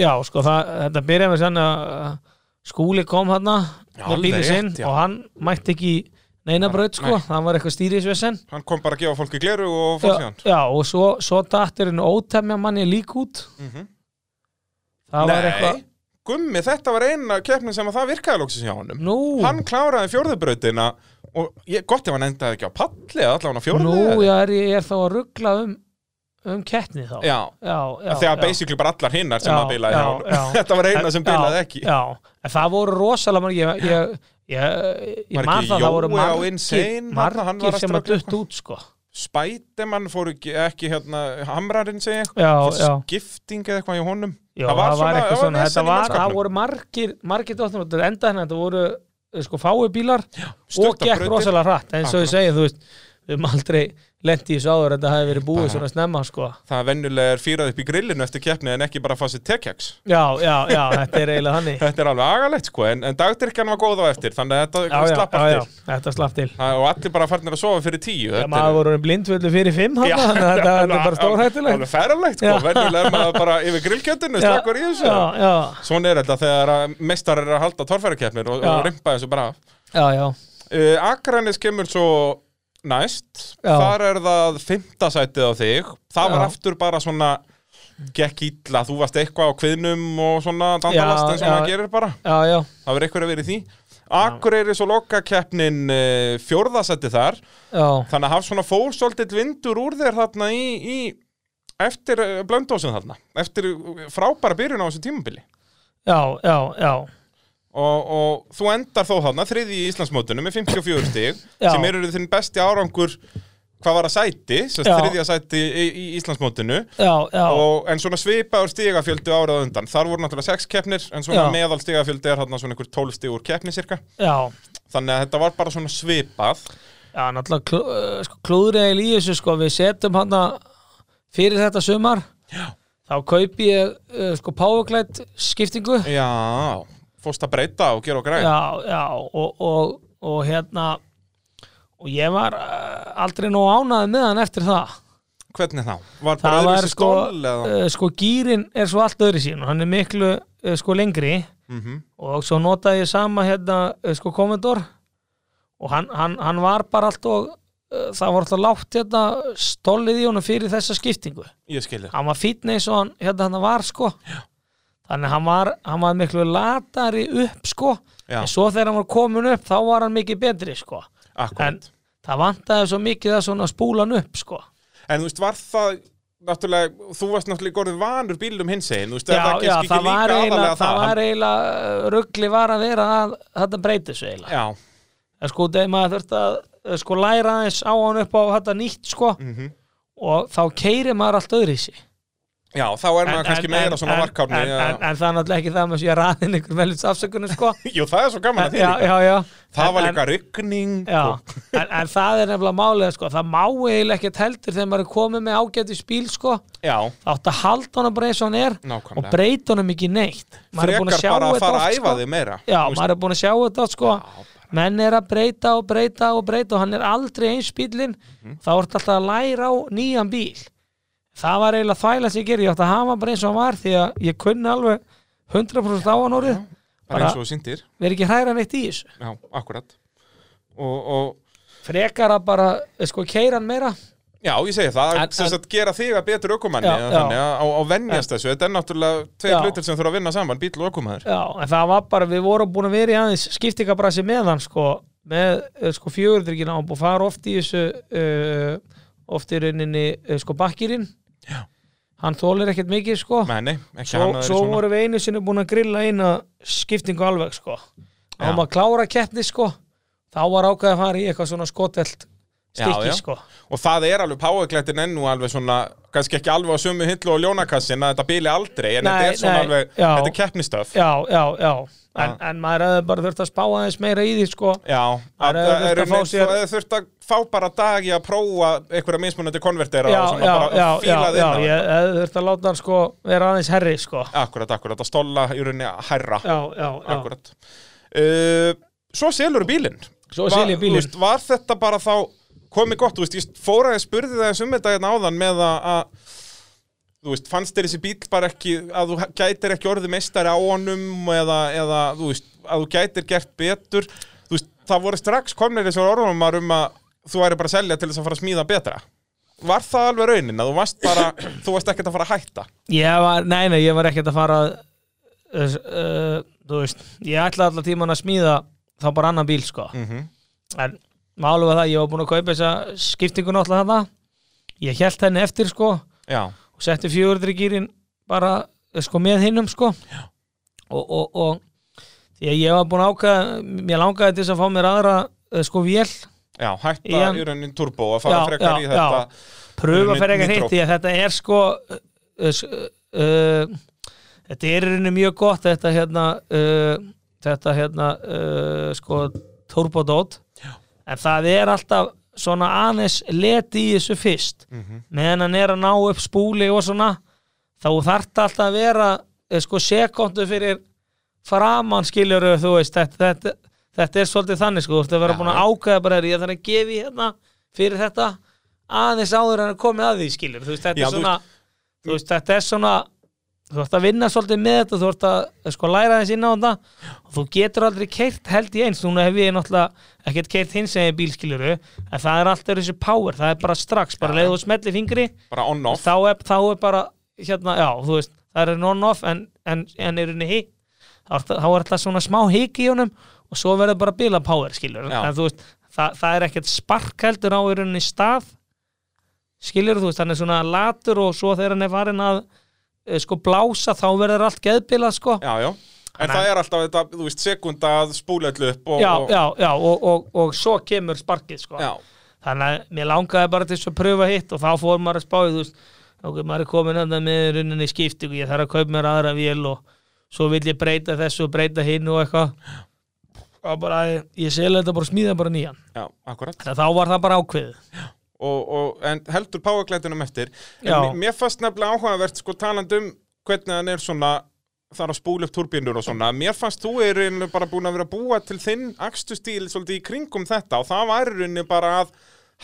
já, sko það, þetta byrjaði með sann að uh, skúli kom hann Já, með alveg bíli sinn rétt, já. og hann mætti ekki í neina braut sko, Nei. hann var eitthvað stýrisvesen hann kom bara að gefa fólki gleru og fór já, síðan já, og svo, svo dattirinn ótemja manni lík út Mhm. það var Nei. eitthvað Gummi, þetta var eina keppnin sem að það virkaði lóksins hjá honum nú, hann kláraði fjórðubrautina og ég, gott ef hann endaði ekki á palli eða allavega á fjórðu nú eða- já, er, ég er þá að ruggla um um kettni þá já, já, já, þegar já. basically bara allar hinnar sem Já, að bilaði já, hjá honum. já. <laughs> þetta var eina sem bilaði já, ekki já, en það voru rosalega margir ég, ég, ég, ég Var man ekki það, það voru Jói á margir, Insane, þarna, hann var margir að sem að ströggla dutt út sko Spiderman fór ekki, ekki hérna, hamrarinn segja eitthvað já, Fór já, skipting eða eitthvað hjá honum já, það var, eitthvað svona þetta vesen í var, það mannskapnum. voru margir margir dóttum, þetta enda hérna, þetta voru eh, sko fái bílar og Stuttar gekk brautir. rosalega hratt eins og Akkurat. ég segi, þú veist, við höfum aldrei lent í þessu áður, þetta hefði verið búið Bara- svona snemma sko, Það er venjulega er fýrað upp í grillinu eftir keppni en ekki bara að fá sér tekjaks já, já, já þetta er eiginlega þannig, <laughs> Þetta er alveg agalegt sko, en, en dagdyrkjan var góð á eftir þannig að já, þetta já, slapp já, já, aftur þetta slapp til Það- og allir bara farnir að sofa fyrir tíu Já, þetta er- maður voru blindvöldu fyrir fimm Já, þarna, þannig að þetta þetta <laughs> alveg- er bara stórhættulegt Alveg ferralegt sko, Já. venjulega er maður bara yfir grillkjöndinu slakkur í þessu já, já, Svona er þetta þegar að meistar er að halda torfærakeppnir og, og Já. rimpa þessu bara af. já, já, uh, Akranis kemur svo næst Já. þar er það fymta sætið á þig það var Já. aftur bara svona gekk illa, þú varst eitthvað á kviðnum og svona Já, dandalast eins og já. maður gerir bara já, já, það verður eitthvað að vera í því Akureyri svo lokakeppnin uh, fjórðasætti þar já, þannig að hafði svona fór svolítið vindur úr þér þarna í, í eftir blöndósin þarna eftir eh, frábæra byrjun á þessu tímabili já, já, já, og, og þú endar þó þarna þriði í Íslandsmótinu með 54 stig Já. sem eru þinn besti árangur hvað var að sæti, sem sagt Já. þriðja sæti í, í Íslandsmótinu já, já, og, en svona svipaður stigafjöldi árað undan þar voru náttúrulega 6 keppnir en svona Já. meðal stigafjöldi er þarna svona einhver 12 stig úr keppni cirka já, þannig að þetta var bara svona svipað Já, náttúrulega klú, eh, sko, klúðriðil í þessu sko, við setjum hann fyrir þetta sumar Já. þá kaupi ég uh, sko powerklætt skiptingu já, Já, fórst að breyta og gera og græn já, og, og, og hérna og ég var uh, aldrei nóg ánaði með hann eftir það Hvernig þá? Var bara það var öðruvísi sko, stól eða? uh, sko gýrin er svo allt öðru sín og hann er miklu uh, sko lengri Mm og svo notaði ég sama hérna eh, sko komendor og hann, hann, hann var bara allt og eh, það var alltaf látt hérna stólið í honum fyrir þessa skiptingu Ég skilja hann var fínn eins og hann hérna hann var sko Já. þannig hann var, hann var miklu latari upp sko Já. en svo þegar hann var komin upp þá var hann mikið betri sko Akkurat en það vantaði svo mikið að svona spúla hann upp sko En þú veist, var það Náttúrulega, þú varst náttúrulega gorðið vanur bílum hins einn Þú veist, er Já, það já, kannski það ekki var líka eiginlega, aðalega það það var eiginlega, eh, ruglið var að vera að þetta breyti svo eiginlega. Já, en sko þegar maður þurft að eh, sko læra aðeins á hann upp á þetta nýtt sko mhm. og þá keirir maður allt öðru í sig já, þá er maður kannski meira svona varkárni en, en, eða- en það er náttúrulega ekki það með sé að raðin ykkur velins afsökunum <laughs> sko Jú, það er svo gaman að en, því já, líka já, já. Það var En- líka rigning Já, og- en, en það er nefnilega málið sko, það má eiginlega ekkert heldur þegar maður er komið með ágæti spíl sko, já þá átt að halda honum bara eins og hann er og nákvæmlega breyta honum ekki neitt maður er búin að Frekar sjá bara að þetta fara að oft, æfa sko. þig meira Já, þú veist. maður er búin að sjá þetta oft, sko Já, menn er að breyta og breyta og breyta og hann er aldrei eins bílinn Mhm. þá ertu alltaf að læra á nýjan bíl það var eiginlega þvæla sem ég gerði ég átti að hafa hann bara eins og hann var því að ég kunni alveg 100% á hann orðið Bara bara- eins og sindir verð ekki hræra neitt í þessu Já, akkurat og, og frekar að bara, eh, sko, keira hann meira Já, ég segi það, En- sem en- sagt gera þig að betur ökumanni Já, eða já. þannig að- og, og venjast þessu, þetta er náttúrulega tveir Já. hlutir sem þurfa að vinna saman, bíl og ökumæður já, en það var bara, við vorum búin að vera í aðeins skiptingabrasi með hann, sko með, eh, sko, fjögurdryggina og búin að fara oft í þessu uh, oft í rauninni, eh, sko, bakkirinn Já. hann þólir ekkert mikið, sko Nei, nei, ekki svo, hann að svo svona vorum við einu sinni búin að grilla eina skiptingu alveg sko þá Já. var maður að klára keppni sko þá var ákveðið að fara í eitthvað svona skotelt Já, já. stikki sko Og það er alveg powerklættin ennú alveg svona, kannski ekki alveg á sömu hillu og ljónakassin að þetta bíli aldrei, en Nei, þetta er svona nei, alveg, já. þetta er keppnistöf Já, já, já, já en, en maður hefði bara þurft að spá aðeins meira í því sko að- er auðvitað að- er að fá eins sér- og eða þurft að fá bara dag í að prófa einhverja mismunandi konvertera já, og svona já, bara já, já, fílað já, inn á ég hefði þurft að láta hann sko vera aðeins herri sko já, Akkurat, akkurat, að stólla í rauninni hærra já, já, Akkurat uh, Svo selur bílinn Svo sel ég bílinn. Var, þú veist, var þetta bara þá komið gott, þú veist, ég fór að spurði það eins um þetta hérna áðan með að, að þú veist, fannst þér þessi bíl bara ekki að þú gætir ekki orðið meistari á honum eða, eða þú veist, að þú gætir gert betur þú veist, það voru strax komnir þessi orðumar um að þú væri bara að selja til þess að fara að smíða betra Var það alveg raunin að þú varst <coughs> bara þú varst ekkert að fara að hætta ég var, nei, nei, ég var ekkert að fara að uh, uh, þú veist ég ætlaði allar tíman að smíða þá bara annan bíl sko mm -hmm. en málum var það, ég var búin að kaupa þessa skiptingu náttúrulega þarna ég held henni eftir sko og Já, setti 400 gýrin bara eh, sko með hinnum sko Já. og, og, og því að ég var búin að ákveða mér langaði til þess að fá mér aðra eh, sko vél, já, hætta Ian- í raunin turbo að fara Já, frekar já, í þetta já. pröfa Nit- fyrir eitthvað nitró. hitt því að þetta er sko uh, uh, uh, þetta er í rauninni mjög gott þetta hérna uh, þetta hérna uh, sko turbodót en það er alltaf svona aðeins leti í þessu fyrst Mhm. meðan hann er að ná upp spúli og svona þá þarf alltaf að vera eh, sko sekundu fyrir framann skiljur þú veist þetta, þetta, þetta er svolítið þannig sko þú ert að vera Já, búin að já. ákveða bara er ég þarf að gefa í hérna fyrir þetta aðeins áður en að komið að því skiljur þú veist þetta Já, er þú svona þú veist þetta er svona þú ert að vinna svolítið með þetta þú ert að eh, sko læra þess inn á þetta og þú getur aldrei keirt held í eins núna hef ég náttúrulega ekkert keirt hins eginn bíl skiljuru en það er alltaf þessi power það er bara strax, bara Já, leið og smelli fingri bara on-off þá er, þá er bara hérna, já, þú veist, það er non-off en, en, en er henni hík þá er það- þá er alltaf svona smá hík í honum og svo verður bara bíla power skiljuru Já. en þú veist, það, það er ekkert spark heldur á í rauninni stað skiljuru, þú veist, hann er svona latur og svo þegar hann er farin að eh, sko blása, þá verður allt geðbilað sko Já, já En Þannig það að- er alltaf þetta, þú veist, sekunda að spúla allu upp og, já, og, já, já, og, og, og svo kemur sparkið sko. já. þannig að mér langaði bara til þess að pröfa hitt og þá fór maður að spáði þú veist ok, maður er komin að með runninni skiptingu ég þarf að kaupa mér aðra vél og svo vil ég breyta þessu og breyta hinn og eitthvað Það var bara, ég seli þetta bara og smíða bara nýjan já, akkurat Þannig að þá var það bara ákveðið og, og, en heldur páaglætunum eftir en Já. mér- mér fannst nefnilega áhugavert sko talandum hvernig hann er svona þar að spúla upp turbínur og svona mér fannst þú er einu bara búin að vera að búa til þinn akstustíl svolítið í kringum þetta og það var einu bara að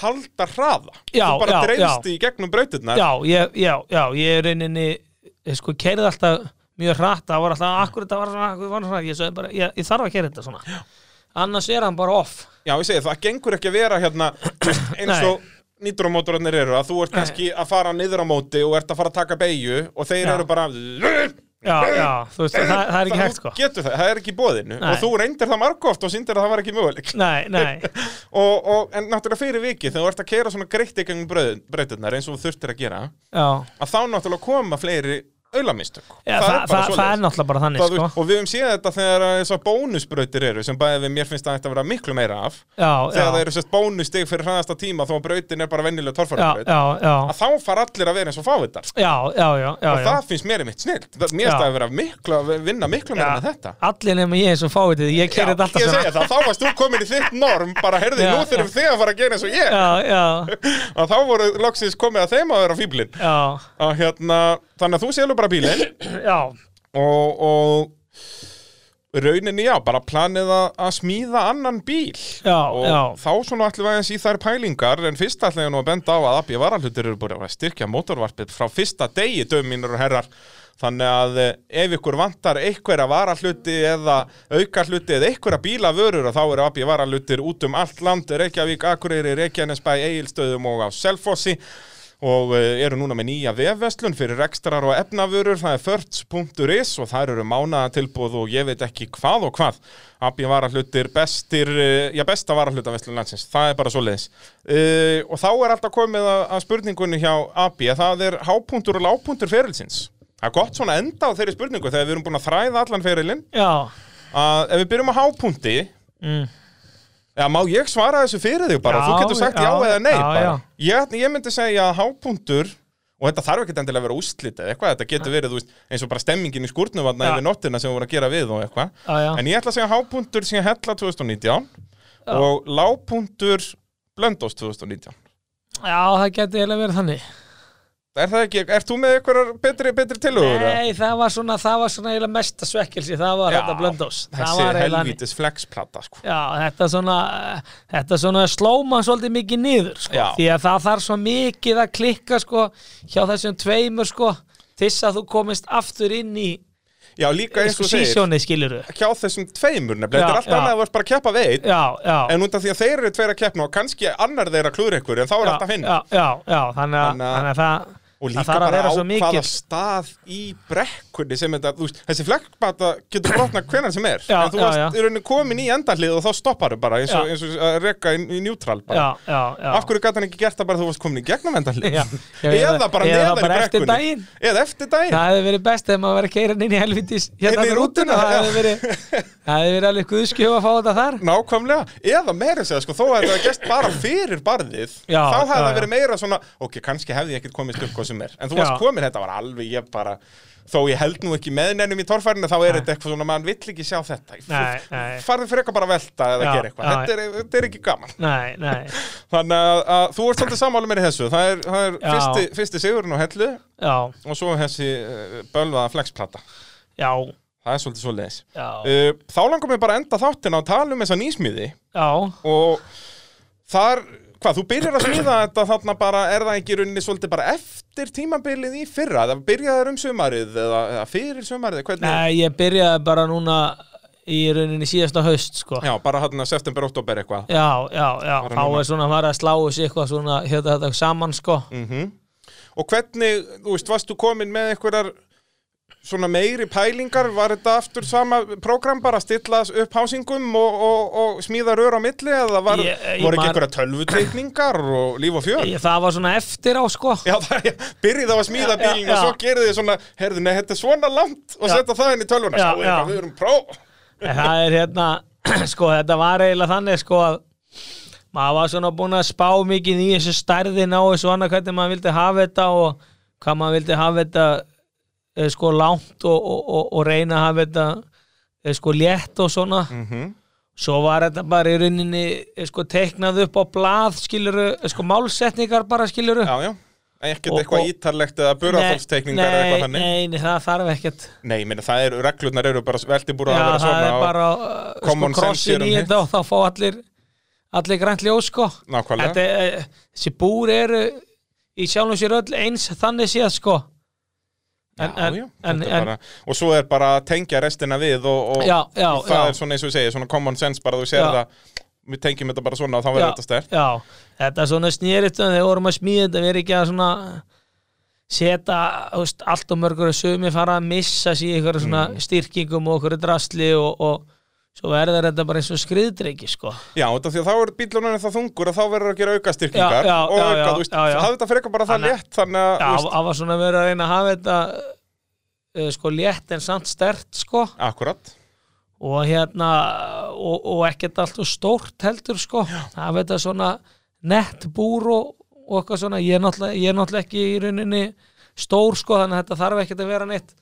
halda hraða Já, þú bara já, dreifst já. í gegnum brautirnar Já, ég, já, já, ég er reyninni ég sko, kerði alltaf mjög hratt það var alltaf, akkur þetta var svona, akkur var svona ég, sagði bara, ég, ég þarf að kerði þetta svona annars er hann bara off Já, ég segi það gengur ekki að vera hérna þú <coughs> veist, eins Nei. og nýtrumótorarnir eru að þú ert kannski að fara niður á móti og ert að fara að taka beigju og þeir Já. eru bara Já, já, þú veist, það, það er ekki hægt sko Þú getur það, það er ekki í bóðinu Nei. og þú reyndir það margóft og síndir að það var ekki möguleik Nei, nei, og, og, en náttúrulega fyrir vikið þegar þú ert að keira svona greitt í gangum breytirnar eins og þú þurftir að gera já að þá náttúrulega koma fleiri aulamistök Já, það, það, það, er náttúrulega bara þannig, Það, sko. og við höfum séð þetta þegar að þessar bónusbrautir eru sem bæði við mér finnst að þetta vera miklu meira af Já, já, þegar það eru sérst bónustig fyrir hraðasta tíma þó að brautin er bara venjuleg já, torfærabraut já, já, að þá fara allir að vera eins og fávitar já, já, já, já, og já. það finnst mér einmitt snilt mér finnst Já. það að vera miklu að vinna miklu meira Já. með þetta Allir nema ég eins og fáið þið, ég kerði Já, þetta alltaf ég svona. segja það, þá varst þú komin í þitt norm bara herði, Já, nú þurfum þið að fara að gera eins og ég Já, já, og þá voru loksins komið að þeim að vera fíblin já, að hérna, þannig að þú selur bara bílinn já, og, og rauninni já, bara planið að, að smíða annan bíl Já, og já. þá svona allir aðeins í þær pælingar en fyrst ætla ég nú að benda á að Abbi varalhutur eru búin að styrkja mótorvarpið frá fyrsta degi döminur og herrar þannig að eh, ef ykkur vantar einhverja varalhuti eða aukarhluti eða einhverja bílavörur þá eru Abbi varalhutir út um allt land Reykjavík, Akureyri, Reykjanesbæ, Egilstöðum og á Selfossi og eh, eru núna með nýja vefveslun fyrir rekstrar og efnavörur, það er förts.is og þar eru mánaðatilbúð og ég veit ekki hvað og hvað Abbi varahlutir bestir, eh, já besta varahlutaveslun landsins, það er bara svo leiðis og þá er alltaf komið að, að spurningunni hjá Abbi að það er hápunktur og lágpunktur ferilsins það er gott svona að enda á þeirri spurningu þegar við erum búin að þræða allan ferilin já, að ef við byrjum á hápunkti Mm. Já, má ég svara þessu fyrir þig bara, Já, þú getur sagt já, já, eða nei já, bara. já. Ég, ég myndi segja að hápunktur, og þetta þarf ekki endilega að vera úslit eða eitthvað, þetta getur verið þú veist, eins og bara stemmingin í skúrnum vatna Já. yfir nóttina sem við vorum að gera við og eitthvað. já, já, En ég ætla að segja hápunktur sem hella 2019 og lágpunktur blöndós 2019. já, það geti eiginlega verið þannig. Er það ekki, ert þú með einhverjar betri, betri tilhugur? Nei, það var svona, það var svona eiginlega mesta svekkelsi, það var Já, þetta blöndós. Það Þessi var eiginlega þannig. helvítis flexplata, sko. Já, þetta svona, þetta svona sló mann svolítið mikið niður, sko. Já. Því að það þarf svo mikið að klikka, sko, hjá þessum tveimur, sko, til að þú komist aftur inn í Já, líka Eh, eins og þú segir, sísjónið, skilur hjá þessum tveimur nefnilega, Já, þetta er allt já. annað að þú ert bara að keppa við einn, Já, já. En út af því að þeir eru tveir að keppna og kannski annar þeir að klúra ykkur en þá er alltaf hinn. já, já, já, þannig að, Þannig að- þannig að það, Og það líka þarf að bara vera á svo hvaða mikið stað í brekkunni sem þetta, þú veist, þessi flekkbata getur brotnað hvenar sem er. Já, en þú já, varst í rauninni komin í endahlið og þá stoppar þau bara eins og, Já. eins og að reka í, í njútrál bara. já, já, já, Af hverju gæti hann ekki gert það bara þú varst komin í gegnum endahlið? Já, já, eða eða- bara eða neðar í bara eftir brekkunni. daginn. Eða eftir daginn. það hefði verið best ef maður verið að keira hann inn í helvitis hérna Inn í með rútuna, rútuna, það já. hefði verið það hefði verið alveg guðskjöf að fá þetta þar Nákvæmlega, eða meira segja sko, þó að þetta gæst bara fyrir barðið Já, þá hefði já, það já. verið meira svona ok, kannski hefði ég ekkert komist upp hvað sem er en þú varst Já. komin, þetta var alveg ég bara þó ég held nú ekki með neinum í torfærinu þá er þetta eitthvað svona, mann vill ekki sjá þetta Nei, nei. farðu fyrir eitthvað bara að velta eða Já, gera eitthvað, já. þetta, er- þetta er ekki gaman nei, nei, þannig að, að þú ert svolítið sammála mér í þessu það er, það er Já. fyrsti, fyrsti sigurinn og hellu já, og svo þessi uh, bölvaða flexplata já það er svolítið svoleiðis já, uh, þá langar mér bara að enda þáttin á talum þessa nýsmíði já, og þar, hvað, þú byrjar að <clears throat> smíða þetta þarna bara, er það ekki í rauninni svolítið bara eftir tímabilið í fyrra það byrjaðar um sumarið eða, eða fyrir sumarið, hvernig nei, ég byrjaði bara núna í rauninni síðasta haust, sko já, já, bara þarna september, oktober eitthvað já, já, Bara þá núna. er svona að fara að slá þessu eitthvað svona, hérna þetta saman, sko Mm. og hvernig, þú veist, varst þú komin með einhverjar svona meiri pælingar, var þetta aftur sama program bara að stilla upp hásingum og, og, og smíða rör á milli eða var, Ég- ég voru ekki man- einhverja tölvuteikningar og líf og fjör Ég- það var svona eftir á, sko Já, það er, byrjið á að smíða Já, já, bílinn og já. svo gerði þið svona, heyrðu, nei, þetta er svona langt og Já. setja það inn í tölvuna, Já, sjáu þið já. hvað við erum pró. En það er hérna, <clears throat> sko, þetta var eiginlega þannig, sko, að maður var svona búin að spá mikið í þessu stærðin á þessu annað hvernig maður vildi hafa þetta og hvað maður vildi hafa þetta eh, sko langt og, og, og, og reyna að hafa þetta eh, sko létt og svona Mm -hmm. svo var þetta bara í rauninni eh, sko, teiknað upp á blað skiluru, sko, málsetningar bara skiluru já, já ekkert Og- eitthvað og- ítarlegt eða burðarfólkstekningar eða eitthvað þannig nei, nei, það þarf ekkert Nei, ég meina, það eru, reglurnar eru bara veltibúra Já, að vera það svona er og- bara uh, sko, common sense krossin hér um í hitt. þetta og þá fá allir allir grænt ljós sko Nákvæmlega. Þetta er, eh, þessi búr eru í sjálfum sér öll eins þannig séð sko en, Já, en, já, en, þetta er en, bara, og svo er bara að tengja restina við og, og Já, já, það já. er svona eins og ég segi, svona common sense bara þú sér Já. það, við tengjum þetta bara svona og þá verður þetta stert já, þetta er svona snýritt þegar við vorum að smíða þetta, við erum ekki að svona setja þú veist, allt og mörgur að sumi fara að missa sér í ykkur svona Mm. styrkingum og okkur drasli og, og svo verður þetta bara eins og skriðdreiki sko Já, þetta því að þá er bílunum það þungur og þá verður að gera auka styrkingar Já, já, og já, auka, já, þú veist, já, já. hafði þetta frekar bara það Þannig- létt þannig að, Já, þú veist, það var svona verið að reyna að hafa þetta uh, sko létt en samt stert sko akkurat og hérna og, og ekkert allt og stórt heldur sko hafa þetta svona nett búr og, og eitthvað svona ég er, náttúrulega, ég er náttúrulega ekki í rauninni stór sko þannig að þetta þarf ekkert að vera neitt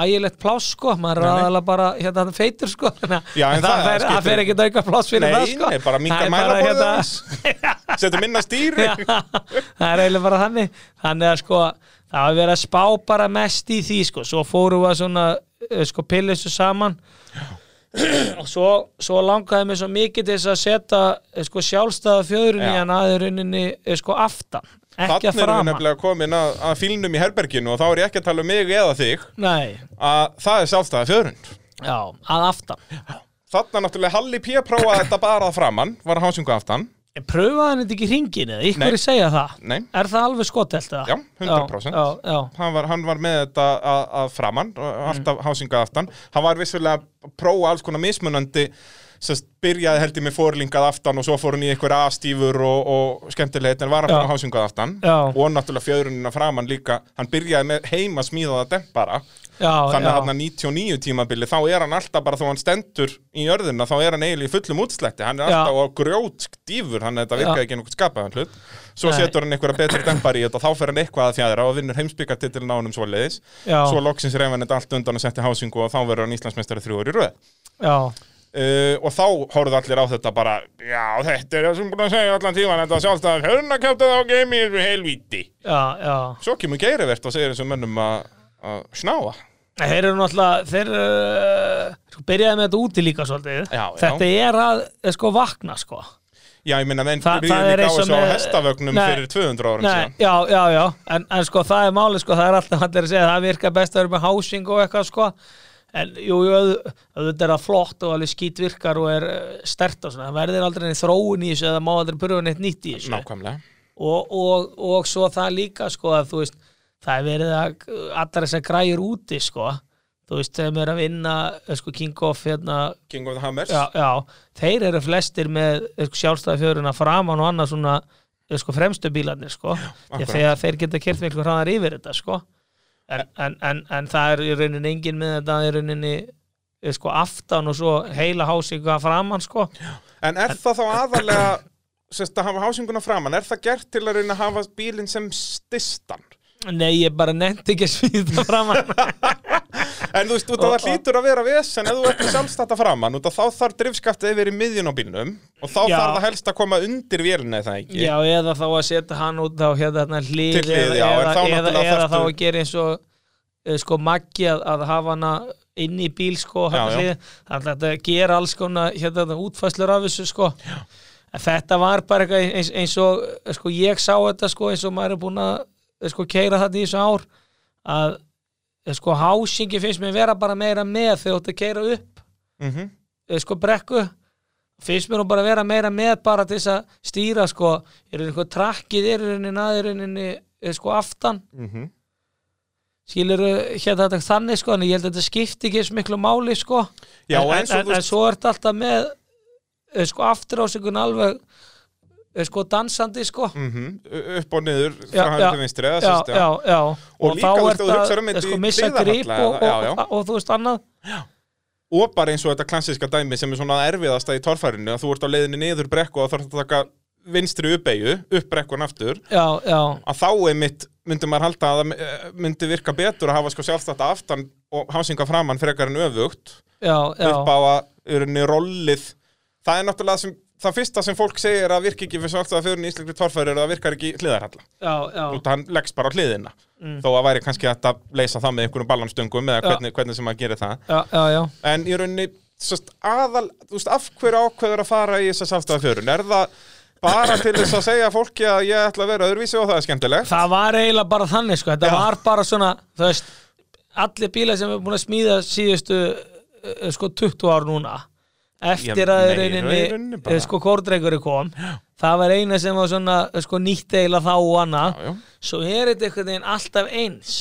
ægilegt pláss sko, maður er Nei, nei. aðalega bara hérna hann feitur sko þannig að Já, en það það, fer- skiptir- það fer ekkert auka pláss fyrir Nei, það sko nei, bara minnkar Það er bara, mælaborðið hérna, aðeins. Settum minna stýri Já, það er eiginlega bara þannig þannig að sko það var verið að spá bara mest í því sko svo fórum við að svona eh, sko pilla þessu saman <clears throat> og svo, svo langaði mér svo mikið til þess að setja eh, sko sjálfstæða fjöðurinn Já. í hann aðurinninni sko aftan <laughs> Þannig ekki að erum við frama nefnilega komin að, að fílnum í herberginu og þá er ég ekki að tala um mig eða þig nei, að það er sjálfstæða fjörund já, að aftan Þannig náttúrulega Halli P. prófaði þetta bara að framann, var að hásjunga aftan Ég pröfaði hann þetta ekki í ringinu eða Nei. ykkur segja það Nei. er það alveg skotelt eða? Já, 100%. já, já, já. hann var, hann var með þetta að, að framann og alltaf mm. hásingað aftan hann var vissulega að prófa alls konar mismunandi sest, byrjaði held ég með fórlingað aftan og svo fór hann í einhver aðstífur og, og skemmtilegt en var alltaf Já. hásingað aftan Já. og náttúrulega fjöðrunina framann líka hann byrjaði með heima smíðaða dempara Já, þannig já. að hann 99 tímabili þá er hann alltaf bara þó hann stendur í jörðina þá er hann eiginlega í fullum útslætti hann er Já. alltaf á grjót stífur þannig að þetta virkaði Já. ekki nokkuð skapaðan hlut svo Nei. setur hann einhverja betri dempar í þetta þá fer hann eitthvað að fjæðra og vinnur heimsbyggartitilin á honum svoleiðis Já. svo loksins reyf hann þetta allt undan og setti hásingu og þá verður hann Íslandsmeistari þrjú ár í röð já. Uh, og þá horfðu allir á þetta bara já þetta er það sem búin að segja allan tíman þetta sjálfstæðan hörnakjáta þá geimir helvíti Já, já. svo kemur geirivert og segir þessum mönnum að að snáa Nei, Þeir eru náttúrulega, þeir uh, sko, byrjaði með þetta úti líka svolítið. Já, já. Þetta er að er sko vakna sko. Já, ég minna, menn Þa- byrjuðu það líka er á eins og þessu á með- hestavögnum Nei. fyrir 200 árum um Nei, síðan. já, já, já, en, en sko það er málið sko, það er alltaf allir að segja að það virkar best að vera með hásing og eitthvað sko. En jú, jú, auð- auðvitað er það flott og alveg skýt virkar og er eh, stert og svona. Það verður aldrei neitt þróun í þessu eða má aldrei pröfa neitt nýtt í þessu. Nákvæmlega. og, og, og svo það líka sko að þú veist það er verið að allar þess að græjur úti sko þú veist þeim er að vinna eh, sko King of hérna King of the Hammers. já, já, þeir eru flestir með eh, sko, sjálfstæða fjöruna framan og annað svona eh, sko fremstu bílarnir sko Því að akkurat. þegar þeir geta kert miklu hraðar yfir þetta sko en, en, en, en það er í rauninni engin með þetta í rauninni eh, sko aftan og svo heila hásingu að framan sko En er það þá aðalega, sérst að hafa hásinguna framann, er það gert til að reyna að hafa bílinn sem stistan? nei ég bara nefndi ekki að smíða framan En þú veist, út af Og- það hlýtur að vera vesen ef þú ert með sjálfstætta framann, út af þá þarf drifskaftið yfir í miðjun á bílnum og þá Já. þarf það helst að koma undir vélina, er það ekki? Já, eða þá að setja hann út á hérna hérna, hlið Til hlið, eða, já, en þá eða, eða, náttúrulega eða þá þarftu- að gera eins og eh, sko maggi að, að hafa hana inn í bíl sko Já, já. hérna hlið. þannig að þetta gera alls konar hérna, hérna, útfæslur af þessu sko já. en þetta var bara eitthvað eins, eins og eh, sko ég sá þetta sko eins og maður er búin að eh, sko keira þetta í þessu ár að eh, sko hásingi finnst mér vera bara meira með þegar þú átt að keira upp Mhm. eh, sko brekku finnst mér hún bara vera meira með bara til þess að stýra sko, er einhver trakkið er einhver naðurinninni sko aftan, Mhm. skilur hérna þetta þannig sko, en ég held að þetta skipti ekki eins miklu máli sko, Já, en, og en, eins og en, þú en svo er þetta alltaf með eh, sko aftur ásingun alveg eh, sko dansandi sko Mhm. upp og niður Já, frá hægri já. til vinstri eða já, sérst, já, já, Og líka, þú þá er veist, ef þú hugsar um þetta þetta eh, sko í missa grip hliðarfalla, og, og, já, já. og, og þú veist annað og bara eins og þetta klassíska dæmi sem er svona erfiðasta í torfærinu að þú ert á leiðinni niður brekku og þarf að taka vinstri uppeyju, upp brekkun aftur já, já, að þá einmitt myndi maður halda að það eh, myndi virka betur að hafa sko sjálfstætt aftan og hásinga framann frekar en öfugt já, já upp á að urni rollið það er náttúrulega sem, það fyrsta sem fólk segir að virka ekki fyrir svartstaða fyrir íslenskri torfæri er að það virkar ekki hliðarhalla já, já, og hann leggst bara á hliðina þó að væri kannski hægt að leysa það með einhverjum ballanstöngum eða Já. hvernig, hvernig sem maður gerir það já, já, já. en í rauninni sest, aðal, þú veist, af hverju ákveður að fara í þess að svartstaða fjörun er það bara til þess að segja fólki að ég ætla að vera öðruvísi og það er skemmtilegt Það var eiginlega bara þannig sko, þetta Já. var bara svona, þú veist, allir bílar sem er búin að smíða síðustu eh, sko 20 ár núna eftir Já, að nei, í rauninni, rauninni eh, bara. sko kordreikuri kom, það var eina sem var svona eh, sko nýtt eiginlega þá og annað, Já, já. svo er þetta einhvern veginn alltaf eins,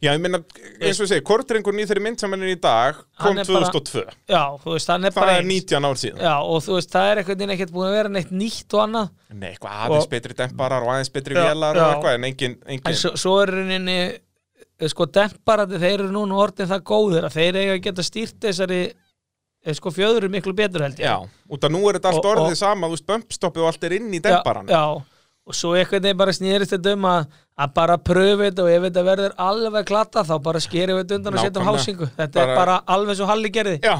Já, ég meina, eins og ég segi, kortringurinn í þeirri mynd sem hann er í dag kom Hann er bara- 2002 já, þú veist, það er Það bara er eins. 19 ár síðan Já, og þú veist, það er einhvern veginn ekkert búin að vera neitt nýtt og annað, Nei, eitthvað aðeins Og- betri demparar og aðeins betri Já, vélar já. og eitthvað en engin, engin en svo, svo er rauninni eh, sko demparandi, þeir eru núna orðin það góðir að þeir eiga að geta stýrt þessari eh, sko fjöðru miklu betur held ég Já, út af nú er þetta allt Og- og- orðið sama þú veist, bumpstoppið og allt er inn í demparan já, já, og svo eitthvað þeir bara snýrist þetta um að, að bara pröfu þetta og ef þetta verður alveg glata þá bara skerum við þetta undan og setjum Nákvæmlega. hásingu þetta Bara- er bara alveg svo Halli gerði Já,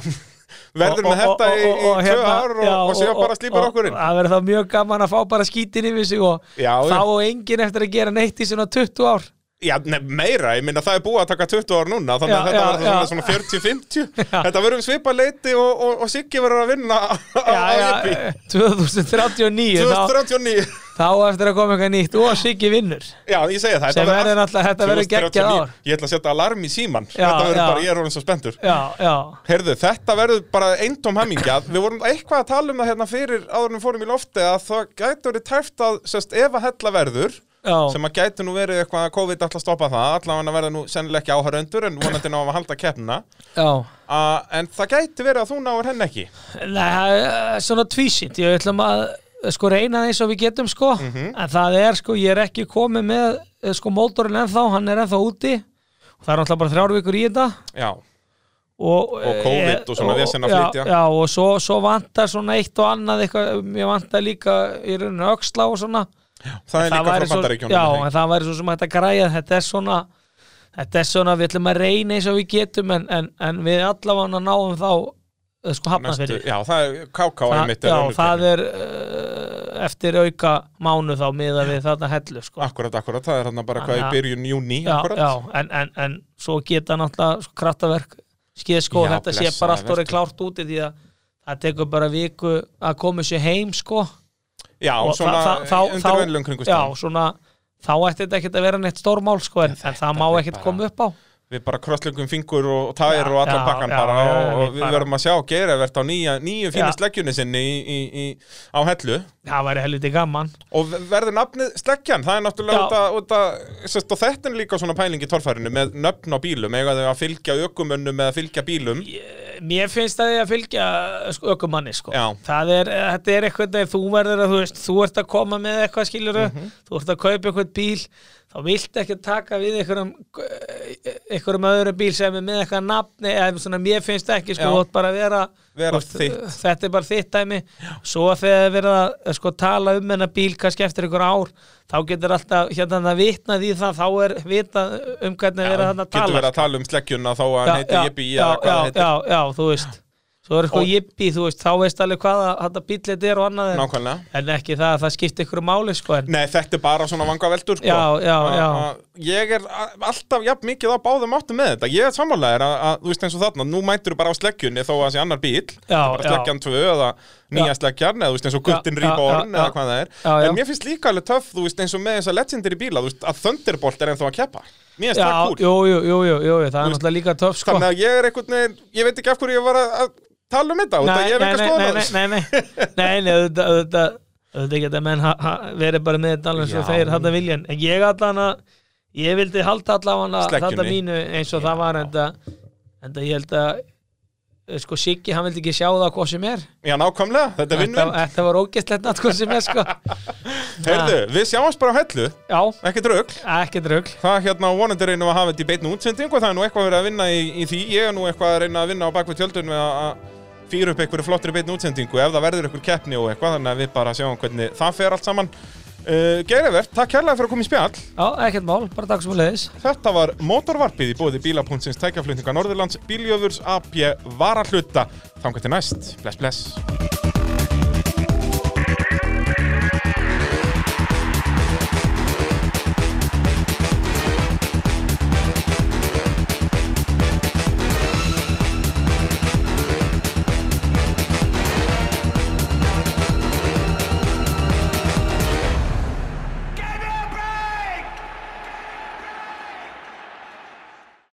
verður Og- með og- þetta og- í, og- í og- tvö hérna, ár og, já, og síðan bara slípar og- okkur inn það verður þá mjög gaman að fá bara skítin yfir sig og Já, já. þá og enginn eftir að gera neitt í svona 20 ár Já, nef, meira, ég minna það er búið að taka 20 ár núna þannig að Já, þetta já, verður svona, já. svona <laughs> 40-50 Þetta verður svipa leiti og, og, og Siggi verður að vinna á já, já, Jippi <laughs> 2039 þá, 2039 þá á eftir að koma eitthvað nýtt og Siggi vinnur Já, ég segi það sem þetta verður náttúrulega, þetta verður geggjað 2039. ár Ég ætla að setja alarm í síman Já, Þetta verður já. bara, ég er orðin svo spenntur já, já, Heyrðu, þetta verður bara eintóm hamingja <laughs> Við vorum eitthvað að tala um það hérna fyrir áður en við fórum í lofti að það gæti verið tæft að sest, ef að hella verður já, sem að gæti nú verið eitthvað að COVID ætla að stoppa það allavega verða nú sennilega ekki áhöröndur en vonandi náum að halda keppnina já. uh, en það gæti verið að þú náur henn ekki Nei, það er eh, svona tvísint ég ætlum að eh, sko reyna það eins og við getum sko en það er sko, ég er ekki komið með eh, sko mótorinn ennþá, hann er ennþá úti og það er náttúrulega bara þrjár vikur í þetta Já, og, Og COVID og svona vesen að já, flytja. Já, og svo, svo vantar svona eitt og annað eitthvað, mér vantar líka í rauninu öxla og svona það er það líka væri frá svo, bandaríkjónum já, er það en það væri svo sem hægt að græja þetta er svona þetta er svona, við ætlum að reyna eins og við getum en, en, en við allavega náum þá eh, ekki? sko Næstu- hafnafyrir Já, það er KK einmitt já, er önnur það keppni. er uh, eftir auka mánu þá miða við þarna hellu sko. Akkúrat, akkúrat, það er hann bara hvað í Þannig að- byrjun júni já, já, en, en, en svo geta náttúrulega sko, kraftaverk skeð sko, Já, þetta sé blessaður bara allt vertu. orðið klárt úti því að það tekur bara viku að koma sér heim sko Já, Og svona þa- þa- þá- undir þá- venlum já, kringustæðum svona, þá ætti þetta ekkert að vera neitt stórmál sko, en, en það má ekkert bara- koma upp á við bara krosslöngum fingur og og tær Já, og allan já, pakkan já, bara já, og, við og við bara- verðum að sjá gera verðt á nýja, nýju fínu Já. sleggjunni sinni í, í, í, á hellu það væri helviti gaman og ve- verður nafnið sleggjan, það er náttúrulega Já. út að, út að, sérst, og þetta er líka svona pæling í torfærinu með nöfn á bílum eiga þau að fylgja ökumönnum eða fylgja bílum mér finnst að ég að fylgja sko, ökumanni sko. Já. það er, þetta er eitthvað þegar þú verður að þú veist, þú ert að koma með eitthvað skiluru Mhm. þú ert að kaupa eitthvað bíl þá vilt ekki taka við einhverjum einhverjum öðrum bíl sem er með eitthvað nafni, eða svona mér finnst ekki sko, Já. þú ert bara að vera, Vera þú eh, uh, þitt. þetta er bara þitt dæmi svo þegar verður að eh, sko, tala um hennar bíl kannski eftir einhver ár þá getur alltaf hérna það vitnað í það þá er vitað um hvernig verður þarna að getur tala verið að tala um sleggjuna þá að Já, hann heiti já, Jippi já, eða hvað það já, heitir já, já, þú veist Svo er eitthvað Og- jippi, þú veist, þá veist alveg hvaða þetta bíll þetta er og annað en, nákvæmlega en ekki það að það skipti ykkur máli sko en Nei, þetta er bara svona vangaveldur sko. Já, já, A- já. a- Ég er a- alltaf jafn mikið á báðum áttum með þetta Ég er sammálaðir að, að, þú veist eins og þarna Nú mætur þú bara á sleggjunni þó að það sé annar bíl Já, Bara já. sleggjan tvö eða nýja Já. sleggjan Eða þú veist eins og guttin Já, já, rýpa já, orn eða já. hvað það er Já, já. En mér finnst líka alveg töff, þú veist eins og með þessa legendary bíla Þú veist að Thunderbolt er ennþá að keppa Mér finnst Já, það kúl jú, jú, jú, jú, jú, jú, það er náttúrulega líka töff sko Þannig að ég er einhvern veginn, ég veit ekki af hverju ég var að, að tala um þetta út af Nei, Ég er nei, ekki að nei, skoða nei, nei, nei, nei, nei, nei, auðvitað, auðvitað, auðvitað geta menn ha- ha- verið bara með þetta alveg svo Já. þeir þetta vilja en ég allan að, ég vildi halda allan að Sleggjunni. þetta mínu eins og það var en það, en það ég held að, eh, sko Siggi, hann vildi ekki sjá það hvað sem er Já, nákvæmlega, þetta er Þetta, vinn-vinn þetta var ógæstlegt nátt hvað sem er sko <laughs> Heyrðu, við sjáumst bara á hellu, Já, ekkert rögl ekki drögl Það hérna vonandi reynum við að hafa þetta í beinu útsendingu það er nú eitthvað verið að vinna í, í því ég er nú eitthvað að reyna að vinna á bakvið tjöldun með að- að fýra upp einhverju flottri beinu útsendingu ef það verður einhver keppni og eitthvað þannig að við bara sjáum hvernig það fer allt saman uh, Geirivert, takk kærlega fyrir að koma í spjall Já, ekkert mál, bara takk sem að leiðis Þetta var motorvarpið í bóði bíla.sins tækjaflutninga Norðurlands, bíljöfurs, AP, varahluta Þangar til næst, bless bless